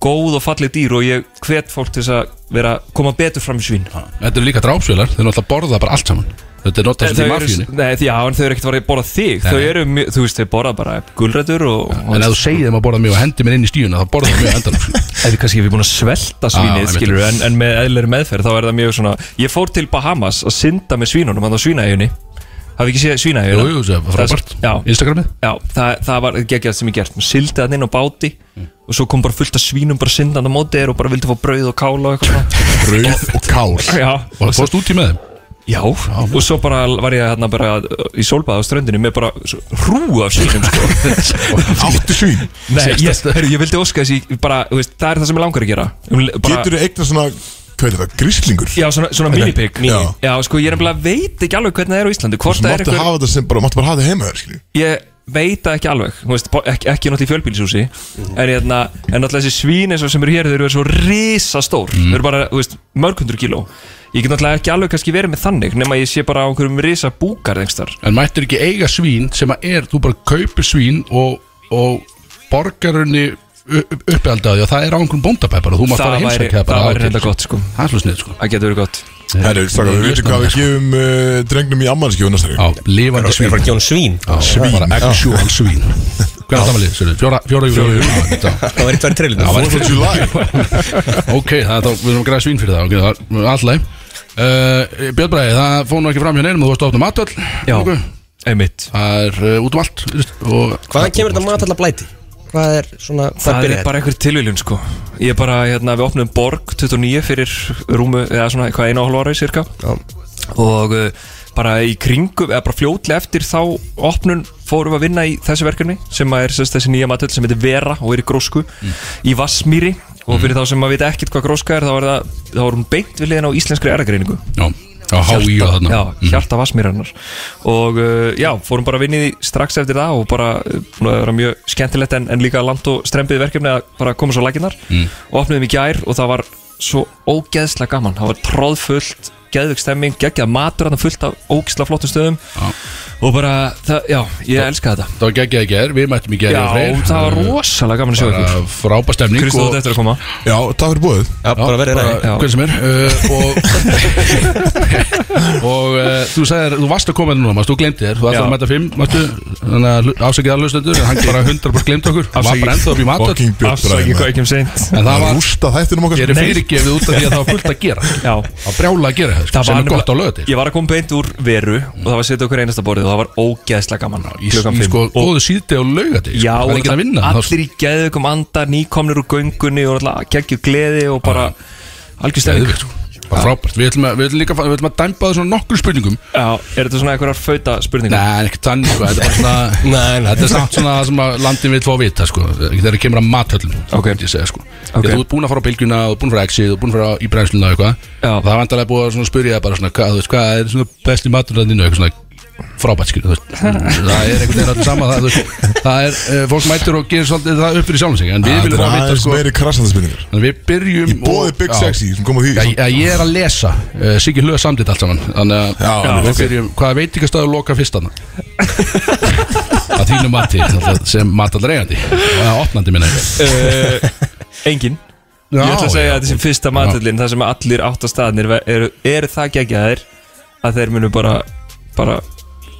góð og falleg dýr og ég hvet fólk til þess að vera, koma betur fram í svín Þetta eru líka drápsvélar, þeir náttúrulega borða bara allt saman Þetta er En notað þau svona í eru, mafjunni nei, því- já, en þau eru ekkert að fara að borða þig Nei. Þau eru, mjö- þú veist, þau borða bara gulrætur og, og En ef þú segir þeim að borða mjög og hendi mér inn í stíuna þá borða það mjög endan Ef við kannski hefur búin að svelta svínið, Ah, skilur einmitt. en, en með eðlir meðferð, þá er það mjög svona Ég fór til Bahamas að synda með svínunum hann á svínaegjunni Hafið ekki séð svínaegjuna? Jú, jú, það var frábært. Instagramið? Já, það, það var geggjað sem ég gert Mér sildi það inn á báti og svo kom bara fullt af svínum bara syndandi á móti þér og bara vildi fá brauð og kál og eitthvað svona. Brauð og kál Já Og það fórst út í með þeim Ah, Já, og svo bara var ég hérna bara í sólbaða á ströndinu með bara svo- hrúgu af svínum sko. Áttu svín? Nei, ég, heyrðu, ég vildi óska þess ég bara, þú veist, það er það sem ég langar að gera Um- bara- Getur þú eignar svona, hvað er þetta, gríslingur? Já, svona, svona Nei, minipig já. Já, sko, ég er nefnilega veit ekki alveg hvernig það er á Íslandi Hvort Svo það er máttu hafa eitthvað þetta sem bara, máttu bara hafa þetta heima þér, skilju Ég veit það ekki alveg, þú veist, bo- ekki, ekki náttúrulega í fjölbílisúsi En hérna, en náttúrulega þessi svín eins og sem eru hér Þau eru svo risastór Mm. Þau eru bara, þú veist, mörg hundru kíló Ég get náttúrulega ekki alveg kannski verið með þannig Nefn að ég sé bara á einhverjum risa búkar þengstar En mættir ekki eiga svín sem að er, þú bara kaupir svín og, og borgarunni uppeldaði og það er á einhverjum bóndapeppar og þú mátt Það bara væri- heimsækja það bara væri reynda gott sko Það er svo snið sko Það getur verið gott Herru, strákar, við veitum hvað við gefum uh, drengnum í ammannskjóðu næsta Já, lifandi svín Bara gefum svín Já, Svín, bara já. actual svín Hvernig það var lið, sérðu? Fjóra, fjóra, fjóra, fjóra, fjóra, fjóra. Það var eitt verið trailer var- Fourth of July Ok, það er þá, við erum að græða svín fyrir það okay, það er Alltaf uh, Björn Bræði, það fór nú ekki fram hjá neinum Þú varst ofnum matöll Já. nokkuð. Einmitt Það er uh, út um allt veist, og, Hvaðan kemur þetta matalla blæti? Hvað er svona Hvað Það byrja er bara einhver tilviljun sko Ég er bara, hérna, við opnum Borg 29 fyrir rúmu, eða svona, hvað, einu og hálf ára í cirka Já. og uh, bara í kringum eða bara fljótlega eftir þá opnun fórum við að vinna í þessu verkefni sem að er sérst, þessi nýja matöld sem heitir Vera og er í grósku í Vassmýri og fyrir þá sem að vita ekkert hvað gróska er þá er, það, þá er hún beint við liðin á íslenskri erðagreiningu Já, á HÍ og þarna já, hjarta Vassmýrarinnar og uh, já, fórum bara að vinna í því strax eftir það og bara, uh, búin að vera mjög skemmtilegt en, en líka land og strempið verkefni að bara koma svo laginnar Mm. og opnuðum í gær og það var svo ógeðslega gaman það var tróðfullt, geðvögg stemming geggjað matur, þarna fullt af ógeðslega flottum stöðum Já. og bara, það, já, ég elska þetta Það var geggjað í gerð, við mættum í gerð Já, það var rosalega gaman að sjá ykkur Frábæ stemning Kristó, og- þetta eftir að koma Já, takk fyrir búið Já, bara verið ræði Já. Hvern sem er uh, Og, og uh, þú sagðir, þú varst að koma hérna núna manstu, Þú glemdi þér, þú ætlaði Já. að mæta fimm manstu, Þannig að hlu- afsakið að hlustendur en Hann bara 100% glemdi okkur Hann var Afsakið. bara ennþá upp í matur Fucking Björn Afsaki hvað Bræði ekki um seint En það Það var, rústa þættinum okkar ég sko. er fyrirgefið út af því að það var fullt að gera Já, Það var brjála að gera gera það, sko, sem er nefnilega- gott á löðu Ég var að koma beint úr veru og það var að setja okkur einasta borðið og það var ógeðslega gaman í- í sko góðu síðdegi og laugardegi, sko. Já, Það er enginn að vinna, þá- Allir í geðugum anda, nýkomnir úr göngunni og alltaf geggjur gleði og bara algjör stefning Geðveikt, sko. Bara frábært, við ætlum, að, við ætlum líka að fara- við ætlum að dæmpa það svona nokkur spurningum Já, er þetta svona einhverjar fauta spurningar? Nei, en ekki þannig, sko, þetta er bara svona Nei, nei. Þetta er samt svona það sem að landin vil fá að vita, sko Þegar það kemur að mathöllum, ok, ég segja, sko Ok. okay. Þú ert búin að fara á bylgjuna, þú ert búin að fara á exið, þú ert búin að fara á í brennsluna og eitthvað Og það er vantarlega búið að svona spyrja þig bara svona, hvað, þú veist, hvað er svona besti maturlandinu, eitthvað svona frábært, skil, þú veist Það er einhvern veginn allir sama, það, þú veist Það er, uh, fólk mætur og gerir svolítið það upp fyrir sjálfum sig En við viljum að vita, sko meiri krassandi spurningar Þannig við byrjum Í bóði Big Já. Sexy sem kom á því Já, ég, ég er að lesa uh, Siggi Hlöð samtitt allt saman Þannig Já, að alveg, við ok. byrjum Hvaða veitingastöðu loka fyrst hann? að þínu mati náttúrulega, sem matallar eigandi eða opnandi minna uh, Engin Já, Ég ætla að segja já, að þetta sem fyrsta matallin Það sem allir átta staðnir ve- eru er það geggjaðir Að þeir munu bara, bara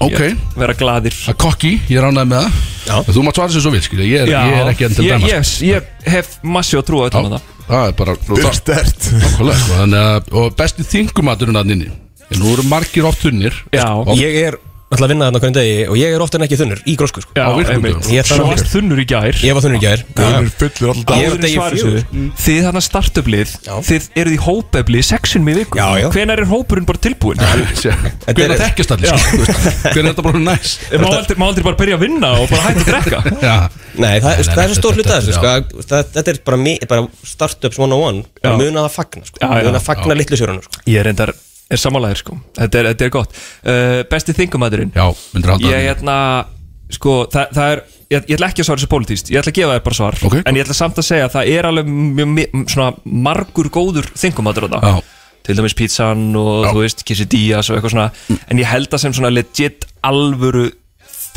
Ok. já, Vera gladir að kokki, ég ránaði með það þú mátt svara sér svo við, skilja, ég, er- ég er ekki enn til ég, dæma ég, ég hef massi að trúa öllum að það það er bara er stert sko, þannig að- og besti þingumaturinn að nynni en nú eru margir oft þunnir Já, Ég er alltaf að vinna þarna hvernig degi og ég er ofta en ekki þunnur í grósku sko. Já, Á virkum einmitt. dögum. Ég þarf Svo að- varst þunnur í gær Ég var þunnur í gær Já. fullur alltaf Ég er Áður en degi svarið fjögur. þessu, Þið þarna startuplið Þið eruð í hópefli sexinum í viku Já, já. Hvenær er hópurinn bara tilbúin? Hvenær þekkjast allir, sko, þú veist, hvenær er þetta bara næs Má aldrei- má aldrei bara byrja að vinna og bara hægt að drekka Nei, það, Nei, nei, það er nei, svo stór þetta- hluta þessu já. sko, að- það- Þetta er bara, mi- bara startups 101 Já. bara Muna það fagna sko. Já, já, Muna já. fagna litlu sérunum sko. Ég er endar er samanlæðir sko Þetta er, þetta er gott uh, Besti þingumæðurinn Já, myndir halda Ég það. hérna Sko, það, það er ég, ég ætla ekki að svara þessu pólitíst Ég ætla að gefa þér bara svar Ok. En ég ætla samt að segja að það er alveg mjög, mjög, svona margur góður þingumæður á það Já. Til dæmis pizzan og þú veist quesadillas og eitthvað svona Mm. En ég held að sem svona legit alvöru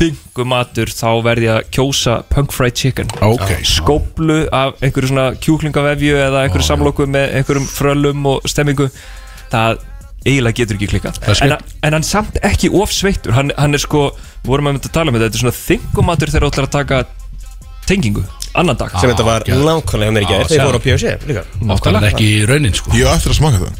þingumæður Þá verð ég að kjósa punk fried chicken Ok. Skóplu af einhverju svona kjúklingavefju Eða einhverju samloku með einhverjum frölum og stemmingu það eiginlega getur ekki klikkað Það er en, skemmt. hann- en hann samt ekki ofsveittur hann, hann er sko, vorum við að tala um þetta þetta er svona þingumatur þegar þú ætlar að taka tengingu, annan dag Sem Ah, þetta var nákvæmlega hjá mér í gær Þegar ég fór á POC líka Nákvæmlega ekki í raunin sko Ég á eftir að smaka það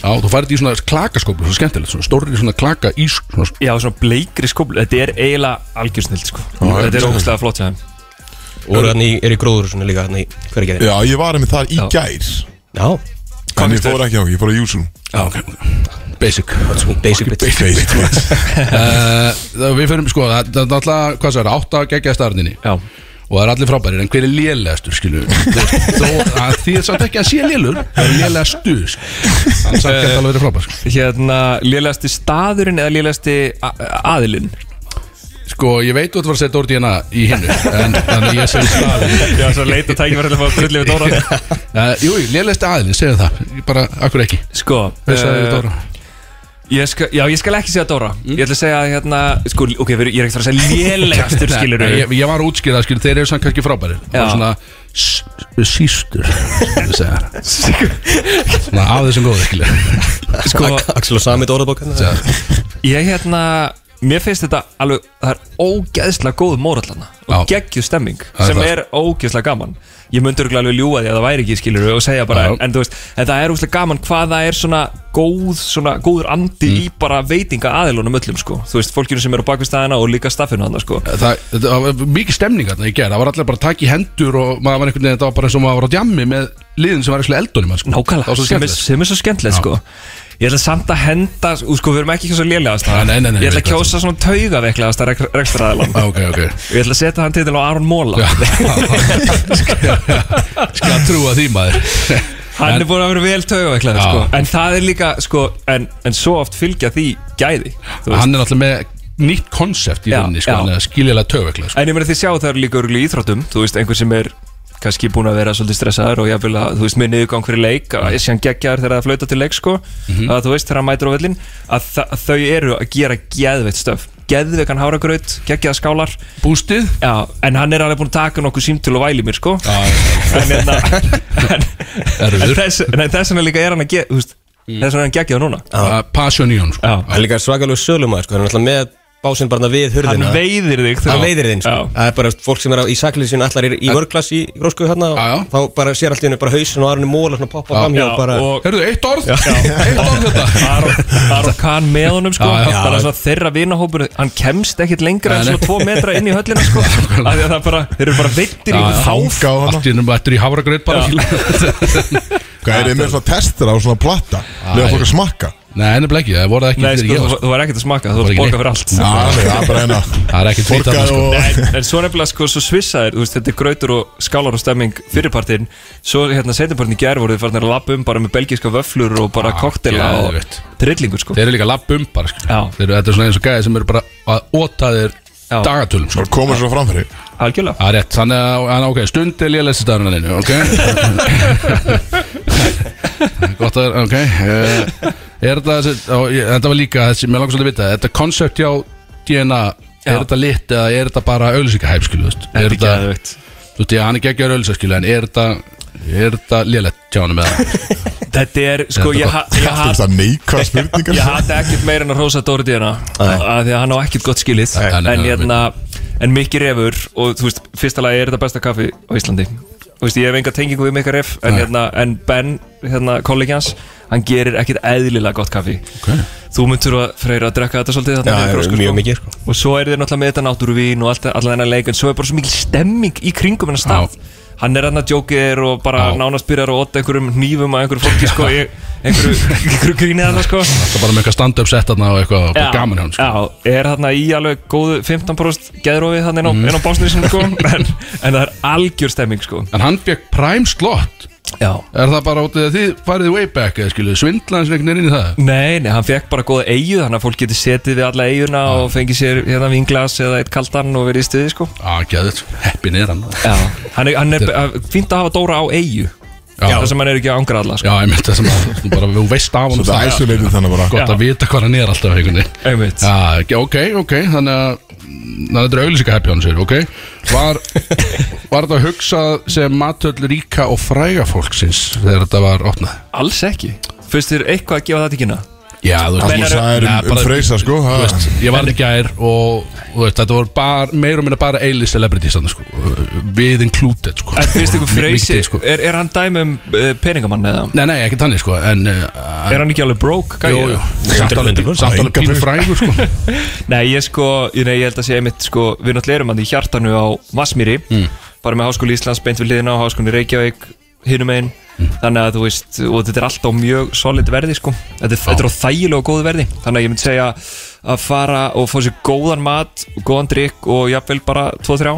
Já, þú færði í svona klakaskóplu, svo skemmtilegt Svona stórri svona klaka ís svona... Já, svona bleikri skóplu, þetta er eiginlega algjörsnild sko, Já, þetta já. er ógustlega flott hjá þeim Og eru þarna í- eru í gróður svona líka Þannig hver gerði Já, ég var með þar í gær Já En ég fór ekki á, ég fór á Júsum Já, ok Basic Basic bit Basic bitch. uh, það- Við fyrir, sko, það það er náttúrulega, hvað það er, átta geggjaði starninni Já Og það er allir frábærir, en hver er lélegastur, skilju Þó, að því er samt ekki að sé lélur Það er lélegastur, skilju Þannig samt geta alveg verið frábær, sko Hérna, lélegasti staðurinn eða lélegasti a- a- aðilinn Sko, ég veit þú ert að fara að setja orð DNA í hinnu En þannig ég segi staðin Já, svo leita tækifærið að fá drullið við Dóra uh, Jú, lélegasti aðilin, segja það Ég Bara, akkur ekki Sko, Hvað sagði eh, Dóra? Ég skal, já, ég skal ekki segja Dóra Ég ætla að segja að hérna Sko, ok, við- ég er ekki að fara að segja lélegastur skilur Nei, ég, ég var að útskýra það skilur, þeir eru samt kannski frábærir Já. Bara svona s- sístur við segja. Svona af þessum góðu skilur Sko, Axel og hérna. Samit orðabók Ég hérna Mér finnst þetta alveg Það er ógeðslega góð mórallana Og Já. geggjuð stemming Það er Sem það. er ógeðslega gaman Ég myndi örugglega alveg ljúga því að það væri ekki skilur Og segja bara Já. en, en þú veist En það er ógeðslega gaman Hvað það er svona góð Svona góður andi Mm. í bara veitinga aðilunum öllum sko Þú veist fólkinu sem eru á bakvistæðina Og líka staffinu hann sko Það, það, það var mikið stemning þarna í gerð Það var allir bara að taka í hendur og maður var einhvern veginn Það var bara eins og maður var á djammi með liðin sem var eitthvað eldunum sko. Það Nákvæmlega var svo sem, er- skemmtilegt. sem er svo skemmtilegt Já. sko Ég ætla samt að henda Ú, Sko við erum ekki ekki svo lélegast Nei, nei, nei, nei, Ég ætla nei, að kjósa svona taugaveiklaðasta rekstraðalan Ah, Ok, ok Ég ætla að setja hann til á Aron Móla Skal að trúa því maður Hann er búin að vera vel taugaveiklaður Já. sko. En það er líka sko, en, en svo oft fylgja því gæði þú veist. Hann er náttúrulega með nýtt konsept í Já, rauninni já. sko, Þannig að skiljalega töfvekla sko. En ég meina þið sjá það er líka örgulega í íþróttum Þú veist, einhver sem er kannski búin að vera svolítið stressaður og jafnvel að, þú veist, með niðurgang fyrir leik að Mm. sé hann geggjaður þegar það flauta til leik sko Mhm. að þú veist, þegar hann mætir á vellin að þa- að þau eru að gera geðveitt stöf geðveikan háragraut, geggjaða skálar Bústið? Já, en hann er alveg búin að taka nokkuð símtöl og væli mér sko Já, en, hérna, en, en, en Erfiður. Mm. þess en þess vegna líka er hann að ge, þú veist, þess vegna er hann geggjaður núna Passion í hún sko. Já. Það er líka svakalegu sölumæður sko. Hann er alltaf með básinn bara þarna við hurðina Hann veiðir þig Hann þá. veiðir þig sko. Já. Það er bara fólk sem er á, í sakleysinu allar er í vörglas í grósku hérna og þá bara sér allt í hennu bara hausin og arunni móla svona poppa fram hjá og bara Herðu, eitt orð Aron Kahn með honum sko Já, já. bara svona þeirra vinahópur hann kemst ekkit lengra en svona tvo metra inn í höllina sko af því að það bara þeir eru bara veittir í einhvern háf Allt í sko, ennum ættir í hafragröð bara Hvað er þið með svona testur á svona platta? Lega fólk að smakka Nei, nefnilega ekki, það voru ekki Nei, fyrir sko, ég var. þú- þú var ekkert að smakka, þú Það var var að ekki borga fyrir neitt. allt sko. Já, alveg, það er bara hérna. Það er ekkert vit Borga þarna, sko. og- Nei, En svo nefnilega, sko, svo svissaðir, þú veist, þetta er grautur og skálar og stemming fyrirpartin Svo, hérna, setjapartin í gær voru þið farin að lappa um bara með belgíska vöflur og bara koktela og Ah, geðveikt. trillingur, sko Þeir eru líka lappum bara sko. Þeir eru, Þetta er svona eins og gæði sem eru bara að óta þeir dagatölum sko. Koma svo framfyrir Algjörlega Það er rétt, þannig að þannig að, ok, stund er líka lesið stafnum henni Ok Gott að það er, ok eh, Er þetta þessi, á, ég- þetta var líka þessi, mér langar svolítið að vita Þetta koncept hjá DNA, Já. er þetta lit eða er þetta bara auðlýsingahæp skilu, þú veist Þetta er geðveikt Þú veist, já, hann er geggjör auðlýsingaskilu, en er þetta er þetta lélegt hjá hann með það Þetta er, sko, Þetta ég bara- ha- ég Þetta er ha- það neikvæða spurningar. Ég hata ekkert meira en að rosa Dóri Díana að Því að hann á ekkert gott skilið nei, En nei, hérna, en mikið refur Og þú veist, fyrsta lagi er þetta besta kaffi á Íslandi Þú veist, ég hef enga tengingu við mikið ref En Nei. hérna, en Ben, hérna, kollegi hans Hann gerir ekkert eðlilega gott kaffi okay. Þú myndur að freyra að drekka þetta svolítið Já, niður grósku, mjög sko. mikið, Og svo er þið náttúrulega með þetta náttúruvín Og alltaf þennan leik En svo er bara svo mikil stemming í kringum hennar stað Hann er hann að djókir og bara nánast byrjar að otta einhverjum nýfum að einhverju fólki sko, í- einhverju, einhverju grínið hann sko. Það er bara með eitthvað stand-up set þarna og eitthvað og bara gaman hjá hann sko. Já, er þarna í alveg góðu 15% geðrófið þarna inn á, Mhm. inn á básnýsum sko, en, en það er algjör stemming sko. En hann fekk prime slot Já. Er það bara út af því að þið farið way back eða skilu, svindlaðans vegna er inn í það Nei, nei, hann fekk bara góða eigu þannig að fólk geti setið við alla eiguna og fengið sér hérna vinglas eða eitt kaldan og verið í stuði sko. Já, gæðið, heppin er hann Já, hann er, hann er að- fínt að hafa Dóra á eigu þar sem hann er ekki að angra alla sko. Já, ég myndi það sem að þú bara, þú veist af hann Svo þetta isolated þannig bara. Gott að vita hvað hann er alltaf einhvern veginn Einmitt Já, ok, ok, ok, þannig að Þannig að þetta er auðlýsika happy hann sér, ok Var, var þetta hugsað sem matöld ríka og fræga fólksins þegar þetta var opnað? Alls ekki Fyrst þér eitthvað að gefa það til kynna Já, þú Allt veist, þú sagðir um- Já, um Freysa, sko, þú ha. veist, Ég var í gær og þú veist, þetta voru bara, meir og minna bara eilig celebrities þannig, sko, við included sko. En finnst ykkur Mi- mikið, freysi, sko. er, er hann dæmi um uh, peningamann eða? Nei, nei, ekkert þannig sko en, uh, Er hann ekki alveg broke? gæi? Jú, jú. Samt alveg- samt alveg pínu frægur, sko. Nei, ég sko, ég, nei, ég held að segja mitt sko, við náttúrulega erum hann í hjartanu á Vassmýri bara með Háskóli Íslands beint við liðina og Háskóli Reykjavík hinum einn þannig að þú veist, og þetta er alltaf á mjög solid verði sko, þetta er, þetta er á þægilega og góðu verði þannig að ég myndi segja að fara og fá sér góðan mat og góðan drikk og jafnvel bara 2-3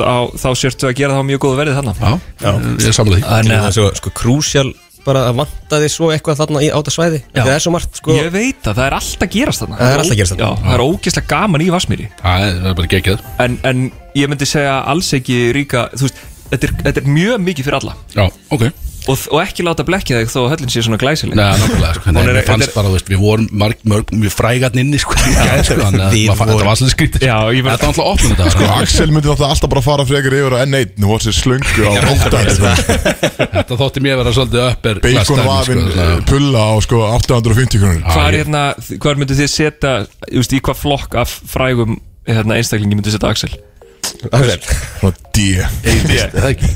á, þá sértu að gera það á mjög góðu verði þannig Já, ég er samlega En það er svo sko krúsjál bara að vanta þig svo eitthvað þarna í áta svæði Það er svo margt sko Ég veit það, það er alltaf gerast þarna Það er alltaf að gerast þarna. Já, það er ógeðslega gaman í Vassmýri Það er bara geggjað en, en ég myndi segja alls ekki ríka Þú veist, þetta er, þetta er mjög mikið fyrir alla Já, ok Og, og ekki láta blekkja þig þó að höllin sé svona glæsileg Nei, nákvæmlega, sko, Hún nei, er- mér fannst þetta bara, þú veist, við vorum marg, mörg, við frægarn inni, sko, í gær, sko þannig að Við maður fann- þetta vorum- var svolítið skrítið, Já, ég var Þetta var alltaf opnum þetta, Sko, Axel myndi náttúrulega alltaf bara fara frekar yfir á N1 Nú var sér slöngu á óttan Þetta þótti mér vera svolítið upper class Bacon dæmi, vafin sko, þannig að- pulla á sko 850 krónur Hvað er hérna, hvað myndu þið setja Þú veist, í hvað flokk af frægum hérna, einstaklingi myndu setja Axel Axel. Frá D A-list, eða ekki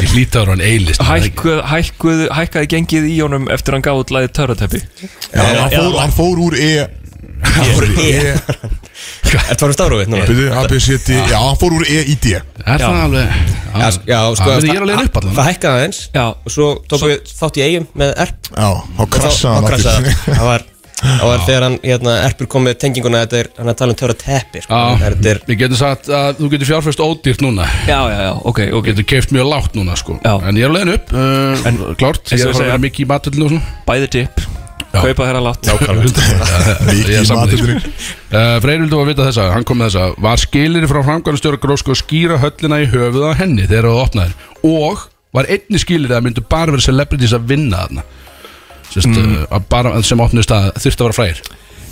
Ég hlýta á hann A-list Hækkuð, hækkuð, hækkaði gengið í honum eftir hann gáði lagið törrateppi Já, hann fór, hann fór úr E Hann fór úr E Þetta var um stafrófið núna Byrju, A, B, C, D Já, hann fór úr E í D Er það alveg Já, já sko Já, ég er alveg upp allan. Það hækkaði aðeins Já Og svo tók við þátt í eigum með erp Já, þá krassaði hann hann aftur. krassaði hann. Það var Það var þegar hann, hérna, erpur kom með tenginguna Þetta er, hann er að tala um törra teppir sko. Þetta er Við getum sagt að þú getur fjárfæst ódýrt núna Já, já, já, ok, ok Getur keift mjög lágt núna, sko já. En ég er alveg upp, uh, en, klárt eins Ég og ég er að fara segja- að vera mikið í matöldinu og svona Bæði tipp, kaupa þeirra látt Ég er sammála því. matvörunni. Eh, Freyr vildi að vita þessa, hann kom með þessa Var skilir frá framkvæmstjóra grósku að skýra höllina í höfuð á henni þegar það opnaðir Og var einni skilir að myndu bara vera celebrities að vinna þarna Sest, mm. að bara, sem opnist að þurfti að vera frægir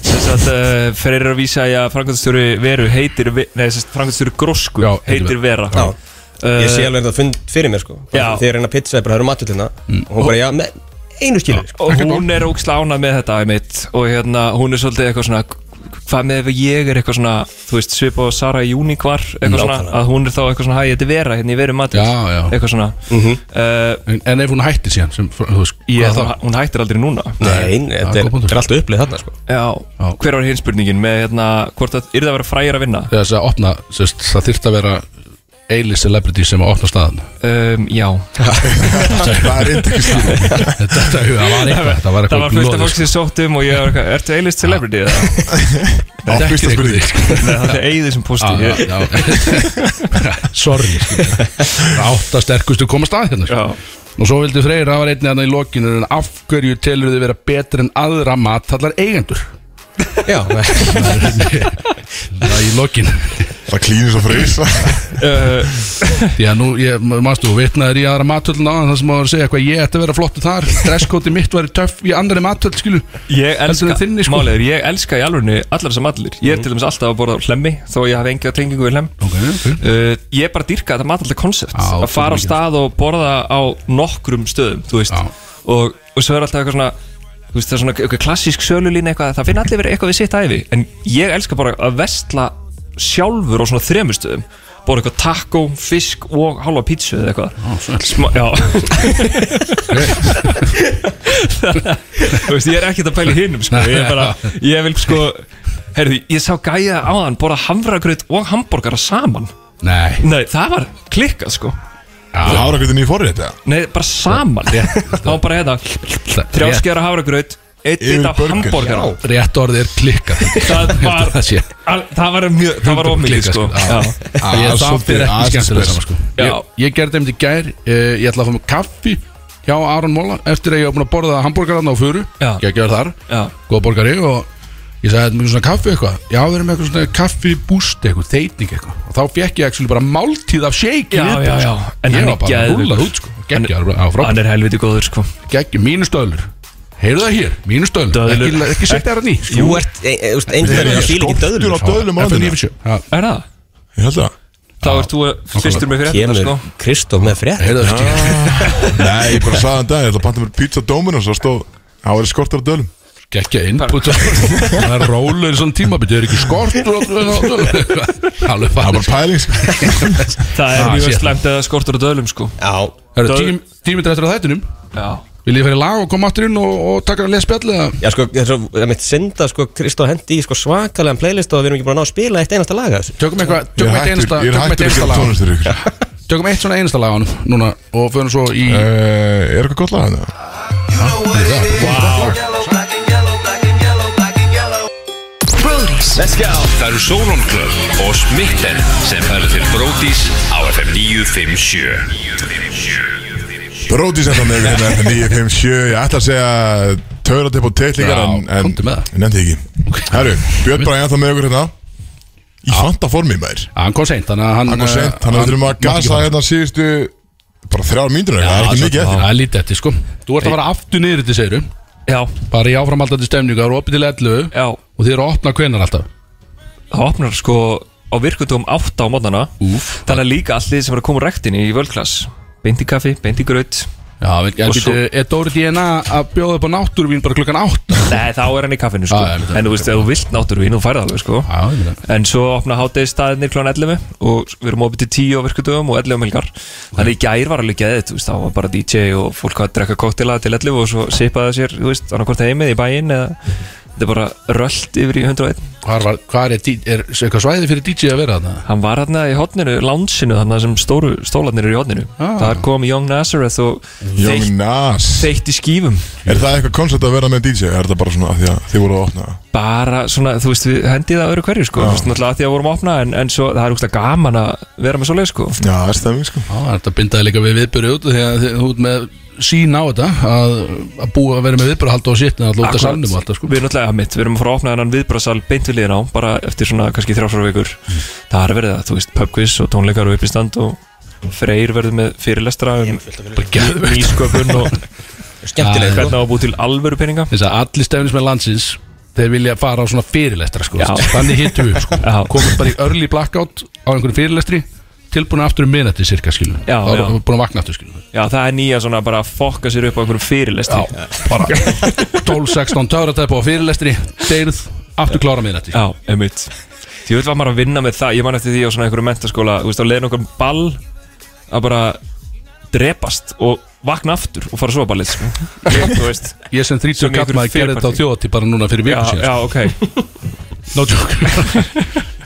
Þess að uh, fyrir að vísa í að framkvæmstjóri veru heitir, ve- nei þess að framkvæmstjóri grósku Já, heitir vera Já. Ég sé alveg þetta fund fyrir mér sko Já. Þegar reyna að pizza er bara, það eru maturlina Og hún bara, já, með einu skilur sko. og hún er ógst ánað með þetta einmitt og hérna hún er svolítið eitthvað svona hvað með ef ég er eitthvað svona þú veist, svipa og Sara Júník var eitthvað svona, Nákvæmlega. að hún er þá eitthvað svona hæ, þetta er vera, hérna ég verið matur Já, já. eitthvað svona Mhm. uh, en, en ef hún hættir síðan sem, þú veist, ég, hvað þá, þá? hún hættir aldrei núna Nei, nei, þetta er- Já, góð punktur. er allt upplið þarna sko. já, hver var hins spurningin með hérna, hvort það yrði að vera frægir að vinna þess að opna, sérst, það þyrft að vera eilis celebrity sem að opna staðan um, já það er inntekstýri þetta það var eitthvað þetta það var eitthvað sko. var fullt af glóður, fólk sem sótt um og ég var eitthvað, ertu A-list celebrity eða? sko. Á fyrsta spurning. Nei, það er eigið sem posti Já, já, já. sorry sko. skilur. Það er átta sterkustu komast að hérna sko. og svo vildi Freyr, það var einnig þarna í lokinu en af hverju telur þið vera betur en aðra matallar eigendur já það er í lokinu það klínir svo Freys Uh. Já, nú, ég, manstu, vitnaður í aðra matöldin á það sem maður segja eitthvað, ég ætti að vera flottu þar dresskóti mitt væri töff í andri matöld, skilu Ég Heldur elska, en þinni, sko. málið er, ég elska í alvörinu allar þessar matlir Ég er til dæmis alltaf að borða á hlemmi Þó ég hafi enga tengingu við hlemm okay, uh, Ég er bara að dyrka þetta matalda koncept Að fara á stað og borða á nokkrum stöðum Þú veist og, og svo er alltaf eitthvað svona Þú veist, það er svona eitthvað klassísk sölulín eitthvað Það finna allir verið eitthvað við sitt æfi En ég elska bara að vestla sjálfur á svona þremur stöðum Borða eitthvað taco, fisk og halva pítsu eða eitthvað Smá, Já Þú veist, ég er ekkert að pæla í hinum sko. ég, er bara, ég vil sko Herðu, ég sá gæja áðan Borða hamragraut og hambúrgara saman Nei Nei, það var klikkað sko Háragrutin í forrið þetta Nei, bara saman Það var bara hérna Þrjáskjara hafragraut Eitt Yfir bit af burger. hambúrgara Já, rétt orðið er klikkað Það var Það sé. al- Það var mjög Það var ómikið Klikkað, sko já. Já. Já, ég- Það fyrir ekki skemmtilega saman sko. Já. Ég- Ég gerði þeim til gær eh, Ég ætla að fá mig kaffi hjá Aron Móla Eftir að ég var búin að borða hambúrgarna á furu Já. Gekkjaður þar, góða borgari Og ég sagði, þetta mjög svona kaffi eitthvað Já, við erum með eitthvað svona kaffi búst eitthvað Þeytning eitthvað Og þá fekk ég actually bara máltíð af shake í Já, viðbót, já, já. sko. En Ég hann er geðveikur. var bara rúlað út sko Gekkjaður, á frábært. Hann er helviti góður sko Geggjum, mínustöðlur Heyrðu það hér, mínustöðlur Döðlur. Ekki, ekki setja þér hann í sko. Þú ert- e- e- þú veist, einhvern veginn fílar ekki döðlur. FM Er það? Ég held það Þá ert þú fyrstur með fyrir þetta sko Kristof með frétt Nei, ég bara sagði hann dag Ég ætla að panta mér pizza Dominos og stóð Það var skortur á dölum Gekja input Það er rólur í svona tímabit Það er ekki skortur á- á- á- Alveg Ah, Það var pæling sko. Það er mjög slæmt eða skortur og döðlum sko Já Það eru tímyndir eftir að þættinum Já Vil ég fara í lag og koma aftur inn og, og taka að lesa spjallið Já sko, það er svo- það er mitt synda sko Kristof hendi í sko svakalega playlist og við erum ekki búin að ná að spila eitt einasta laga Tökum eitthvað, tökum eitt einasta Tökum eitt einasta lag Tökum eitt svona einasta lag á hann Núna og fyrir svo í Eh, Er eitthvað gott lag hann? Það eru Sólon Club og Smitten sem færa til Brótis á FM 957 Brótis eftir með ykkur hérna 957 Ég ætla að segja Töðratipp og teitlingar Já, En, en komdu með það. en nefndi ekki Herru, Björn Bræði ennþá með ykkur hérna Í fanta formi maður Hann kom seint Þannig að hann eh, Hann kom sent Þannig að við þurfum að gasa hérna síðustu Bara þrjár mínútur eða eitthvað, Það er ekki mikið eftir Það er lítið eftir sko Þú ert að fara aftur niður þetta segir Já Bara í áframaldandi stemningu Það eru opið til 11 Já Og þið eru að opna hvenar alltaf Það opnar sko á virkundum 8 á mótana Úf. Þannig að líka allir sem er að koma úr rektinni í völdklass Beint í kaffi, beint í graut Já, en Og býtu, svo- Er Dóri DNA að bjóða upp á náttúruvín bara klukkan 8 Nei, þá er hann í kaffinu sko Já, já, En þú veist, ef þú vilt náttúruvín, þú færð alveg sko Já, ég meina. En svo opna hátegi staðinir klón 11 Og við erum opið til 10 á virkundum og 11 um helgar Þannig í gær var alveg geðið, þú veist, þá var bara DJ og fólk að drekka koktila til 11 Og svo sipaði það sér, þú veist, annarkvort heimið í bæinn Eða þetta er bara rölt yfir í 101 Hvar, var, hvar er, dí- er eitthvað svæði fyrir DJ að vera þarna? Hann var hérna í hotninu, lánsinu þarna sem stóru stólarnir eru í hotninu Ah. Þar kom Young Nazareth og Young Nas Þeitt í skífum Er það eitthvað koncept að vera með DJ? Er það bara svona af því að þið voru að opna það? bara svona, þú veist, við hendið það öðru hverju sko, þú veist, náttúrulega að því að vorum að opna en, en svo, það er úrslag gaman að vera með svoleið sko Já, það er stemming sko Já, það er hægt að binda þig líka við viðbyrju út því að þið- þú ert með sín á þetta að, að búa að vera með viðbyrju hald og sitt en alltaf út af Akkurat. salnum og alltaf sko Við erum náttúrulega að mitt, við erum að fara að opna þennan viðbrásal beint við liðin á, bara eftir svona kannski þrjásvara vikur Mm. Það er verið það, þú veist, pubquiz og tónleikar og uppistand og Freyr verður með fyrirlestra um geðveikt. nýsköpun og Skemmtilegt, sko. hvernig á að búi til alvöru peninga Þess að allir stefnismenn landsins þeir vilja fara á svona fyrirlestra sko Já. þannig hittum við sko Já. komum bara í early blackout á einhverjum fyrirlestri tilbúin aftur um minnati cirka skilum Já, þá erum já. við búin að vakna aftur skilum Já, það er nýja svona bara að fokka sér upp á einhverjum fyrirlestri Já, bara 12-16 töfratæp á fyrirlestri deyrð aftur klára miðnætti Já, einmitt Því veit var maður að vinna með það Ég man eftir því á svona einhverju mentaskóla Þú veist, þá leiðin okkur um ball Að bara drepast og vakna aftur og fara að sofa ballið sko. Þú veist Ég sem 30 kall maður gerði þetta á þjóðatí bara núna fyrir viku Já, síðan já, sko. ok No joke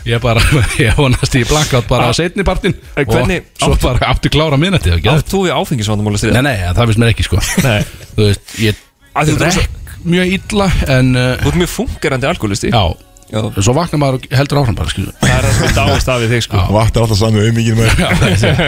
Ég bara, ég vonast ég blankátt bara á setni partin En Ah. Eh, hvernig- og svo bara aftur klára minnati Átt þú við áfengisvandamála stríða? Nei, nei, það finnst mér ekki sko Nei Þú veist, ég Að þú ert drekk mjög illa en Þú ert mjög fungerandi alkoholisti Já, svo vaknar maður og heldur áfram bara skilu Það er það sem dáist af við þig sko Vaktar alltaf saman um yngir maður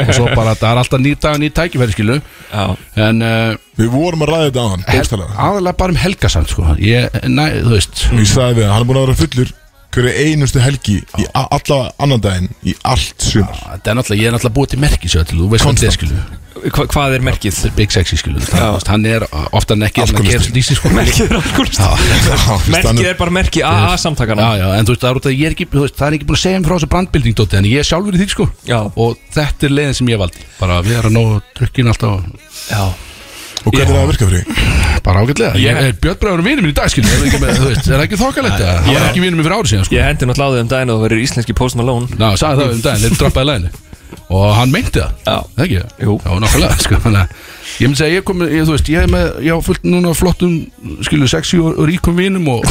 og svo bara það er alltaf nýr dag og nýr tækifæri skilu Já. en uh, við vorum að ræða þetta á hann aðalega bara um helgasamt sko ég, næ, þú veist ég sagði við hann, hann er búin að vera fullur hverju einustu helgi í a- alla annan daginn í allt sumar þetta er náttúrulega, ég er náttúrulega búið til merki sér til, þú veist hvað þetta er skilu Hva, hvað er merkið? Big Sexy skilu, það, hann er ofta en ekki Alkoholisti. dísi, sko. Merkið er alkoholisti. Merkið er bara merki AA samtakana já, já, en þú veist, það er út að ég er ekki, þú veist, það er ekki búin að segja um frá þessu brandbilding dóti, en ég er sjálfur í því sko já. og þetta er leiðin sem ég valdi bara við erum að ná trukkin alltaf já. og hvernig er það að virka fyrir þig? bara ágætlega, Ég- ég er björnbræður vinur minn í dag skilu, er það ekki, með- þú veist, er það ekki þokkalegt eða? hann var ekki vinur minn fyrir árið síðan sko Ég hendi náttúrulega á þig um daginn og þú verður íslenski Post Malone Ná, sagði það um daginn, þeir droppaði læginu Og hann meinti það Já Það ekki? Jú Já, nákvæmlega, sko þannig að Ég myndi segja, ég kom, ég, þú veist, ég er með, ég á fullt núna af flottum, skilu, sexy og, og ríkum vinum og,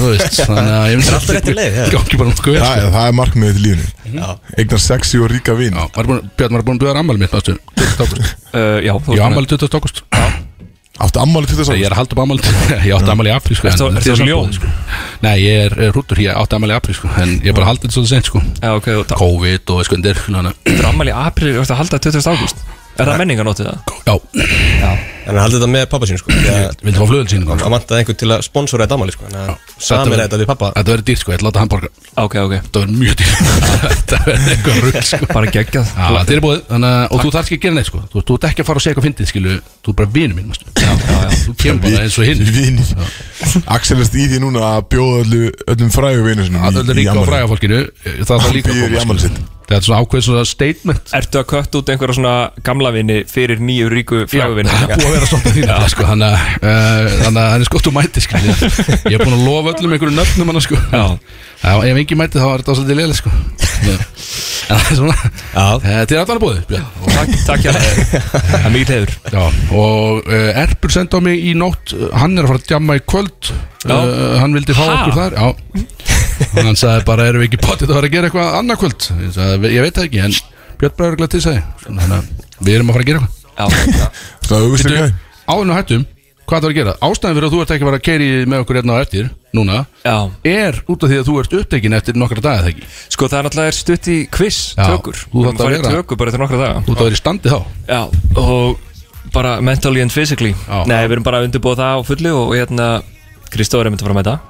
þú veist, þannig að ég myndi Það er alltaf rétti leið, já. Gangi bara nokkuð vel, sko. Mhm. það, er- það er markmiðið til lífinu eignar sexy og ríka vin Björn var búin að bjóða ammali mitt næstu 20. ágúst uh, Já, Ég á ammali 20. ágúst Áttu ammali 20. ágúst? Ég er að halda upp ammali Ég átti ammali í apríl sko, Ertu- en- ertu en- svo ljón? sko. Nei, ég er eh, hrútur, ég átti ammali í apríl sko, En ég bara haldi þetta svolítið sent sko. Já, ok, þú COVID og skundir Þetta er ammali í april, þú ert að halda 20. ágúst Er það menninganótið það? Já Já En hann haldið þetta með pappa sín sko Vildi fá flöðulsýningu Hann vantaði einhver til að sponsora þetta amali sko Þannig að samir þetta við pappa Þetta verður dýrt sko, ég ætla að láta hann borga Ok, ok Þetta verður mjög dýrt Þetta verður eitthvað rugg sko Bara geggjað Já, þetta er búið Þannig að, og þú þarf ekki að gera neitt sko Þú, þú ert ekki að fara og segja eitthvað fyndið skilu Þú er bara vinur minn, mástu Já, já, já Þú kemur bara eins og hinn Vinir Axel er í því núna að bjóða öllu, öllum frægu vinu sinum Að öllu ríka og fræga fólkinu Það þarf líka að býður í koma ammali sko. sitt Þetta er svona ákveð svona statement Ertu að kött út einhverja svona gamla vini fyrir nýju ríku fræguvinni? Það er búið að vera svolítið þín nefnilega, sko, Þannig að uh, þannig að hann er skott og mæti sko. Ég er búin að lofa öllum einhverju nöfnum hann sko. Já, Ef engin mæti þá er þetta svolítið liðlega sko. En það er svona Eh, Þetta er allan að búið Björn. Og- Takk, takk hjá Það er mikið hefur Já, og uh, Erpur senda á mig í nótt uh, Hann er að fara að djamma í kvöld uh, Hann vildi fá Ha? okkur þar Já Og Hann sagði bara, erum við ekki potið að fara að gera eitthvað annað kvöld Ég, sagði, ég veit það ekki, en Björn Bræður glætt til sagði Þannig að við erum að fara að gera eitthvað Það er auðvist ekki Áðun og hættum, hvað það var að gera Ástæðan fyrir að þú ert ekki að fara að keiri með okkur hérna á eftir Núna Já. Er út af því að þú ert upptekinn eftir nokkra daga þegar ekki Sko það er náttúrulega er stutt í quiz, Já, tökur þú þarft að farið vera- tökur bara eftir nokkra daga Þú ert að vera í standi þá Já, og bara mentally and physically Nei, við erum bara að undirbúa það á fullu og hérna Kristóður er myndið að fara með það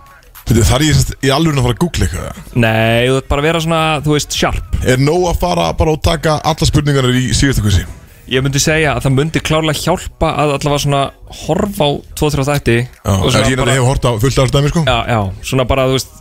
Veitu, Þar er ég sérst í alveg að fara að googla eitthvað Nei, þú ert bara að vera svona, þú veist, sharp Er nóg að fara bara og taka alla spurningarnar í síðustu kvissi Ég myndi segja að það myndi klárlega hjálpa að allavega svona horfa á 2-3 þætti Já, og en ég náttúrulega hef hort á fullt ára dæmi sko Já, já, svona bara, þú veist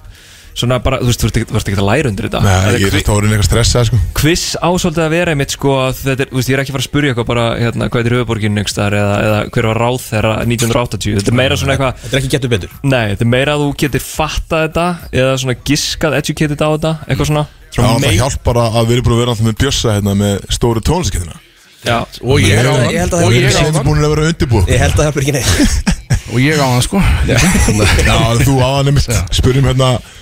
Svona bara, þú veist, þú ert ekkert- þú ert ekki að læra undir þetta Nei, Þetta ég er þetta orðin eitthvað stressað sko Quiz á svolítið að vera einmitt sko að þetta er, þú veist, ég er ekki að fara að spurja eitthvað bara hérna, hvað er í höfuborgin yngstar eða, eða hver var ráð þeirra 1980 þetta er meira svona eitthvað Þetta er ekki getur betur Nei, þetta er meira að þú getur fattað þetta eða svona giskað, educated á þetta eitthvað svona Já, Svona það meik- hjálpar að að við erum búin að vera alltaf með bjössa hérna með stóru tónlisketina Já, Og ég á hann Og ég á hann búin að vera undirbúið Ég held að það hjálpar ekki neitt Og ég á hann sko Já, þú aðan einmitt spurðum hérna einhverja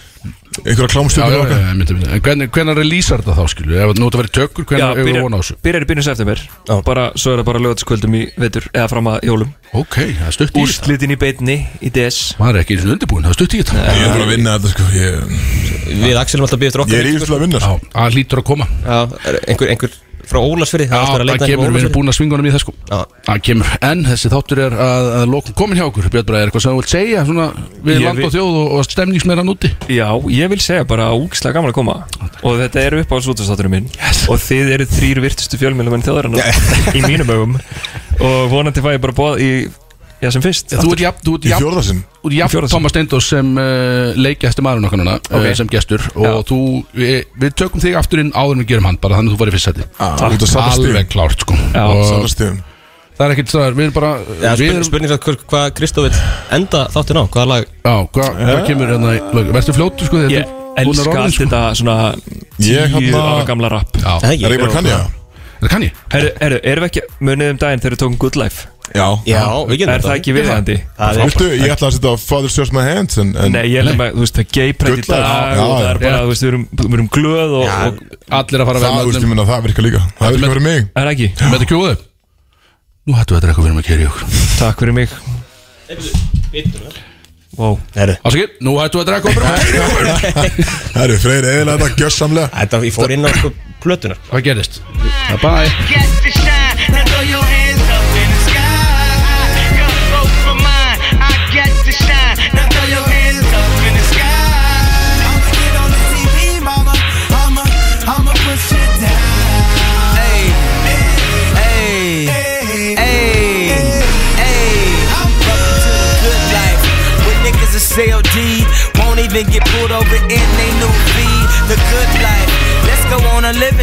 Já, já, klámstjórnir okkar já, myndi, myndi. En hvernig, hvernig releasar þetta þá skilju? Ef nú þetta verið tökur, Já, hvernig hefur byrjar, von á þessu? byrjar í byrjun september bara, svo er það bara lögatiskvöldum í vetur eða fram að jólum Ok, það er stutt í þetta Úrslitin í beinni í DS Maður er ekki eins og undirbúin, það er stutt í þetta Ég er bara að vinna þetta sko Ég, Við Axelum alltaf býðist ég okkar er yfirlega að vinna sko. Já, það hlýtur að koma Já, er einhver, einhver frá Ólasfyrði Já, það kemur, við erum búin að svingunum í það sko Já. Það kemur, en þessi þáttur er að, að lokum komin hjá okkur Björn Bræði, er eitthvað sem þú vilt segja svona, við Ég land og vil- þjóð og, og stemningsmeira núti Já, ég vil segja bara úkslega gaman að koma og þetta eru upp á slútastátturum minn og þið eru þrýr virtustu fjölmjölumenn þjóðarinnar í mínum augum og vonandi fæ ég bara bóð í já, sem fyrst Þú ert jafn, þú ert Í jafn fjórða sinn Þú ert jafn fjórða sinn. Thomas Steindors sem uh, leikjæsti maðurinn okkar núna Ok. okay. sem gestur og þú, við, við tökum þig aftur inn áður en við gerum hann bara þannig að þú farið fyrst seti Á, Út að safna Alveg stíðum klárt sko Já. og, Safna stíðum Það er ekkert staðar, við erum bara Já, við spurning, erum- spurning samt hvað- hvað Kristó vil enda þáttin á, hvaða lag Já, hvað, hvað kemur hérna í lög Vertu fljótu sko þetta Ég elska sko. allt þetta svona Ég, tíu hérna- ára gamla rap Já. Er það ekki bara Kanye? Er kann ég? Herru, herru, erum við ekki munið um daginn þegar við tókum Good Life? Já, Er það ekki viðhandi? Viltu, ég ætla að setja Father Shows My Hands en, en Nei, ég held að, þú veist, það gay pride í Good dag life. Já, og það er já. bara, þú veist, við erum, við erum glöð og, og allir að Það, þú veist, ég minna, það virkar líka Það virkar fyrir mig Er það ekki? Með þetta kjóðu Nú hættu þetta eitthvað við erum að keri okkur Takk fyrir mig Wow Ásakir, nú hættu þetta eitthvað við erum að keyra í okkur Það eru freyri eðilega þetta gjössamlega Þetta, ég fór inn á sko plötunar Hvað gerðist? Bye Catch the shine, now throw your hands up in the sky. Come vote for mine. I get the shine, now throw your hands up in the sky. I'ma get on the TV, mama. I'ma, I'ma put shit down. Hey, hey, hey, hey. I'm welcome to the good life. With niggas that sell D, won't even get pulled over in they new V. The good life. Let's go on a living.